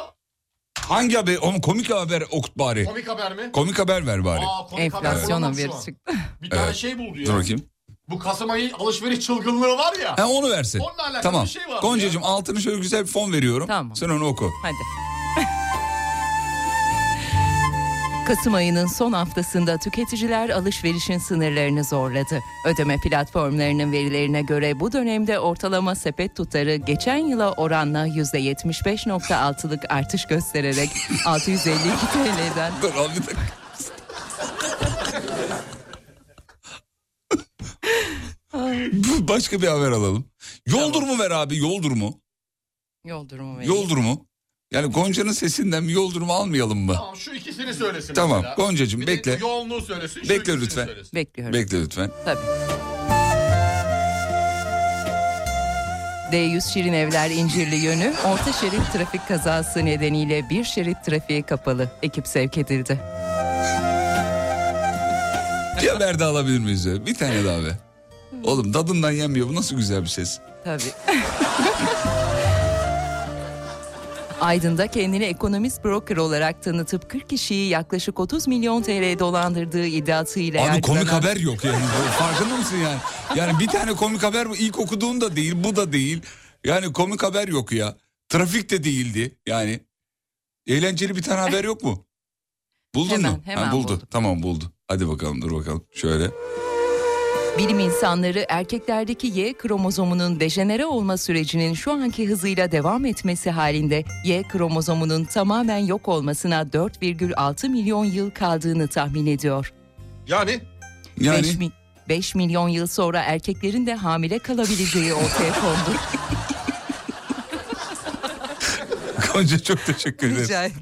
[SPEAKER 5] Hangi haber? Oğlum komik haber okut bari.
[SPEAKER 6] Komik haber mi?
[SPEAKER 5] Komik haber ver bari.
[SPEAKER 6] Aa, komik haber
[SPEAKER 1] Enflasyon
[SPEAKER 6] olamaz şu
[SPEAKER 1] haberi
[SPEAKER 6] an.
[SPEAKER 1] çıktı.
[SPEAKER 6] Bir tane
[SPEAKER 5] Evet.
[SPEAKER 6] şey buldu ya.
[SPEAKER 5] Dur bakayım.
[SPEAKER 6] Bu Kasım ayı alışveriş çılgınlığı var ya.
[SPEAKER 5] Ha, onu versin.
[SPEAKER 6] Onunla alakalı
[SPEAKER 5] tamam.
[SPEAKER 6] bir şey var. mı
[SPEAKER 5] Goncacığım
[SPEAKER 6] ya?
[SPEAKER 5] altını şöyle güzel bir fon veriyorum.
[SPEAKER 1] Tamam.
[SPEAKER 5] Sen onu oku.
[SPEAKER 1] Hadi. Kasım ayının son haftasında tüketiciler alışverişin sınırlarını zorladı. Ödeme platformlarının verilerine göre bu dönemde ortalama sepet tutarı geçen yıla oranla %75.6'lık artış göstererek 652 TL'den...
[SPEAKER 5] Dur abi bir dakika. Başka bir haber alalım. Yol durumu ver abi yol durumu.
[SPEAKER 1] Yol durumu vereyim.
[SPEAKER 5] Yol durumu. Yani Gonca'nın sesinden bir yol durumu almayalım mı?
[SPEAKER 6] Tamam şu ikisini söylesin.
[SPEAKER 5] Tamam,
[SPEAKER 6] mesela.
[SPEAKER 5] Goncacığım,
[SPEAKER 6] Bir de
[SPEAKER 5] bekle.
[SPEAKER 6] Yoğunluğu söylesin. şu
[SPEAKER 5] Bekle
[SPEAKER 6] ikisini
[SPEAKER 5] lütfen.
[SPEAKER 6] söylesin.
[SPEAKER 1] Bekliyorum.
[SPEAKER 5] Bekle lütfen.
[SPEAKER 1] D100 Şirin Evler İncirli yönü orta şerit trafik kazası nedeniyle bir şerit trafiğe kapalı. Ekip sevk edildi.
[SPEAKER 5] Bir haber daha alabilir miyiz? ya? Bir tane daha be. Oğlum tadından yenmiyor. Bu nasıl güzel bir ses.
[SPEAKER 1] Tabii. Aydın'da kendini ekonomist broker olarak tanıtıp 40 kişiyi yaklaşık 30 milyon TL dolandırdığı iddiasıyla
[SPEAKER 5] Abi komik
[SPEAKER 1] yargılanan-
[SPEAKER 5] haber yok yani. Farkında mısın yani? Yani bir tane komik haber bu. ilk okuduğum da değil, bu da değil. Yani komik haber yok ya. Trafik de değildi yani. Eğlenceli bir tane haber yok mu? Buldun
[SPEAKER 1] Hemen,
[SPEAKER 5] mu?
[SPEAKER 1] hemen
[SPEAKER 5] buldu.
[SPEAKER 1] buldum.
[SPEAKER 5] Tamam buldu. Hadi bakalım dur bakalım. Şöyle.
[SPEAKER 1] Bilim insanları erkeklerdeki Y kromozomunun dejenere olma sürecinin şu anki hızıyla devam etmesi halinde Y kromozomunun tamamen yok olmasına 4,6 milyon yıl kaldığını tahmin ediyor.
[SPEAKER 6] Yani?
[SPEAKER 1] 5, milyon yıl sonra erkeklerin de hamile kalabileceği ortaya kondu.
[SPEAKER 5] Gonca çok teşekkür ederim.
[SPEAKER 1] Rica ederim.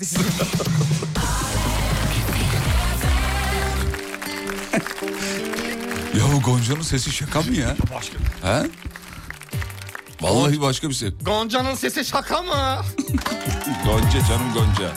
[SPEAKER 5] Ya bu Gonca'nın sesi şaka mı ya?
[SPEAKER 6] Başka. şey.
[SPEAKER 5] He? Vallahi başka bir şey. ses.
[SPEAKER 6] Gonca'nın sesi şaka mı?
[SPEAKER 5] Gonca canım Gonca.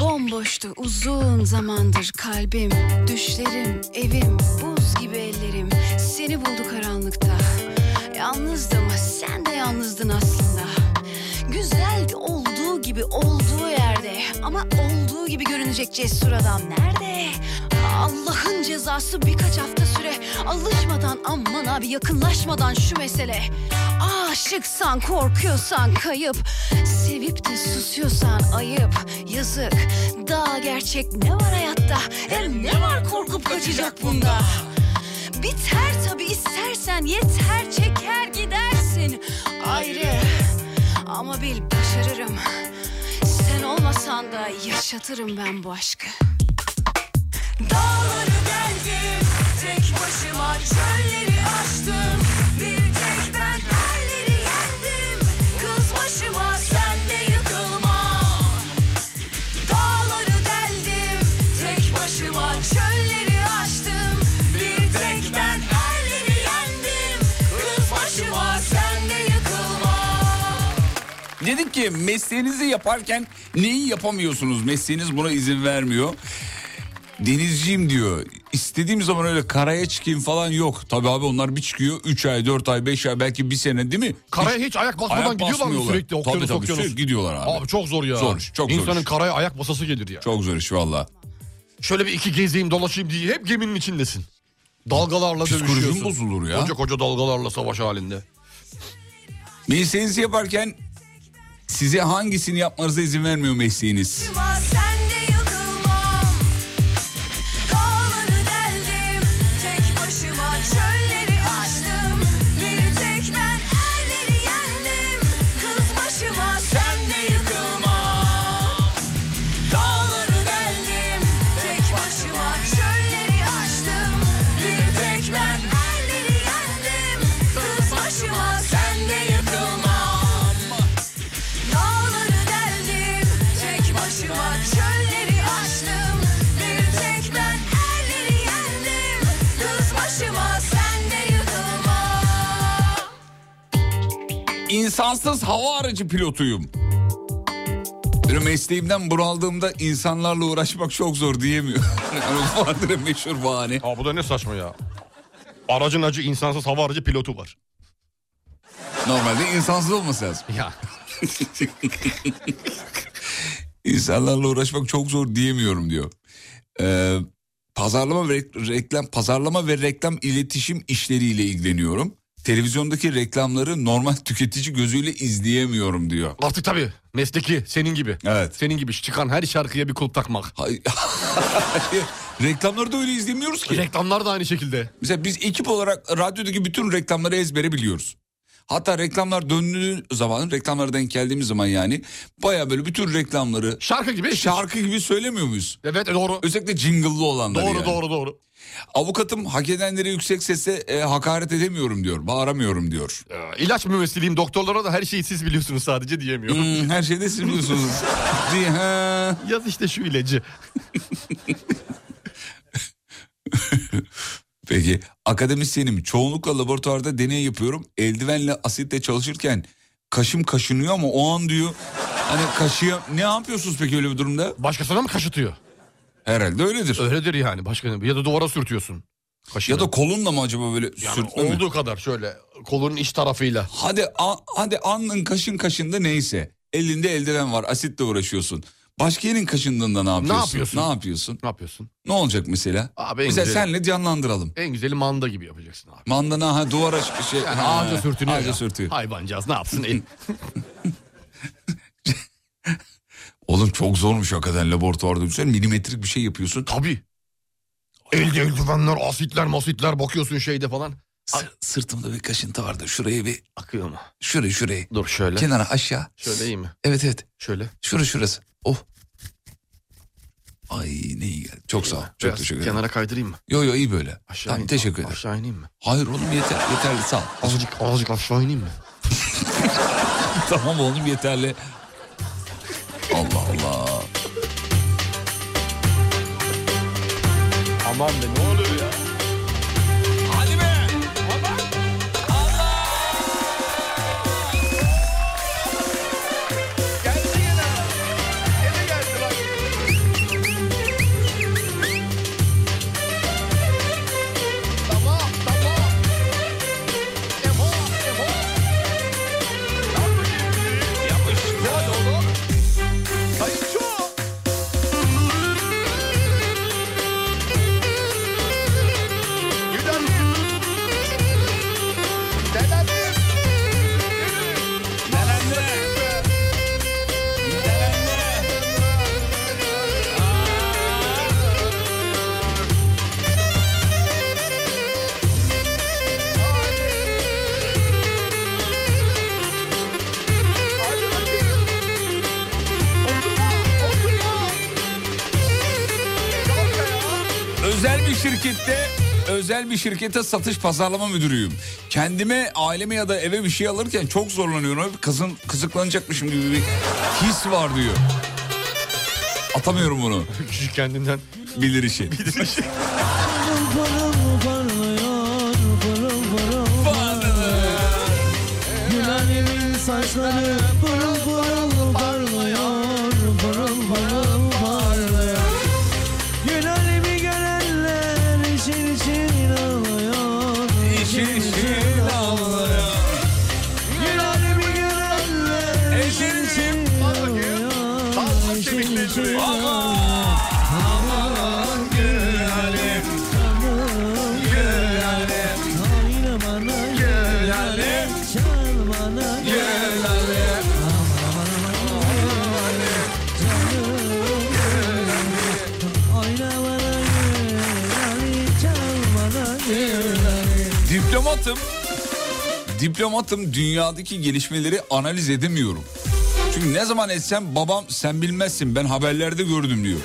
[SPEAKER 14] Bomboştu uzun zamandır kalbim Düşlerim, evim, buz gibi ellerim Seni buldu karanlıkta Yalnızdım ama sen de yalnızdın aslında Güzeldi olduğu gibi olduğu yerde Ama olduğu gibi görünecek cesur adam nerede? Allah'ın cezası birkaç hafta süre Alışmadan aman abi yakınlaşmadan şu mesele Aşıksan korkuyorsan kayıp Sevip de susuyorsan ayıp Yazık daha gerçek ne var hayatta Hem ne var korkup kaçacak bunda Biter tabi istersen yeter çeker gidersin Ayrı ama bil başarırım Sen olmasan da yaşatırım ben bu aşkı
[SPEAKER 2] Dağları deldim tek başıma çölleri aştım Bir tek ben yerleri yendim kız başıma sen de yıkılma Dağları deldim tek başıma çölleri aştım Bir tek ben yerleri yendim kız başıma sen de yıkılma
[SPEAKER 5] Dedik ki mesleğinizi yaparken neyi yapamıyorsunuz? Mesleğiniz buna izin vermiyor. Denizciyim diyor. İstediğim zaman öyle karaya çıkayım falan yok. Tabii abi onlar bir çıkıyor 3 ay, 4 ay, 5 ay belki bir sene değil mi?
[SPEAKER 6] Karaya hiç ayak basmadan gidiyorlar mı
[SPEAKER 5] basmıyorlar.
[SPEAKER 6] sürekli? Okyanus
[SPEAKER 5] tabii tabii
[SPEAKER 6] okyanus.
[SPEAKER 5] sürekli gidiyorlar abi.
[SPEAKER 6] Abi çok zor ya.
[SPEAKER 5] Zor iş, çok zor
[SPEAKER 6] İnsanın
[SPEAKER 5] iş.
[SPEAKER 6] karaya ayak basası gelir ya.
[SPEAKER 5] Çok zor iş valla.
[SPEAKER 6] Şöyle bir iki gezeyim dolaşayım diye hep geminin içindesin. Dalgalarla
[SPEAKER 5] Psikolojim
[SPEAKER 6] dövüşüyorsun.
[SPEAKER 5] bozulur ya.
[SPEAKER 6] Koca koca dalgalarla savaş halinde.
[SPEAKER 5] Mesleğinizi yaparken size hangisini yapmanıza izin vermiyor mesleğiniz?
[SPEAKER 2] Ama sen de yıkılmam Dağları deldim Tek başıma çölleri açtım Bir tek ben erleri yendim Kız başıma sen de yıkılmam Dağları deldim Tek başıma çölleri açtım Bir tek ben erleri yendim Kız başıma sen de yıkılmam Dağları deldim tek başıma çölleri aştım Bir tek ben erleri yendim kız başıma sen de yıkılma
[SPEAKER 5] İnsansız hava aracı pilotuyum. Böyle mesleğimden buraldığımda insanlarla uğraşmak çok zor diyemiyor. Yani vardır ya meşhur bahane.
[SPEAKER 6] Ha bu da ne saçma ya. Aracın acı insansız hava aracı pilotu var.
[SPEAKER 5] Normalde insansız olması lazım.
[SPEAKER 6] Ya.
[SPEAKER 5] İnsanlarla uğraşmak çok zor diyemiyorum diyor. Ee, pazarlama ve rek- reklam pazarlama ve reklam iletişim işleriyle ilgileniyorum. Televizyondaki reklamları normal tüketici gözüyle izleyemiyorum diyor.
[SPEAKER 6] Artık tabii mesleki senin gibi.
[SPEAKER 5] Evet.
[SPEAKER 6] Senin gibi çıkan her şarkıya bir kulp takmak.
[SPEAKER 5] Reklamları da öyle izlemiyoruz ki.
[SPEAKER 6] Reklamlar da aynı şekilde.
[SPEAKER 5] Mesela biz ekip olarak radyodaki bütün reklamları ezbere biliyoruz. Hatta reklamlar döndüğü zaman, reklamlara denk geldiğimiz zaman yani baya böyle bütün reklamları...
[SPEAKER 6] Şarkı gibi.
[SPEAKER 5] Şarkı gibi söylemiyor muyuz?
[SPEAKER 6] Evet e, doğru.
[SPEAKER 5] Özellikle jingle'lı olanları
[SPEAKER 6] Doğru
[SPEAKER 5] yani.
[SPEAKER 6] doğru doğru.
[SPEAKER 5] Avukatım hak edenlere yüksek sesle e, hakaret edemiyorum diyor, bağıramıyorum diyor.
[SPEAKER 6] İlaç mümessiliyim doktorlara da her şeyi siz biliyorsunuz sadece diyemiyorum.
[SPEAKER 5] Hmm, her şeyde siz biliyorsunuz.
[SPEAKER 6] Yaz işte şu ilacı.
[SPEAKER 5] Peki akademisyenim çoğunlukla laboratuvarda deney yapıyorum. Eldivenle asitle çalışırken kaşım kaşınıyor ama o an diyor. Hani kaşıya ne yapıyorsunuz peki öyle bir durumda?
[SPEAKER 6] Başkasına mı kaşıtıyor?
[SPEAKER 5] Herhalde öyledir.
[SPEAKER 6] Öyledir yani başka ne- ya da duvara sürtüyorsun.
[SPEAKER 5] Ya da kolunla mı acaba böyle sürtme mi?
[SPEAKER 6] Olduğu kadar şöyle kolunun iç tarafıyla.
[SPEAKER 5] Hadi a- hadi alnın kaşın kaşında neyse. Elinde eldiven var asitle uğraşıyorsun. Başka yerin kaşındığında ne yapıyorsun?
[SPEAKER 6] yapıyorsun?
[SPEAKER 5] Ne yapıyorsun?
[SPEAKER 6] Ne yapıyorsun?
[SPEAKER 5] Ne olacak mesela?
[SPEAKER 6] Abi en
[SPEAKER 5] mesela
[SPEAKER 6] güzeli-
[SPEAKER 5] senle canlandıralım.
[SPEAKER 6] En güzeli manda gibi yapacaksın abi.
[SPEAKER 5] Mandana ha duvara ş- şey
[SPEAKER 6] Yani
[SPEAKER 5] ha,
[SPEAKER 6] ağaca sürtünüyor.
[SPEAKER 5] ağaca
[SPEAKER 6] ya.
[SPEAKER 5] sürtüyor.
[SPEAKER 6] Hayvancağız ne yapsın? El-
[SPEAKER 5] Oğlum çok zormuş hakikaten laboratuvarda. Sen milimetrik bir şey yapıyorsun.
[SPEAKER 6] Tabii. Elde eldivenler, asitler, masitler bakıyorsun şeyde falan.
[SPEAKER 5] sırtımda bir kaşıntı vardı. Şuraya bir
[SPEAKER 6] akıyor mu?
[SPEAKER 5] Şurayı şurayı.
[SPEAKER 6] Dur şöyle.
[SPEAKER 5] Kenara aşağı.
[SPEAKER 6] Şöyle iyi mi?
[SPEAKER 5] Evet evet.
[SPEAKER 6] Şöyle.
[SPEAKER 5] Şurası şurası. Oh. Ay ne iyi geldi. Çok sağ ol. Çok
[SPEAKER 6] Biraz
[SPEAKER 5] teşekkür ederim.
[SPEAKER 6] Kenara kaydırayım mı?
[SPEAKER 5] Yo yo iyi böyle.
[SPEAKER 6] Aşağı
[SPEAKER 5] Tamam
[SPEAKER 6] in-
[SPEAKER 5] teşekkür ederim.
[SPEAKER 6] Aşağı ineyim mi?
[SPEAKER 5] Hayır oğlum yeter yeterli sağ ol.
[SPEAKER 6] Azıcık azıcık aşağı ineyim mi?
[SPEAKER 5] tamam oğlum yeterli. Allah Allah.
[SPEAKER 6] Aman be ne oluyor ya?
[SPEAKER 5] Hadi be. Özel bir şirkette özel bir şirkete satış pazarlama müdürüyüm. Kendime, aileme ya da eve bir şey alırken çok zorlanıyorum. Hep kızın kızıklanacakmışım gibi bir his var diyor. Atamıyorum bunu.
[SPEAKER 6] Küçük kendinden.
[SPEAKER 5] Bilir işi.
[SPEAKER 19] Gülen'in saçları pırıl pırıl parlıyor Pırıl pırıl parlıyor Gülen'imi görenler için için ağlıyor İçin için ağlıyor Gülen'imi görenler için için ağlıyor İçin için ağlıyor Aman Gülen'im Gülen'im Oyna bana Gülen'im Çal bana Gülen'im Oyna bana Gülen'im Çal bana Gülen'im
[SPEAKER 5] Diplomatım. Diplomatım dünyadaki gelişmeleri analiz edemiyorum. Çünkü ne zaman etsem babam sen bilmezsin ben haberlerde gördüm diyor.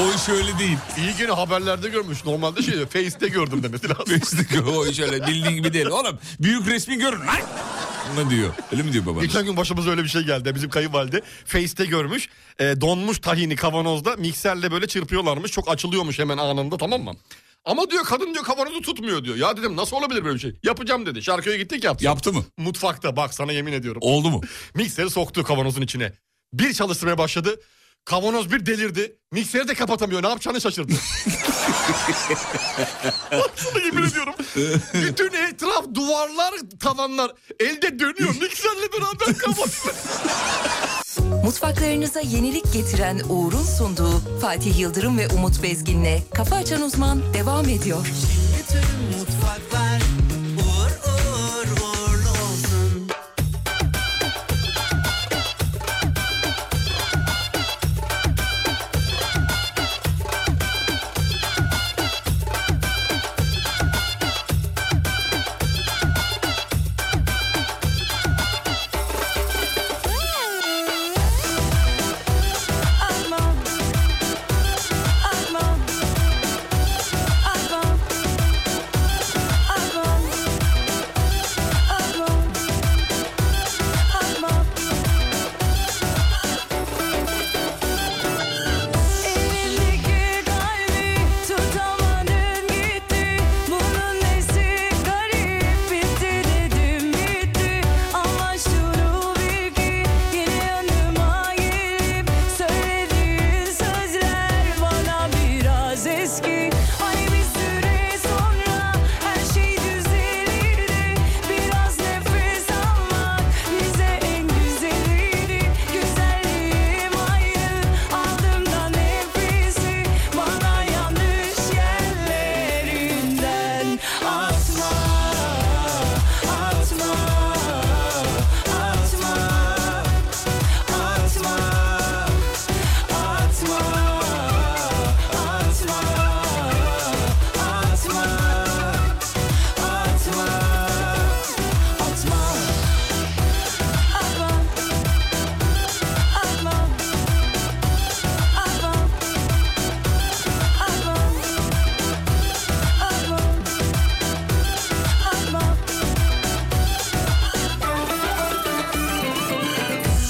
[SPEAKER 5] O iş öyle değil.
[SPEAKER 6] İyi gene haberlerde görmüş. Normalde şey Face'te gördüm demesi lazım.
[SPEAKER 5] o iş öyle bildiğin gibi değil. Oğlum büyük resmi görün lan. Ne diyor? Öyle mi diyor babanız?
[SPEAKER 6] Geçen gün başımıza öyle bir şey geldi. Bizim kayınvalide Face'te görmüş. E, donmuş tahini kavanozda mikserle böyle çırpıyorlarmış. Çok açılıyormuş hemen anında tamam mı? Ama diyor kadın diyor kavanozu tutmuyor diyor. Ya dedim nasıl olabilir böyle bir şey? Yapacağım dedi. Şarkıya gittik yaptı.
[SPEAKER 5] Yaptı mı?
[SPEAKER 6] Mutfakta bak sana yemin ediyorum.
[SPEAKER 5] Oldu mu?
[SPEAKER 6] Mikseri soktu kavanozun içine. Bir çalıştırmaya başladı. Kavanoz bir delirdi. Mikseri de kapatamıyor. Ne yapacağını şaşırdı. Sana yemin ediyorum. Bütün etraf duvarlar tavanlar elde dönüyor. Mikserle beraber kapat.
[SPEAKER 1] Mutfaklarınıza yenilik getiren Uğur'un sunduğu Fatih Yıldırım ve Umut Bezgin'le Kafa Açan Uzman devam ediyor.
[SPEAKER 4] Bütün mutfaklar uğur uğur uğurlu olsun.
[SPEAKER 2] Alma, alma, alma, alma, alma, alma. Elindeki kalbi tutamadın gitti. Bunun nesi garip bitti dedim bitti. Ama şunu bil ki yine yanıma gelip söylediğin sözler bana biraz eski. Hani bir süre sonra her şey düzelirdi. Biraz nefes almak bize en güzeliydi. Güzelliğim ayrı aldım da nefesi bana yanlış yerlerinden atma, atma, atma, atma, atma, atma, atma, atma, atma.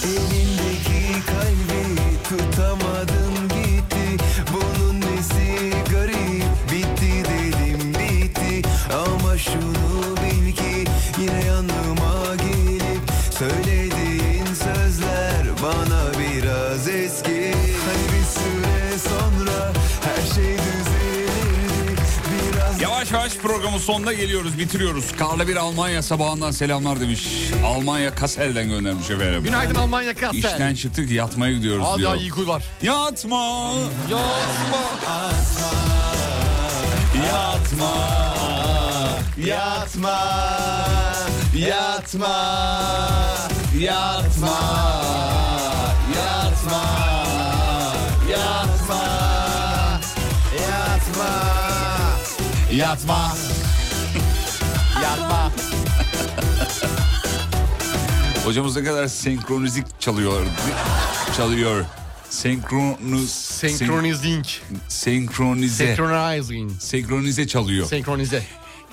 [SPEAKER 15] Elindeki kalbi tutamadın gitti Bunun nesi garip bitti dedim bitti Ama şunu bil ki yine yanıma gelip Söylediğin sözler bana biraz eski Hani bir süre sonra her şey düzelirdi Biraz
[SPEAKER 5] Yavaş yavaş programın sonuna geliyoruz, bitiriyoruz. Karlı bir Almanya sabahından selamlar demiş. Almanya Kassel'den göndermiş efendim.
[SPEAKER 6] Günaydın Almanya Kassel.
[SPEAKER 5] İşten çıktık yatmaya gidiyoruz
[SPEAKER 6] Hala
[SPEAKER 5] diyor.
[SPEAKER 6] iyi var.
[SPEAKER 5] Yatma.
[SPEAKER 6] Yatma.
[SPEAKER 15] Yatma, yatma, yatma, yatma, yatma, yatma, yatma, yatma, yatma.
[SPEAKER 5] Hocamız ne kadar senkronizik çalıyor. çalıyor. Senkronuz,
[SPEAKER 6] Senkronizing.
[SPEAKER 5] Senkronize.
[SPEAKER 6] Synchronizing.
[SPEAKER 5] Senkronize çalıyor.
[SPEAKER 6] Senkronize.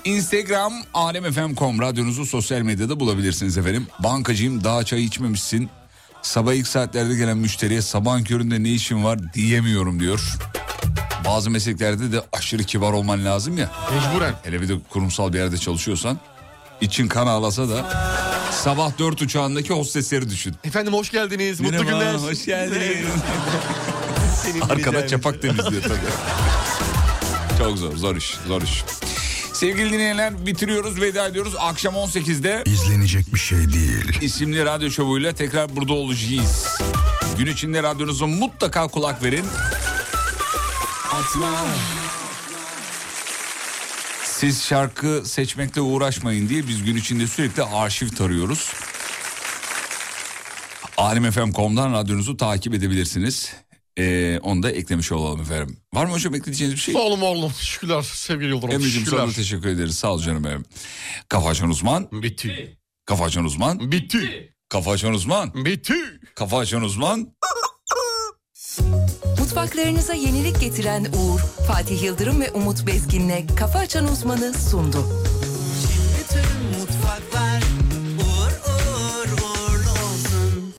[SPEAKER 5] Instagram alemfm.com radyonuzu sosyal medyada bulabilirsiniz efendim. Bankacıyım daha çay içmemişsin. Sabah ilk saatlerde gelen müşteriye sabahın köründe ne işin var diyemiyorum diyor. Bazı mesleklerde de aşırı kibar olman lazım ya.
[SPEAKER 6] Mecburen.
[SPEAKER 5] Hele bir de kurumsal bir yerde çalışıyorsan için kan ağlasa da sabah 4 uçağındaki hostesleri düşün.
[SPEAKER 6] Efendim hoş geldiniz. Mutlu
[SPEAKER 5] Merhaba,
[SPEAKER 6] günler.
[SPEAKER 5] hoş geldiniz.
[SPEAKER 6] Senin
[SPEAKER 5] Arkada
[SPEAKER 6] bileceğin-
[SPEAKER 5] çapak temizliyor tabii. Çok zor, zor iş, zor iş. Sevgili dinleyenler bitiriyoruz, veda ediyoruz. Akşam 18'de... izlenecek bir şey değil. ...isimli radyo şovuyla tekrar burada olacağız. Gün içinde radyonuzu mutlaka kulak verin. Atma. Siz şarkı seçmekle uğraşmayın diye biz gün içinde sürekli arşiv tarıyoruz. Alimfm.com'dan radyonuzu takip edebilirsiniz. Ee, onu da eklemiş olalım efendim. Var mı hocam ekleyeceğiniz bir şey?
[SPEAKER 6] Sağ olun oğlum. Şükürler sevgili yıldırım.
[SPEAKER 5] Emre'cim
[SPEAKER 6] şükürler.
[SPEAKER 5] sana da teşekkür ederiz. Sağ ol canım benim. Kafa Açan Uzman.
[SPEAKER 6] Bitti.
[SPEAKER 5] Kafa Açan Uzman.
[SPEAKER 6] Bitti.
[SPEAKER 5] Kafa Açan Uzman.
[SPEAKER 6] Bitti.
[SPEAKER 5] Kafa Açan Uzman.
[SPEAKER 1] Mutfaklarınıza yenilik getiren Uğur, Fatih Yıldırım ve Umut Bezgin'le Kafa Açan Uzman'ı sundu.